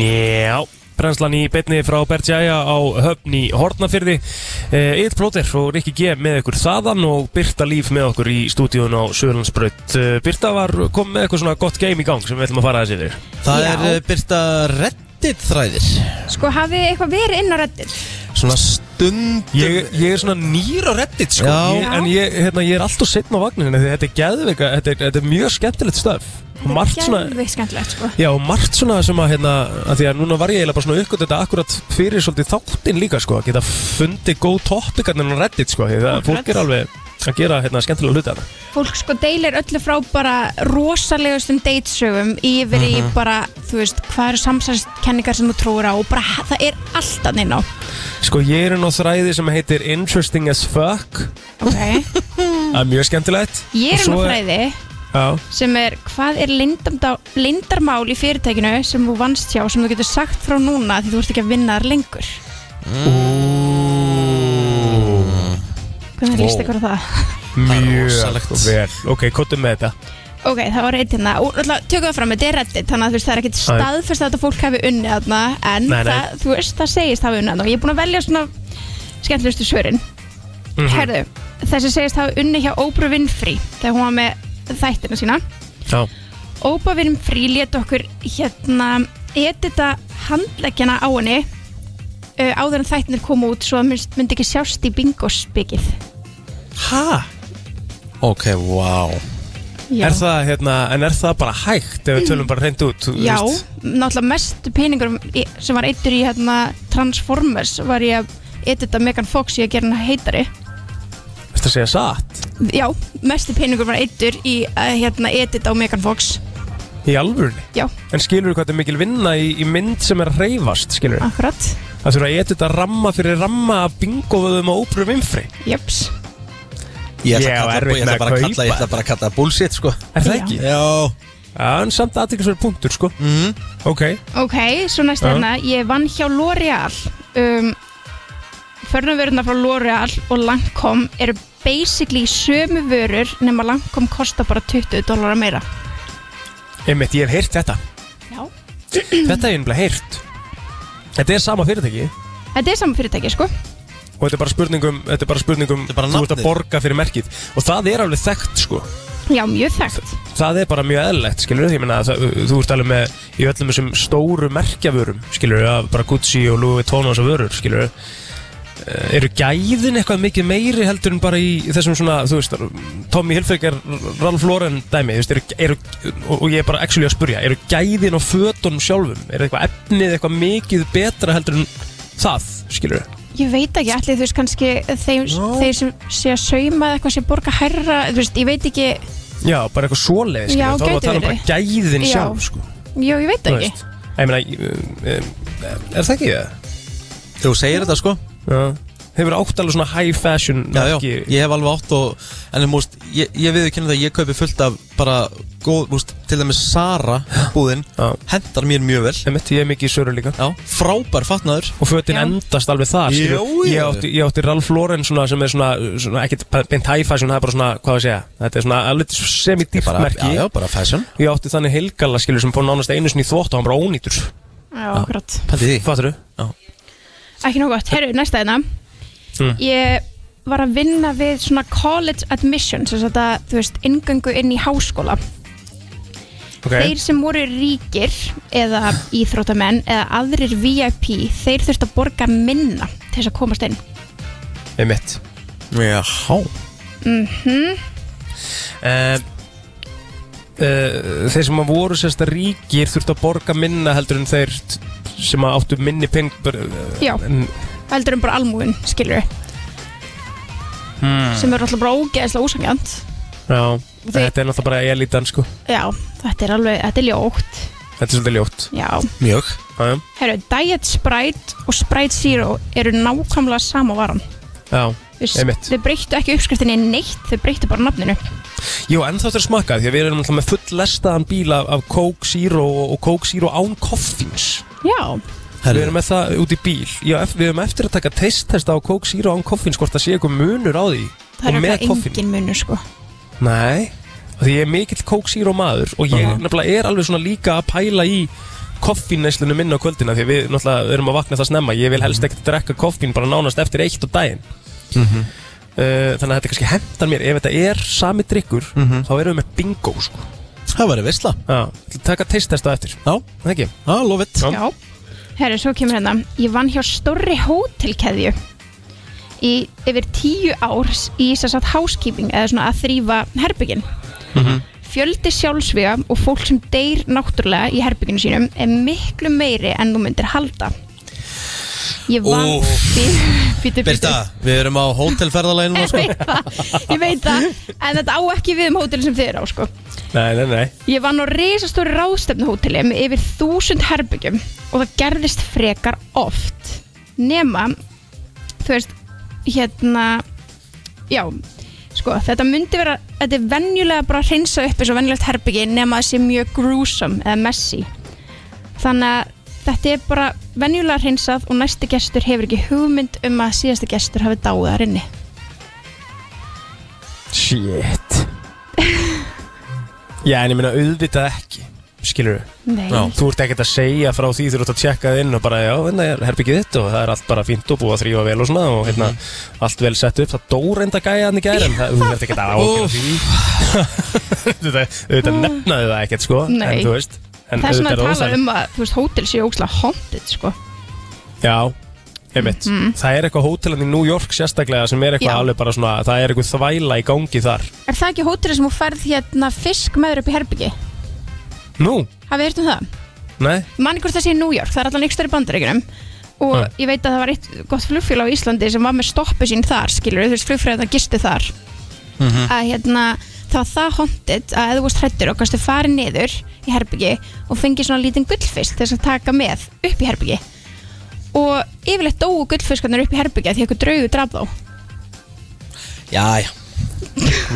já, brennslan í betni frá Bergjaja á höfn í Hortnafyrði Eitt Plóter og Rikki G með ykkur þaðan og Birta Líf með okkur í stúdíun á Söðlandsbraut Birta var kom með eitthvað svona gott game í gang sem við ætlum að fara þessi yfir
Það
Já.
er uh, Birta Reddit þræðir
Sko, hafið þið eitthvað verið inn á reddit?
Svona stund
Ég, ég er svona nýr á reddit sko
Já.
ég, En ég, hérna, ég er alltaf setn á vagninu Því þetta er geðveika, þetta er, þetta er mjög skemmtilegt stöf Og margt svona
Gæðveikt skemmtilegt, sko
Já, og margt svona sem að hérna að Því að núna var ég eiginlega bara svona uppgönd Þetta akkurat fyrir svolítið þáttinn líka sko Að geta fundið góð toppikarnir á reddit sko Því að fólk er alveg að gera hérna skemmtilega hluti hana
Fólk sko deilir öllu frá bara rosalegustum deitsögum yfir
Mhm.
í bara, þú veist, hvað eru samsæðskenningar sem þú trúir á og bara það er alltaf neina á
Sko ég er inn á þræði sem heitir Interesting as fuck
okay.
Það er mjög skemmtilegt Og
Ég er
svo
nú fræði
Já,
sem er hvað er leyndamdá- leyndarmál í fyrirtækinu sem þú vannst hjá sem þú getur sagt frá núna því þú ert ekki að vinna þar lengur
Mm.
Hvernig líst ykkur á það?
mjög
rosalegt.
vel Ok, kottum með þetta
Ok, það var eitt hérna og alltaf tökum það fram, þetta er reddit þannig að þú veist, það er ekkit staðfyrst að þetta fólk hafi unnið þarna en
Nei, nei.
Það, þú veist, það segist hafi unnið þarna og ég er búin að velja svona skemmtilegustu svörin
Mhm.
Herðu, þessi segist hafi unnið hjá Oprah Winfrey þegar hún var með þættina sína
Já
Oprah Winfrey let okkur hérna edita handleggjana á henni uh, áður en þættinir koma út svo að mynd- myndi ekki sjást í bingospikið
Hæ?
Ok, wow
Já.
Er það, hérna, en er það bara hægt ef við tölum bara reynd út? þú
Já,
veist?
náttúrulega mestu peningur í- sem var eittur í hérna, Transformers var ég að edita Megan Fox í að gera hana heitari
Ertu að segja satt?
Já, mestu peningur var eittur í að hérna, edita á Megan Fox
Í alvörunni?
Já,
En skilur þú hvað þetta er mikil vinna í, í mynd sem er að reyfast, skilur þú?
akkurat
Það þurfa að geta þetta ramma fyrir ramma af bingovöðum og ópröfum innfri.
Jöps,
Ég ætla,
Ég á
að kalla,
erfitt
ég,
með
ætla
að
bara að kalla,
kaupa.
ég ætla bara að kalla það bullshit sko
Er það
Já.
ekki?
Já
Já, en samt aðtækisverð punktur, sko.
Mhm.
Ok.
ok, svo næsta
Já.
hérna Ég vann hjá L'Oreal um, Förnumvöruna frá L'Oreal og Lancome eru basically sömu vörur nema Lancome kostar bara 20 dólar meira
Einmitt, ég hef heyrt þetta.
Já
Þetta hef ég nefnilega heyrt. Þetta er sama fyrirtæki
Þetta er saman fyrirtæki, sko
og þetta er bara spurningum, þetta er bara spurningum,
Þetta er bara
þú ert að
nafnið.
borga fyrir merkið og það er alveg þekkt, sko.
Já, mjög þekkt
það er bara mjög eðlilegt, skilur ég meina, það, þú ert alveg með í öllum þessum stóru merkjavörum, skilur af bara Gucci og Louis Vuitton og þessar vörur, skilur eru gæðin eitthvað mikið meiri heldur en bara í þessum svona, þú veist, Tommy Hilfiger Ralph Lauren dæmi, þú veist, eru, eru og og ég er bara actually að spurja, eru gæðin og fötunum sjálfum, eru eitthvað efnið eitthvað mikið betra heldur en það, skilur
Ég veit ekki, allir þú veist kannski þeir, þeir sem sé að sauma eða eitthvað sé borga hærra, þú veist, ég veit ekki
já, bara eitthvað svoleið, skilur
Já,
þá er
gæti
að tala um
verið.
bara gæðin
Já.
sjálf, sko,
Jú, ég veit
þú
ekki
veist Ég meina, um, um, er það ekki það?
Þú segir þetta sko
Já. Hefur átt alveg svona high fashion
Já, já,
merki.
ég hef alveg átt og En þú veist, ég, ég við kynna það að Ég kaupi fullt af bara góð, þú veist, Til dæmis Sara búðin
Já.
Hendar mér mjög vel
Einmitt, Ég er mikið í söru líka
Já, frábær fatnaður
Og fötin
Já.
endast alveg þar skilur.
Jú, jú.
Ég, átti, ég átti Ralph Lauren svona, sem er svona, svona ekkert beint high fashion, það er bara svona, hvað að segja Þetta er svona alveg semi-dýrt
bara,
merki
Já, já, bara fashion
Ég átti þannig heilgalla skilur sem fór nánast einu sinni í þvótt og hann bara ónýtur
Já, akkurat
Pældi því
Fattur
Ekki nóg gott, herru, næsta þeirna
Mm.
Ég var að vinna við svona college admissions, þess að það, þú veist, ingöngu inn í háskóla
okay.
Þeir sem voru ríkir eða íþróttamenn eða aðrir VIP, þeir þurft að borga minna til þess að komast inn
Einmitt
Já,
Mhm.
uh, uh, Þeir sem að voru sérst ríkir þurftu að borga minna heldur en þeir t- sem að áttu minni peng eh,
Já,
En
heldur um bara almúin, skilur
Hmm.
sem eru alltaf bara ógeðslega ósangjant
Já,
Þi-
þetta er náttúrulega bara elitan sko
Já, þetta er alveg, þetta er ljótt
Þetta er svolítið ljótt
Já,
mjög
Já, já.
herru, Diet Sprite og Sprite Zero eru nákvæmlega sama varan
já
Þau s-
Einmitt.
Þau breyttu ekki uppskriftinni neitt, þau breyttu bara nafninu
Jú, en þá þetta er smakkað Því að við erum alltaf með full lestaðan bíl af, af Coke Zero og, og Coke Zero án koffins
Já,
Við erum með það út í bíl Já, ef- við erum eftir að taka testtesta á Coke Zero án koffins Hvort það sé eitthvað munur á því
það
Og
eru
með
eitthvað
koffín.
engin munur sko
Nei, af því ég er mikill Coke Zero maður Og ég
Aha.
nefnilega er alveg svona líka að pæla í koffínneslunum minna á kvöldina því að við náttúrulega erum að vakna það snemma ég vil helst ekkert drekka koffín bara nánast eftir eitt á daginn uh, þannig að þetta kannski hendar mér ef þetta er sami drikkur þá erum við með bingo sko
Það var að visla
Já, ætla að taka teistesta eftir
Já,
Það ekki?
já, lofið
Já.
Já, herru, svo kemur hérna Ég vann hjá stórri hótelkeðju í yfir tíu árs í þess að housekeeping eða svona að þrýfa herbyggin
Mhm.
Fjöldi sjálfsvega og fólk sem deyr náttúrulega í herbygginu sínum er miklu meiri en þú myndir halda Ég vann
Úff.
Býtu,
Birta, við erum á hótelferðalagi núna
Ég
sko
veit það, ég veit það En þetta á ekki við um hótelin sem þið eru á sko.
Nei, nei, nei
Ég vann á risastóri ráðstefnuhóteli með yfir þúsund herbyggjum og það gerðist frekar oft nema þú veist, hérna já, sko, þetta myndi vera þetta er venjulega bara að hreinsa upp eins og venjulegt herbyggi nema að það sé mjög gruesome eða messy þannig að þetta er bara venjulega hreinsað og næsti gestur hefur ekki hugmynd um að síðasti gestur hafi dáið þar inni
Shit Já, en ég meina auðvitað ekki Skilur við?
Nei,
Þú ert ekkert að segja frá því þú ert að tjekka það inn og bara já, hérna er herbyggið þitt og það er allt bara fínt og búið að þrýfa vel og svona og
Mhm.
hérna allt vel sett upp, það dór enda gæja hann í gæri en það, þú ert ekkert að ákveða því Þetta auðvitað nefnaði það ekkert sko
Nei.
en þú veist en
það er svona
auðvitað
að tala
óþarfi.
um að þú veist, hótel séu ógslag haunted sko
Já, einmitt Það er eitthvað hótelan í New York sérstaklega sem er eitthvað
Mhm. Já.
alveg bara svona, það er eitthvað þvæla í gangi þar
Er það ekki hótelið sem þú færð hérna fisk meður upp í herbyggi?
Nú,
Hafið þið hirt um það?
nei,
Manni hvort það sé í New York, það er allan ykkur stærri bandaríkunum og
Já.
ég veit að það var eitt gott flugfélag á Íslandi sem var með stoppu sín þar, skilur þú veist, flugfélag gistu þar að hérna það var það hóndið að ef þú varst hrættur og kannski farið niður í herbyggi og fengið svona lítinn gullfisk til þess að taka með upp í herbyggi og yfirleitt dóu gullfiskarnir upp í herbyggi af því eitthvað draugu draf þá
Já, já,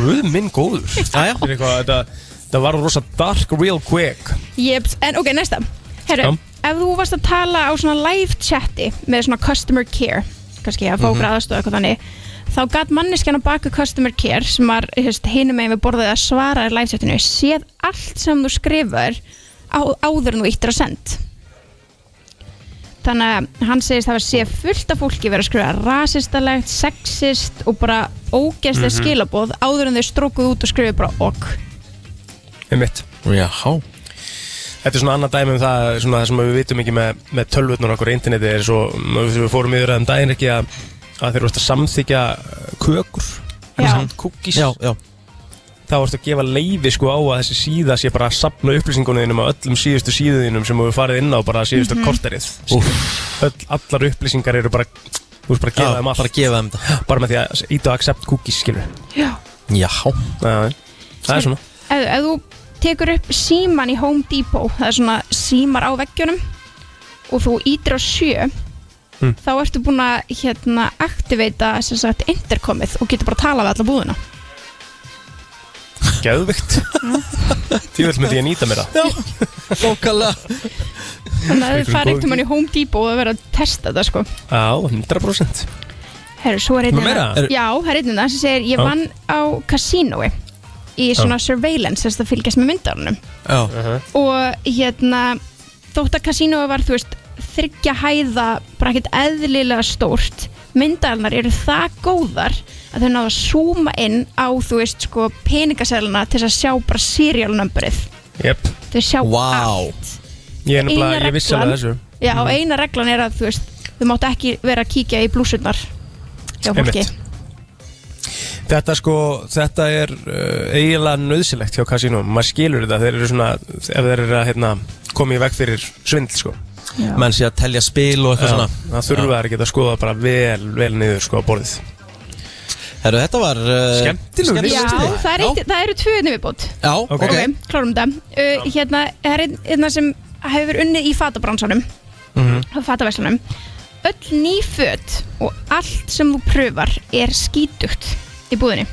guð minn góður Það er eitthvað, þetta, þetta var rosa dark real quick
Jeps, en ok, næsta Herru,
Já.
ef þú varst að tala á svona live chati með svona customer care kannski að fá okkur aðastóða eitthvað þannig þá gat manneskjan á baku customer care sem var hinum megin við borðið að svara í live chatinu, séð allt sem þú skrifar á, áður en þú íttir að send þannig að hann segist hafa séð fullt af fólki verið að skrifa rasistalegt, sexist og bara ógeðslega skilaboð áður en þau strókuð út og skrifið bara okk
Einmitt
já
Þetta er svona annað dæmi um það, svona það sem við vitum ekki með, með tölvutnur okkur í interneti er svo, við við fórum yfir aðeim daginn ekki að, að þeir eru að samþykja kökur,
Já.
kúkis
Já, já,
þá ertu að gefa leiði sko á að þessi síða sé bara að sapna upplýsingunum á öllum síðustu síðunum sem þú hefur farið inn á bara síðustu mm korterið Öll, allar upplýsingar eru bara þú veist bara
já
að gefa þeim
bara
allt
gefa þeim þetta
bara með því að ít og accept cookies skilur
Já
Já,
það, það er svona
ef, ef þú tekur upp síman í Home Depot það er svona símar á veggjunum og þú ítir á sjö
Mm.
þá ertu búin að hérna, aktiveita sem sagt interkomið og getur bara að tala við alla búðina
geðvikt því vil með því að nýta mér það
þókala
þannig að
Einhverjum
þau fara
góðum
einhvern veginn í Home Depot og vera að testa þetta sko
á 100%
Herru, svo er einnig
meira?
það Já, það er einnig það sem segir ég
Já.
vann á kasínói í svona surveillance þess að fylgjast með myndarunum
Já,
og hérna þótt að kasínói var þú veist þryggja hæða bara ekkert eðlilega stórt myndaðalnar eru það góðar að þau náðu að zooma inn á þú veist sko peningaselina til þess að sjá bara serial numberið
yep.
þau sjá
Vá.
allt
ég, er nefnilega-
Eina
ég vissi
reglan-
alveg þessu Mhm.
Já, og eina reglan er að þú veist þau máttu ekki vera að kíkja í blúsurnar hjá fólki
Einmitt. Þetta sko, þetta er uh, eiginlega nöðsilegt hjá kasínum maður skilur þetta, þeir eru svona ef þeir eru að hérna, koma í veg fyrir svindl sko.
menn sé að telja spil og eitthvað svona
það þurfa þær að geta að skoða bara vel, vel niður sko á borðið
Herru, þetta var uh,
Skemmtilegur
Já, það, er eitt, það eru tvö viðbót
Já,
Ok.
ok, Um,
Ok, klárum þetta uh, Hérna er einn hérna sem hefur unnið í fatabransanum
Mhm.
á fataverslunum Öll ný föt og allt sem þú pröfar er skítugt í búðinni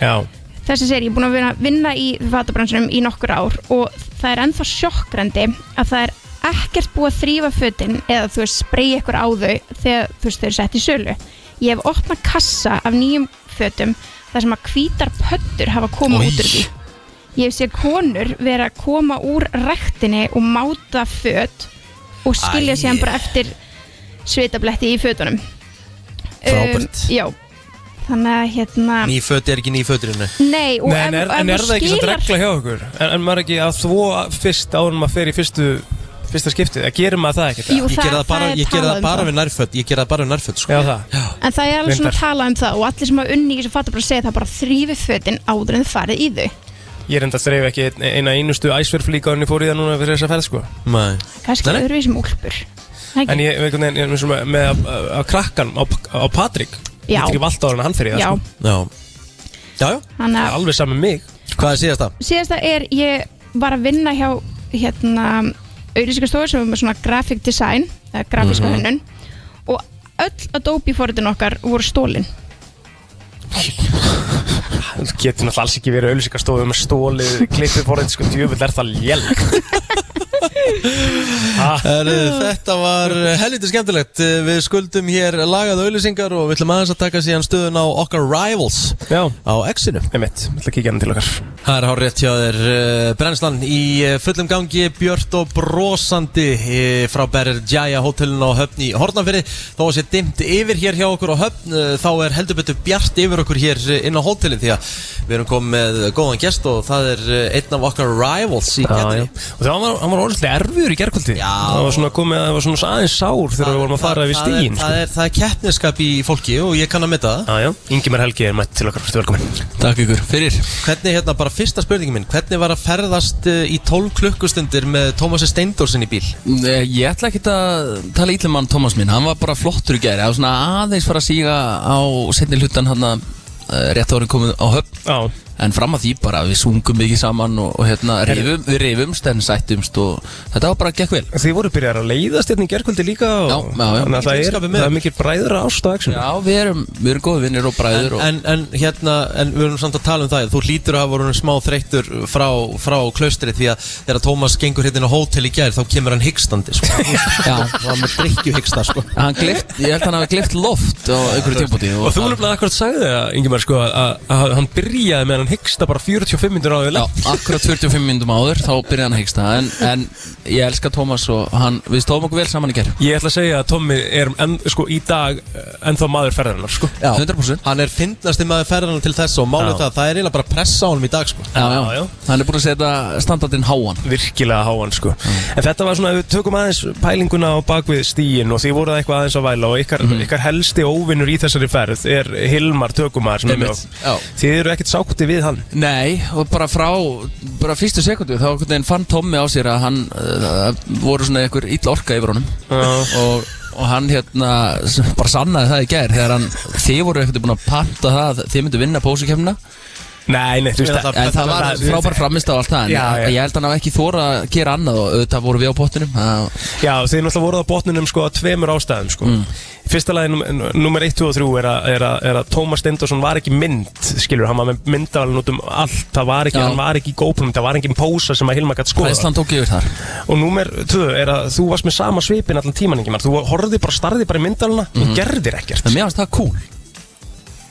Já,
Þessi segir ég er búin að vinna, vinna í fatabransanum í nokkur ár og það er ennþá sjokkrendi að það er ekkert búið að þrýfa fötin eða þú veist spreyja ykkur á þau þegar þú veist þau eru sett í sölu Ég hef opnað kassa af nýjum fötum þar sem að hvítar pöttur hafa komið
Oj.
út úr því Ég sé konur vera að koma úr ræktinni og máta föt og skilja
Æ.
síðan bara eftir svitabletti í fötunum.
Frábært.
Um, já, þannig að hérna...
Ný föt er ekki ný föturinn
Nei, og
Nei, en er,
ef,
en
ef
er það ekki svona regla hjá okkur? En, en maður ekki að þvó fyrst áður en maður fer í fyrstu, fyrsta skiptið? Að gerir maður það ekkert?
Jú,
Ég
það,
gera það bara,
er
ég gera
talað
það
um
bara við nærföt Ég gera það bara við nærföt sko.
Já, það.
En það er alveg svona
Reyndar.
talað um það og allir sem hafa unni í þessu fattar bara að segja það bara þrýfi fötin áður en þið farið í þau.
Ég er enda að streyfa ekki ein- eina einustu æsverf líka en ég fór í það núna fyrir þessa ferð, sko.
Nei.
Kannski
Nei, nei.
öðruvísi sem úlpur. Það
En
ekki?
ég, einhvern veginn, ég er með, svona- með að, að, að krakkan á, á Patrik.
Já.
Ég get ekki vald ára en hann fyrir það,
Já,
sko.
Já, já, já
þannig að
Alveg saman mig.
Hvað er síðast það?
síðasta er ég var að vinna hjá hérna auðlýsingastofu sem er með svona graphic design eða grafíska hönnun og öll Adobe forritin okkar voru stólin
Þú getur náttúrulega alls ekki verið auðlýsingarstofu með stóli, klippið forrið, sko, djöfull er það léleg. Ah.
Þetta var helviti skemmtilegt Eh, Við skuldum hér lagað auðlýsingar og við ætlum aðeins að taka síðan stöðun á okkar rivals
Já,
á X-inu
einmitt, ég ætla að kíkja hann til okkar.
Það er hár rétt hjá þér eh, Brennslan í eh, fullum gangi Björt og brosandi eh, frá Berjaya hotellin á höfn í Hortnafyrði Þó að sé dimmt yfir hér hjá okkur á höfn eh, Þá er heldur betur bjart yfir okkur hér eh, inn á hotellin Því að við erum komið með góðan gest Og það er eh, einn af okkar rivals í
Já, Ah, já.
gettinni
Og það var, hann var orðinlega erfiður í gerkvöldi
Já.
Það var svona komið að það var svona aðeins sár þegar við vorum að fara sko. við
Það- það er-
stígin
Það er, það er keppniskap í fólki og ég kann að mynda það
Ah, Já, já, Ingimar Helgi er mætt til okkar, stu velkomin
Takk ykkur, fyrir Hvernig, hérna, bara fyrsta spurningin minn Hvernig var að ferðast eh, í 12 klukkustundir með Tómasi Steindórsin í bíl?
Eh, Ég ætla ekki að tala ítla mann Tómas minn Hann var bara flottur í gæri Það var svona aðeins fara að síga á setni hlutan hann að eh, rétt árin komið á höfn
Já,
En fram að því bara við sungum mikið saman og, og hérna reyfum, við reyfumst en sættumst og þetta var bara gekk vel
þið voru byrjar að leiðast hérna í gerkvöldi líka og,
Já, já, já.
Þannig að
Í
það er,
vinskapið með.
það er mikil bræðra ást á action
Já, við erum, við erum góði vinnir
En,
og bræður og,
en, en hérna, en við erum samt að tala um það Þú hlýtur að hafa voru smá þreyttur frá, frá klaustri Því að þegar Tómas gengur hérna á hótel í gær Þá kemur hann hyggstandi sko.
Já.
Það var með drikkju hyggsta sko.
hann glift, Ég held að hann hafi glift loft á einhverju tímpúti
Og þú nefnilega akkurat sagði það, Ingimar, sko, að- að að hann byrjaði með hann hyggsta bara 45 minnur á því
Já, akkurat 45 minnum áður þá byrjaði hann að hegsta en, en ég elska Tómas og hann, við stóðum okkur vel saman í gæri
Ég ætla að segja að Tommi er en, sko, í dag eh, ennþá maður ferðarinnar, sko
100%
Hann er fyndnasti maður ferðan til þess Og málið
Já.
það, það er eiginlega bara pressa á honum í dag sko.
Já, já,
Já, já.
hann er búin að setja standardinn háan
virkilega háan sko en þetta var svona, við tökum aðeins pælinguna á bakvið stíin og því voru það eitthvað aðeins að væla og ykkar, ykkar helsti óvinnur í þessari ferð er Hilmar tökumar sem er með
Einmitt, já.
okkur. þið eru ekkert sátti við hann
Nei, og bara frá bara fyrstu sekundu þá einhvern veginn fann Tommi á sér að hann uh, voru svona einhver illa orka yfir honum og, og hann hérna s- bara sannaði það í gær þegar hann, þið voru einhvern veginn búin að panta það að þið myndu vinna pósukemna
nei, nei, þú veist
Ég ætla
það
að-
en það var frábær framist á allt það en
Já, já.
ég held hann hafa ekki þóra að gera annað og auðvitað voru við á pottinum það,
já, þið náttúrulega voruð á botnunum sko að tveimur ástæðum sko
Mm.
fyrsta lagi num- nummer 1, 2 og 3 er að, er að, er að Tómas Stendorsson var ekki mynd skilur, hann var með myndavælun út um allt það var ekki,
Já.
hann var ekki í gópunum, það var engin pósa sem að Hilmar gætt skoða
Ísland tók yfir þar
Og númer tvö er að þú varst með sama svipin allan tíman ekki Þú horfði bara, starði bara í myndaluna
Mhm.
og gerðir ekkert
en mér fannst það cool,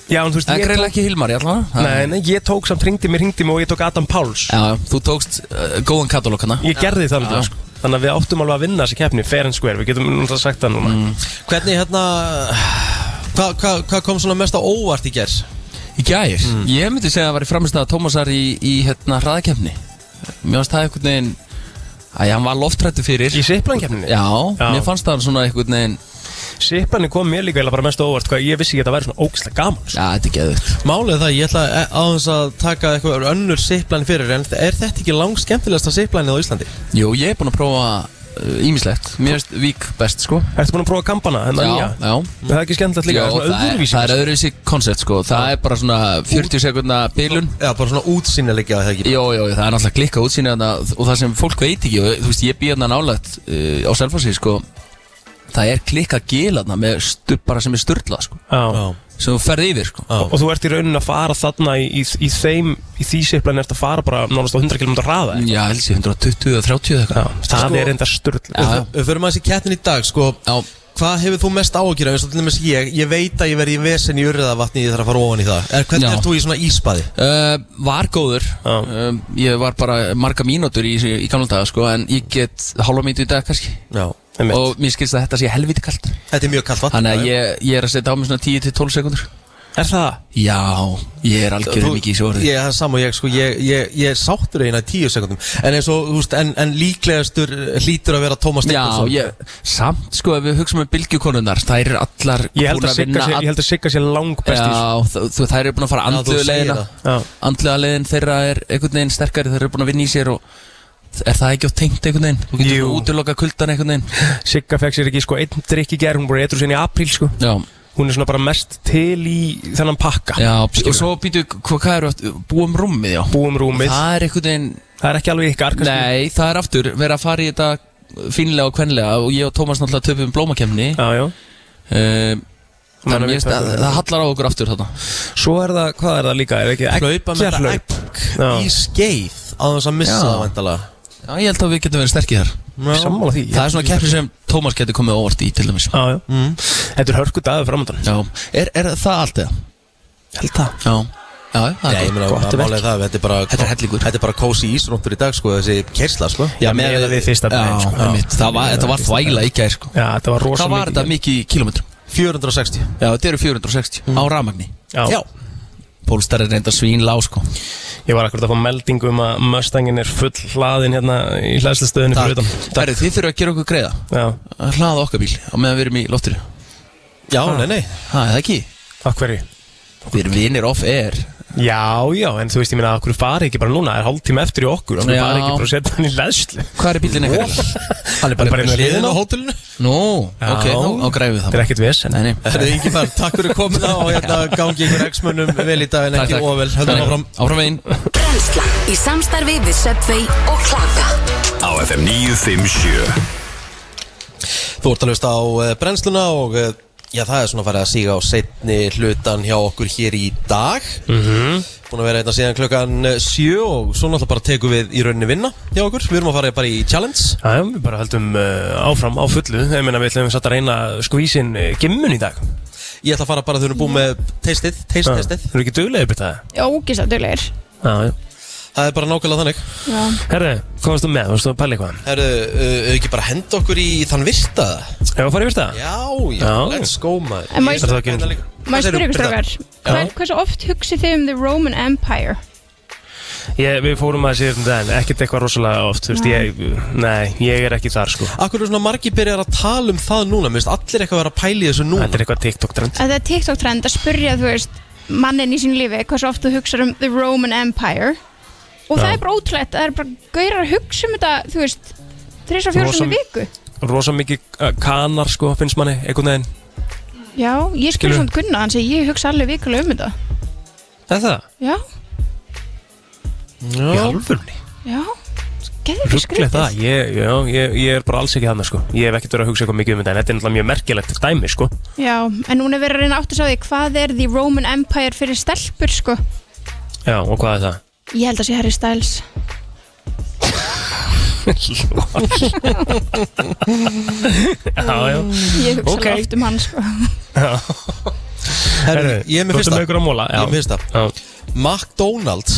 Já, en þú veist,
það er
ég
greinilega
tók,
ekki Hilmar í allan
nei, nei, ég tók samt ringdi mér, ringdi mér og ég tók Adam Páls
Já, þú tókst uh, góðan katalóg hana
Ég gerði það alveg,
Já.
sko Þannig að við áttum alveg að vinna þessi keppni, fair and square, við getum náttúrulega sagt það núna
Mm.
Hvernig hérna Hvað hva, hva kom svona mest á óvart í gær?
Í gær?
Mm.
Ég myndi segja að það var í framistæða Tómasar í, í hérna hraðakefni Mér fannst það einhvern veginn Æ, hann var loftrættu fyrir
Í siplankeppninni?
Já,
Já.
mér fannst það svona einhvern veginn
Sipani kom mér líka eiginlega bara mest á óvart hvað ég vissi ekki að það væri svona ógæslega gaman sko.
Já, þetta er geðugt
Málið er það, ég ætla e- aðeins að taka eitthvað önnur siplæni fyrir En er þetta ekki langt skemmtilegasta siplænið á Íslandi?
Jú, ég er búin að prófa uh, ímislegt Mér finnst vík best, sko
Ertu búin að prófa kampana? þennan
Já,
nýja?
já
Er Það er ekki skemmtilegt líka,
Já,
það er svona
það er,
öðruvísi
það er öðruvísi koncept sko Það er bara svona 40 sekundna bilun
Já, bara svona útsýnilegja það ekki
Jó, jó, það er náttúrulega klikka útsýni þarna og það sem fólk veit ekki og þú veist, ég býð hérna nálægt uh, á Selfossi sko Það er klikka gil þarna með stu, bara sem er sturla sko
Já.
Já,
sem þú ferði yfir sko
já
Og þú ert í raunin að fara þarna í, í, í þeim, í því siplan ert að fara bara nánast á 100 km hraða
Já, helsi, 120 eða 30 eða
Já,
eitthvað
það
Sko-
er enda sturl
Já.
Við förum aðeins í kettin í dag, sko
Já,
hvað hefur þú mest ágjur eins og til dæmis ég, ég veit að ég verði í vesen í urriðavatni ég þarf að fara ofan í það er, hvernig
Já.
ert þú í svona ísbaði?
Uh, var góður uh, Ég var bara marga mínútur í, þessu- í gamla daga sko, En ég get hálfa mínútu í dag kannski
Já.
Einmitt.
Og mér skilst að þetta sé helviti kalt
þetta er mjög kallt vatn
Þannig að ég, ég er að setja á mig svona 10-12 sekundur
er það?
Já, ég er algjörðu
Þú-
mikið í svo orði
Ég, það er sama og ég, sko, ég, ég, ég sáttur eina í tíu sekundum En eins og, þú veist, en, en líklegastur eh, hlýtur að vera Tómas
Já,
Nikkolson
ég, samt sko ef við hugsa með bylgjukonunnar Það er allar
Ég held
búnar
að Sigga sé- ég held að Sigga sé lang best í þessu.
Já, þ- þú, þær eru búin að fara
Já, þú
andluðu
segir
leiðina
það. Já.
Andluða leiðin þeirra er einhvern veginn sterkari Þeir eru búin að vinna í sér og Er það ekki á tengt einhvern veginn? Þú getur
Jú.
útiloka kuldan einhvern veginn
Sigga fekk sér ekki sko einn drikk í gerð, hún bara eitthvað sinni í apríl sko
Já,
Hún er svona bara mest til í þennan pakka
já og svo býtu, hvað, hvað eru aftur? Búum rúmið, já
Búum rúmið, það,
Það er einhvern veginn
er ekki alveg ykkar kannski.
Nei, það er aftur, vera að fara í þetta fínlega og kvenlega og ég og Tómas náttúrulega töpum blómakemni uh,
Já, já
Þannig
Þannig
að
að
ég veist
við
að
tökum-
það hallar á okkur aftur þarna
Svo er það, hvað er það líka, er ekki
Hlaupa með þetta
eggjahlaup? Já.
egg í skeið Á þess að missa
Já.
það vantala
Já, ég held að við getum verið sterkir þar
Sammála því
Það er svona Mm. keppni sem Tómas getur komið á óvart í til dæmis
Já, já Þetta er hörku dagur framöndan
Já, er, er það allt eða?
Held það
Já, já, það
Nei, ég
er
meina,
gott
það
verk.
málega það Þetta er bara
Þetta er hellingur.
Þetta er bara kósi ísrúntur í dag, sko Þessi kersla, sko
Já, meðan við fyrsta daginn,
Já,
sko.
einmitt, það var, þetta var þvæla í gær sko.
Já, þetta var rosa
Hvað var
mikið
þetta mikið í kilometrum?
460
Já, þetta eru 460 á rafmagni
Já,
Pólstar er reynda svín lág sko
ég var akkurat að fá meldingu um að Mustangin er full hlaðin hérna í hlæðslustöðinu fyrir utan
Það eru þið þurfa að gera okkur greiða
Já,
að hlaða okkar bíl á meðan við erum í loftinu
Já,
Ah.
nei, nei
Ha, er það ekki?
af hverju?
Við erum vinir off-air
Já, já, en þú veist, ég meina, af hverju fari ekki bara núna, er hálftíma eftir í okkur, af hverju
Já.
fari ekki bara að setja hann í hlæðslu?
Hvað er bílinn ykkar? Hann er
Bara bara með
Hliðin
liðin
á
á
hótelinu
Nú,
Já.
ok, þá græfið það
Þetta er ekkert vesen.
Nei, nei
Það er ekki fær, takk fyrir komina og hérna gangi ykkur X-mönnum vel í dag en ekki ofvel Höldum
Þannig,
áfram
Áfram veginn
Brennslan í samstarfi við Subway og Klaka
Á FM 957
Þú ert að hlusta á eh, brennsluna og eh, já, það er svona farið að síga á setni hlutan hjá okkur hér í dag mm Búin að vera hérna síðan klukkan eh, sjö og svo náttúrulega bara tekum við í rauninni vinna hjá okkur Við erum að fara bara í challenge
Já, já, við bara höldum uh, áfram á fullu, ég meina, við ætlum satt að reyna að skvísin uh, gimmun í dag.
Ég ætla að fara bara þegar við erum búin með teistið, teist,
Já.
teistið
Þú eru ekki duglegið byrta það?
Ógislega duglegir
Já, já.
Það er bara nákvæmlega þannig
Já.
Herðu, hvað varst þú með? Varst þú að pæla eitthvað?
Herru, uh, ekki bara henda okkur í þann virta
Ef að fara í fyrsta?
Já, já,
Já.
let's go maður
En má
Ég er
ég-
Er það ekki-
hérna líka.
Má
Hvað segirðu,
ég spyrja ykkur
Birta?
strákar Hvað- Hversu oft hugsið þið um The Roman Empire?
Ég, við fórum að síðan daginn, ekkert eitthvað rosalega oft, þú veist, ég, nei, ég er ekki þar, sko.
Akkur er svona margir byrjar að tala um það núna Mér finnst allir eitthvað vera að pæli þessu núna
Þetta er eitthvað TikTok-trend.
Þetta er TikTok trend að spyrja þú veist mannin í sín lífi hversu oft þú hugsar um The Roman Empire og það
Já.
er bara ótrúlegt það er bara gaurar að hugsa um þetta þú veist þrjus og fjórum sem
Rosa-
í viku
Rosa mikið uh, kanar, sko, finnst manni, einhvern veginn.
Já, ég spyr
Skilurðu?
svona Gunna hann segi ég hugsa alveg vikulega um þetta
Er það?
Já,
Í alvörni?
já Geður ekki
Rugglega það,
skrítið
ég, já, ég, ég er bara alls ekki þannig sko Ég hef ekkert verið að hugsa eitthvað mikið um þetta En þetta er náttúrulega mjög merkilegt dæmi sko
Já, en hún er verið að reyna átt að sá því hvað er The Roman Empire fyrir stelpur sko
Já, og hvað er það?
Ég held að sé Harry Styles
Já, já
Ég hugsa
Ok.
alveg oft um hann sko
Herru, ég er með
Þú ert með
fyrsta
ykkur að móla
Ég er með fyrsta
Já,
McDonalds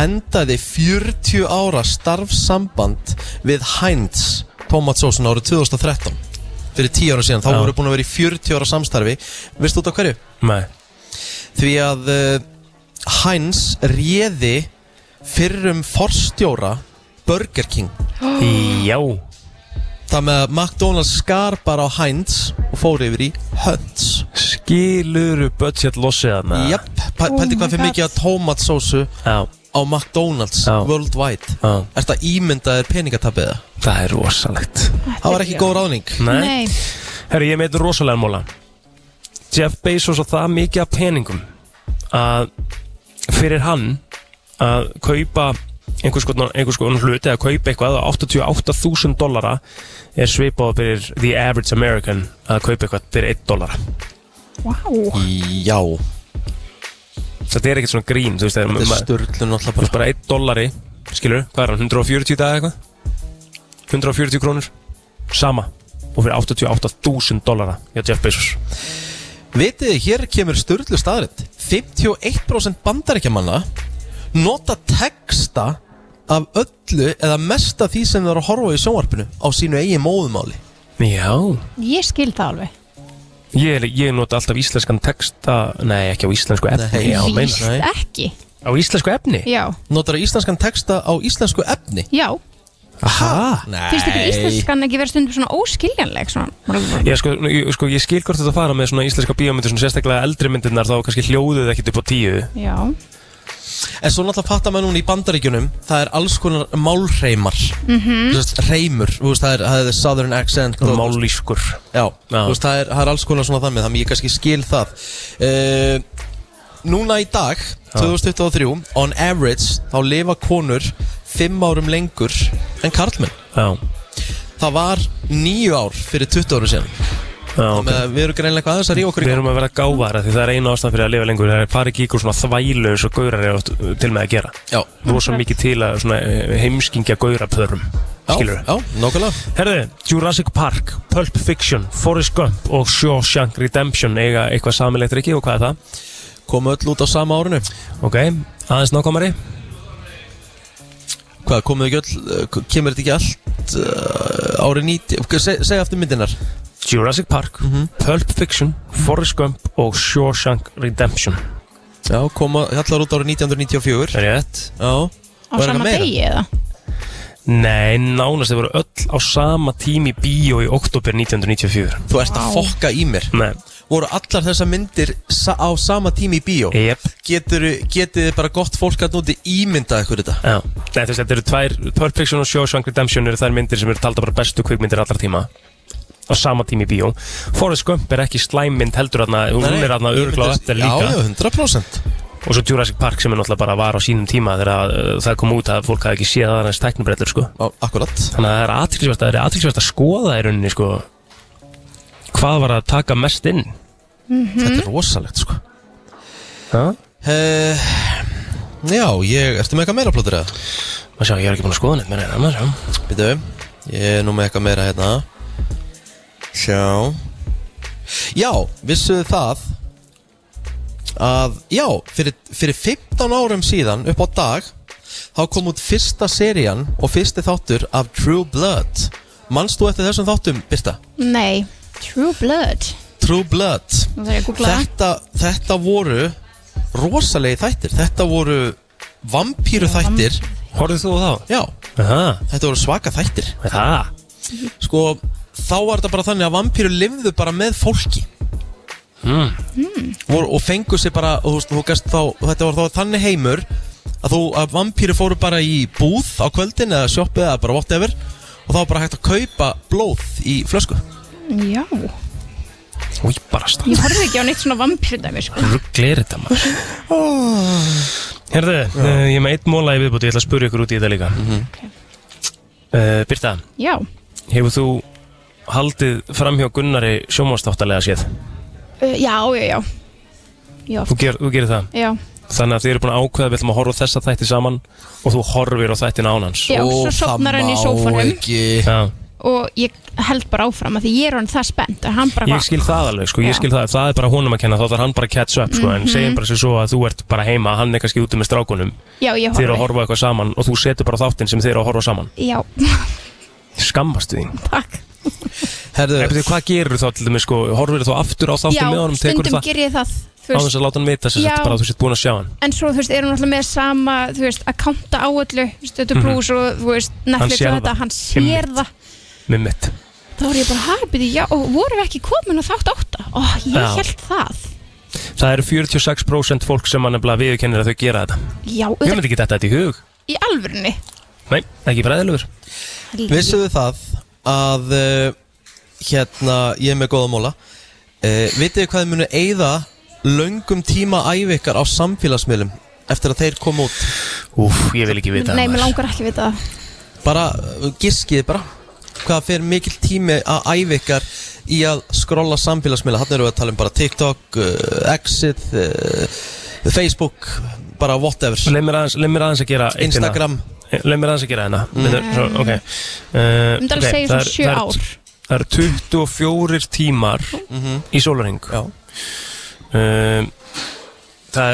endaði 40 ára starfsamband við Heinz tomatsósun árið 2013 fyrir 10 ára síðan, þá
Já.
voru búin að vera í 40 ára samstarfi veistu út af hverju?
nei
því að uh, Heinz réði fyrrum forstjóra Burger King
Já,
það með að McDonalds skar bara á Heinz og fór yfir í Hönds
skilur budget lossið þarna
Japp, pæ-
Oh
pældi
my
hvað fyrir
God.
mikið að tomatsósu
Já,
á McDonalds
Já.
worldwide
já,
Er þetta ímyndaðir peningatapiða?
það er rosalegt
Það var ekki góð ráðning
Nei,
Herru, ég er með eitthvað rosalega móla Jeff Bezos á það mikið af peningum að fyrir hann að kaupa einhvers konar, einhvers konar hluti að kaupa eitthvað á 88.000 dollara er svipað fyrir the average American að kaupa eitthvað fyrir 1 dollara
wow
Já,
þetta er ekkert svona grín þú veist, það er,
þetta er
ma-
störlun alltaf
þú
bara
veist bara 1 dollari skilur, hvað er hann, 140 dag eitthvað 140 krónur sama og fyrir 88.000 dollara hjá Jeff Bezos
Vitið, þið, hér kemur störlu staðrætt 51% bandaríkjamanna nota texta af öllu eða mesta því sem það er að horfa í sjónvarpinu á sínu eigin móðumáli
Já
Ég skil það alveg
Ég, ég nota alltaf íslenskan texta Nei, ekki á íslensku efni
Nei,
já,
víst.
meina.
Nei.
Ekki
Á íslensku efni?
Já,
Notar íslenskan texta á íslensku efni?
já
Aha
Nei
Fyrst ekki íslenskan ekki verið stundum svona óskiljanleg svona.
Ég, sko, ég, sko, ég skil hvort þetta fara með svona íslenska bíómyndir svona sérstaklega eldri myndirnar þá kannski hljóðuð ekkert upp á tíu
Já,
En svo náttúrulega fattar maður núna í bandaríkjunum Það er alls konar málreimar mm -hmm. Reimur, þú veist, það er, það er southern accent og-
Mállýskur
Já,
Já.
þú veist, það er, það er alls konar svona þannig Þannig ég kannski skil það uh, Núna í dag, 2023 On average, þá lifa konur Fimm árum lengur En karlmenn
Já,
Það var níu ár fyrir 20 árum síðan
já ok
okay. Við erum greinlega eitthvað aðeins að ríða okkur í
Við erum að vera gáfara því það er eina ástæðan fyrir að lifa lengur það er fara ekki í ykkur svona þvælu eins og gaurar er oft uh, til með að gera
Já,
Rosa mikið til að svona eh, heimskingja gaurapörum
já,
Skilur
já, nokkulega
Herðu, Jurassic Park, Pulp Fiction, Forrest Gump og Shawshank Redemption eiga eitthvað samilegt ekki og hvað er það?
Komu öll út á sama árinu
Ok, aðeins nákvæmari
Hvað, komuðu ekki öll, uh, kemur þetta ekki allt uh, árið 90 ok, seg, Segja aftur myndinar
Jurassic Park,
Mhm.
Pulp Fiction, Forrest Gump og Shawshank Redemption
Já, koma, allar út árið 1994
Er ég rétt?
Já,
á
Var eitthvað
sama
meira?
degi eða
Nei, nánast þau voru öll á sama tími bíó í oktober 1994
þú ert að fokka í mér
Nei,
Voru allar þessar myndir sa á sama tími í bíó
yep.
Getur, getið þið bara gott fólk að núti ímyndað ykkur þetta
Já, Nei, þú veist, þetta eru tvær Pulp Fiction og Shawshank Redemption eru þær myndir sem eru taldar bara bestu kvikmyndir allra tíma á sama tími í bíó Forrest Gump er ekki slæmmynd heldur aðna hún
Nei, nei,
er aðna örgla á
ímyndað-
eftir líka
Já, já, 100%
og svo Jurassic Park sem er náttúrulega bara var á sínum tíma þegar að, uh, það kom út að fólk hafði ekki séð aðeins tæknubrellur sko.
Á, Akkurat
þannig að það er aðtilsvært að, athyglisvert að skoða í rauninni sko, hvað var að taka mest inn
Þetta er rosalegt, sko
ha?
uh, Já, ég, ertu með eitthvað meira plótur eða?
maður sjá, ég er ekki búin að skoða neitt meira en annars já.
Býtu, ég er nú með eitthvað meira hérna Sjá Já, vissuðu það að, já, fyrir, fyrir 15 árum síðan upp á dag þá kom út fyrsta serían og fyrsti þáttur af True Blood Manst þú eftir þessum þáttum, Birta?
Nei, True Blood
True Blood
Nú þarf ég að googla það
þetta, þetta voru rosalegi þættir Þetta voru vampíru þættir
horfðu þú á þá?
Já,
Aha,
þetta voru svaka þættir
með það
sko, þá var þetta bara þannig að vampýru lifðu bara með fólki mm. og fengu sér bara og, þú veist, þú gast þá, þetta var þá þannig heimur að þú, að vampýru fóru bara í búð á kvöldin eða sjoppi eða bara whatever og þá var bara hægt að kaupa blóð í flösku
Já,
Új, bara stað
ég horfði ekki á neitt svona vampirudæmi sko.
rugglir þetta maður Herðu, uh, ég er með eitt móla í viðbúti, ég ætla að spyrja ykkur út í þetta líka mm Birta,
Já,
hefur þú haldið framhjá Gunnari sjómástáttalega séð?
uh, já, já, já Já,
Þú, ger, þú gerir það,
já,
þannig að þið eru búin að ákveða við ætlum að horfa á þessa þætti saman og þú horfir á þættin án hans
já Svo
Og
sopnar
það
hann í
má
sófanum
ekki...
Já,
Og ég held bara áfram að því ég er hann það spennt að hann bara
ég skil það alveg, sko, ég
Já. Mhm.
skil það, það er bara honum að kenna, þá þarf hann bara að catch up, sko, en segjum bara sem svo að þú ert bara heima, hann er kannski úti með strákunum,
Já, ég
þið eru
horfi
að horfa á eitthvað saman og þú setur bara á þáttinn sem þið eru að horfa á saman,
Já,
skammastu þín.
takk
Herðu,
Nei, betur, hvað gerur þá til dæmis sko, horfir þú aftur á
Já,
þáttum með honum, tekur
stundum
það
ger ég það þú
á
veist,
þess að láta hann vita sem
Já.
þetta bara að þú sett búin að sjá hann
En svo, þú veist, er hún alltaf með sama, þú veist, að á öllu þú veist, Þetta er brús og, þú veist, Netflix
Mhm.
og
sér það.
þetta Hann sér
Einmitt.
það
með mitt.
Þá er ég bara, hæ, byrju, já, og vorum við ekki komin á þátt átta? Ó, ég
Já.
held það.
Það eru 46% fólk sem hann nefnilega viðurkennir að þau gera þetta.
Já,
Ég
auðvitað,
myndi ekki þetta þetta í hug.
í alvörunni.
Nei, ekki fræðilegur.
Vissuðu það að uh, hérna, ég er með góða móla uh, Vitið þið hvað þið munu eyða löngum tíma ævi ykkar á samfélagsmiðlum eftir að þeir koma út
Úf, ég vil ekki vita
Nei, mér
maður.
langar ekki að vita það.
bara uh, giskið bara hvað fer mikill tími að æfi ykkar í að skrolla samfélagsmiðla þannig erum við að tala um bara TikTok uh, Exit uh, Facebook bara whatever
Leið mér aðeins, leið mér aðeins að gera eitt hérna.
Instagram
Leið mér aðeins að gera hérna. Mm. Svo, ok. Uh,
Ég myndi alveg segja svona sjö ár.
það eru 24 tímar í sólaring
Já.
um, það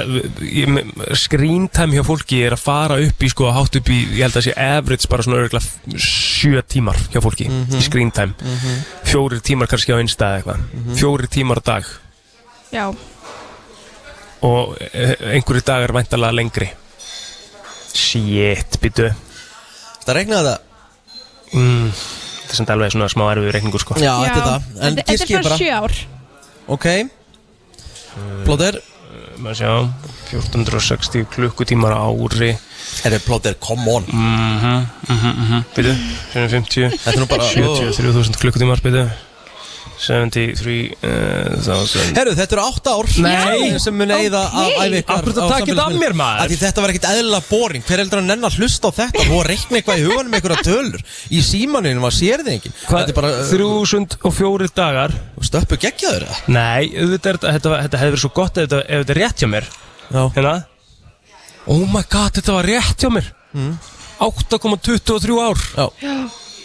ég, me- screen time hjá fólki er að fara upp í sko, hátt upp í, ég held að sé average bara svona örgulega 7 tímar hjá fólki í screen time fjórir tímar kannski á einstað eitthvað fjórir tímar á dag
Já,
og eh, einhverju dagar væntalega lengri shit, býtu
Það regnaði það
mm, þetta er samt alveg svona smá erfiður reikningur sko
Já,
já.
þetta er það En
Þetta-
gískið
Þetta er
bara
frá sjö ár
Ok Plóter
maður sjá, 1460 klukkutímar á ári
Herri, Plóter, come on
byrju, 750
Mhm, Þetta er nú bara
73.000 klukkutímar eh, byrju 73.000
Herru, þetta eru átta ár
Nei.
sem mun eigða að æfi ykkur
Af hverju
á
það takið af
samfélagsmiðlum?
mér, maður?
Af Því þetta var ekkit eðla boring Hver heldur að nenn að hlusta á þetta og að reikna eitthvað í huganum einhverja tölur Í símaninu var sér þið engin Þetta er bara þrjú...
3004 dagar
Stöppu geggjaður eða?
Nei, auðvitað er þetta, þetta, þetta hefði verið svo gott ef þetta, ef þetta er rétt hjá mér
Já.
Hérna Oh my god, þetta var rétt hjá mér
Mm.
8,23 ár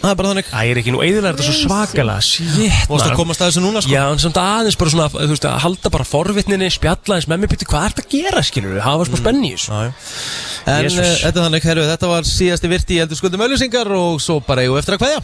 Það er bara þannig
Það er ekki nú eiginlega þetta svo svakalega Shit,
Mást að
maður.
komast að þessu núna sko
Já, en samt aðeins bara svona, þú veist, að halda bara forvitninni, spjalla eins með mér, byrju, hvað ert að gera, skilur við, hafa smá spenni í þessu.
Mm.
eh,
Já, já. En
Jesus.
uh, þetta er þannig, herru, þetta var síðasti virti í eldur skuldum auðlýsingar og svo bara eigum við eftir að kveðja.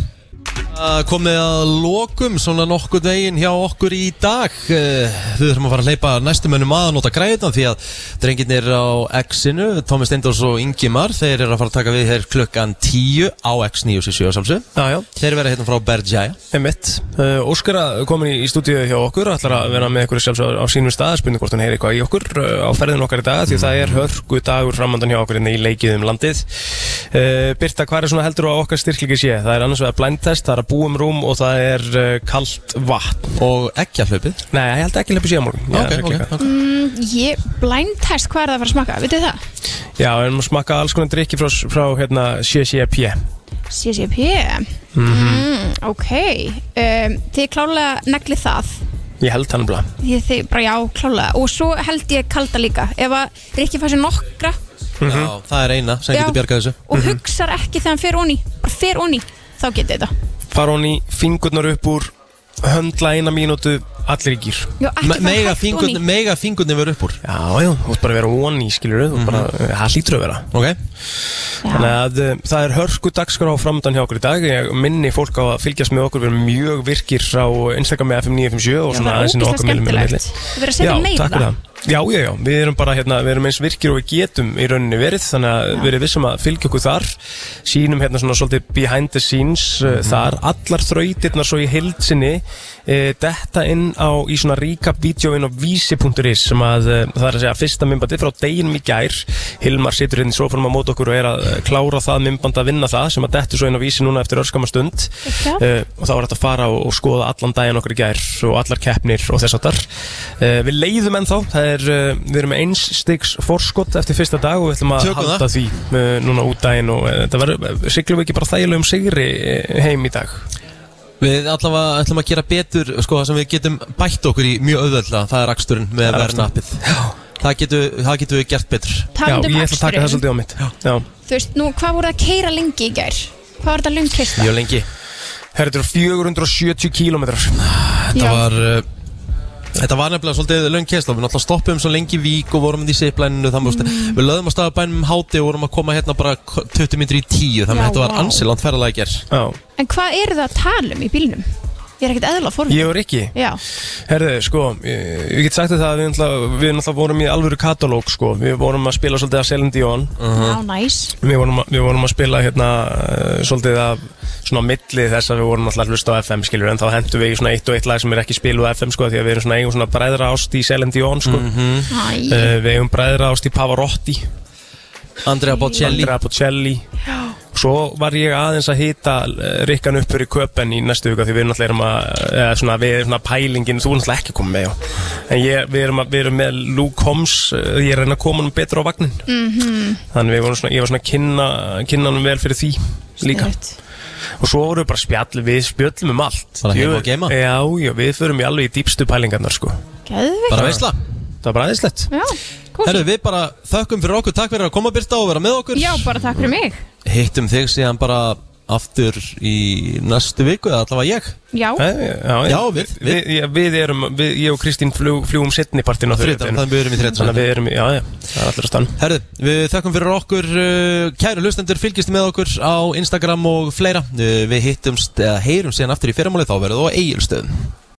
Uh, Komið að lokum svona nokkur veginn hjá okkur í dag. Uh, Við þurfum að fara að leipa næstum önum að nota græðutan því að drengirnir á X-inu, Tómi Steindors og Ingimar, þeir eru að fara að taka við hér klukkan 10 á X977 samsug.
Já, já,
Þeir vera hérna frá Bergjaja.
emitt. Uh, Óskara komin í, í stúdíu hjá okkur, ætlar að vera með ykkur sjálfsög á sínum stað, spurning hvort hún heyri eitthvað í okkur uh, á ferðin okkar í dag, því það
Mm.
er hörgu dagur framandan hjá okkur hérna í leikið um landið. Uh, Birta, hvað er svona heldur á okkar styrklegi sé? Það er annars vegar blindtest, það er að búum rúm og það er uh, kalt vatn.
Og ekki að hlaupið.
Nei, ég held ekki leppi síðan morgun. Já,
ok, ok, ok.
Ég, blind test, hvað er það að fara að smaka? Vitið þið það?
Já, við erum að smakka alls konar drikki frá, frá hérna, CCP.
CCP
Mhm.
mm, Ok um, Þið klálega neglið það
Ég held hann blá.
Þið, þið bara já, klálega Og svo held ég kalda líka Ef að Rikki fær sér nokkra
Já, það er eina sem
Já.
getur bjargað þessu.
Mhm.
Og hugsar ekki þegar hann fer onni Bara fer onni, þá getið þetta
fara hún í fingurnar upp úr höndla eina mínútu, allir í gýr
Já, ekki
Me-
fara
Mega
hægt
fingurni-
onni
mega fingurni verður upp úr.
Já, já, þú ert bara að vera one í, skilur þú bara, eh, það hlýtur að vera
Ok?
Þannig að eh, það er hörku dagskrá framdann hjá okkur í dag ég minni fólk á að fylgjast með okkur við erum mjög virkir á Instagram með FM957 og
Það
svona
er
aðeins inn á
ógeðslega
milli, milli, milli.
skemmtilegt Við verðum að setja
Já, takk fyrir
meira
það Já, já, já, við erum bara hérna, við erum eins virkir og við getum í rauninni verið, þannig að við erum vissum að fylgja okkur þar, sínum hérna svona svolítið behind the scenes
Mhm.
uh, þar, allar þrautirnar svo í heild sinni uh, detta inn á í svona ríka bídjóin á vísi.is sem að uh, það er að segja fyrsta mymbandi frá deginum í gær, Hilmar situr hérna í sofanum á mót okkur og er að uh, klára það mymband að vinna það sem að dettu svo inn á vísi núna eftir örskama stund
Ekki?
uh, og þá var þetta að fara og, og skoða allan daginn okkur í gær og allar keppnir og þess að þar uh, við leiðum ennþá, það er uh, við erum með eins stigs forskott eftir fyrsta dag og við ætlum að
Tökum
halda því uh, núna út daginn og uh, þetta verður, siglum við ekki bara þægilegum sigri uh, heim í dag
Við allavega ætlum að gera betur sko, það sem við getum bætt okkur í mjög auðveldlega það er aksturinn með
Það er
verðnappið það getum, það getum við gert betur
Já,
Talandi um
ég ætla að taka það
aksturinn.
svolítið á mitt Já.
Þú veist, nú, hvað voru það að keira lengi í gær? Hvað var þetta löng kista?
mjög lengi
Herra, þetta eru 470 kílómetrar
þetta var, uh, þetta var nefnilega svolítið löng kessla við náttúrulega stoppum svo lengi í vík og vorum í siplæninu mm. við löðum að staða bænum um háti og vorum að koma hérna bara k- 20 minnir í 10
Já,
þannig að þetta var
vá.
ansiland ferðalega að gera
Já.
En hvað eru það að tala um í bílnum? Ég er ekkert eðla að forvita
Ég og Rikki
Já,
Herðu, sko, ég, ég get sagt þér það að við náttúrulega, við náttúrulega vorum í alvöru katalóg, sko Við vorum að spila svolítið að Celine Dion
á næs
Við vorum, að- við vorum að spila hérna uh, svolítið af svona milli þess að við vorum alltaf að hlusta á FM skilur en þá hendur við í svona eitt og eitt lag sem er ekki spiluð á FM sko því að við erum svona eigum svona bræðra ást í Celine Dion sko
Mhm.
Æ,
uh, við eigum bræðra ást í Pavarotti
Andrea Bocelli
Andrea Bocelli svo var ég aðeins að hýta Rikkan upp fyrir köpen í næstu vika því við náttúrulega erum að eða, svona, við erum svona pælingin, þú er náttúrulega ekki komið með já. en ég, við, erum að, við erum með Luke Holmes, eh, ég reyna að koma hann betur á vagnin -hmm. þannig við vorum svona ég var svona að kynna, kynna hann vel fyrir því líka og svo vorum við bara spjall við spjöllum um allt
Bara heima
Jú,
og geima.
já, já, við förum í alveg í dýpstu pælingarnar sko.
geðvig
bara veistla
það var bara aðeinslegt
Já,
Herru,
kósi
við bara þökkum fyrir okkur, takk fyrir að koma Birta og vera með okkur
Já, bara takk fyrir mig
hittum þig síðan bara aftur í næstu viku eða allavega ég
Já,
Já, já,
Já, við-
við, við, já, við erum, við, ég og Kristín fljú, fljúum setnipartin á
Þriðjudag,
þriðutöðinu
þannig við erum í
Þannig að
þriðdagsvæðinu
við erum, já, já, það er allir að stann
Herðu, við þakkum fyrir okkur uh, Kæru hlustendur, fylgist með okkur Eh, á Instagram og fleira uh, Við hittumst, eða heyrum síðan aftur í fyrramáli Þá verður þú á eigilstöðum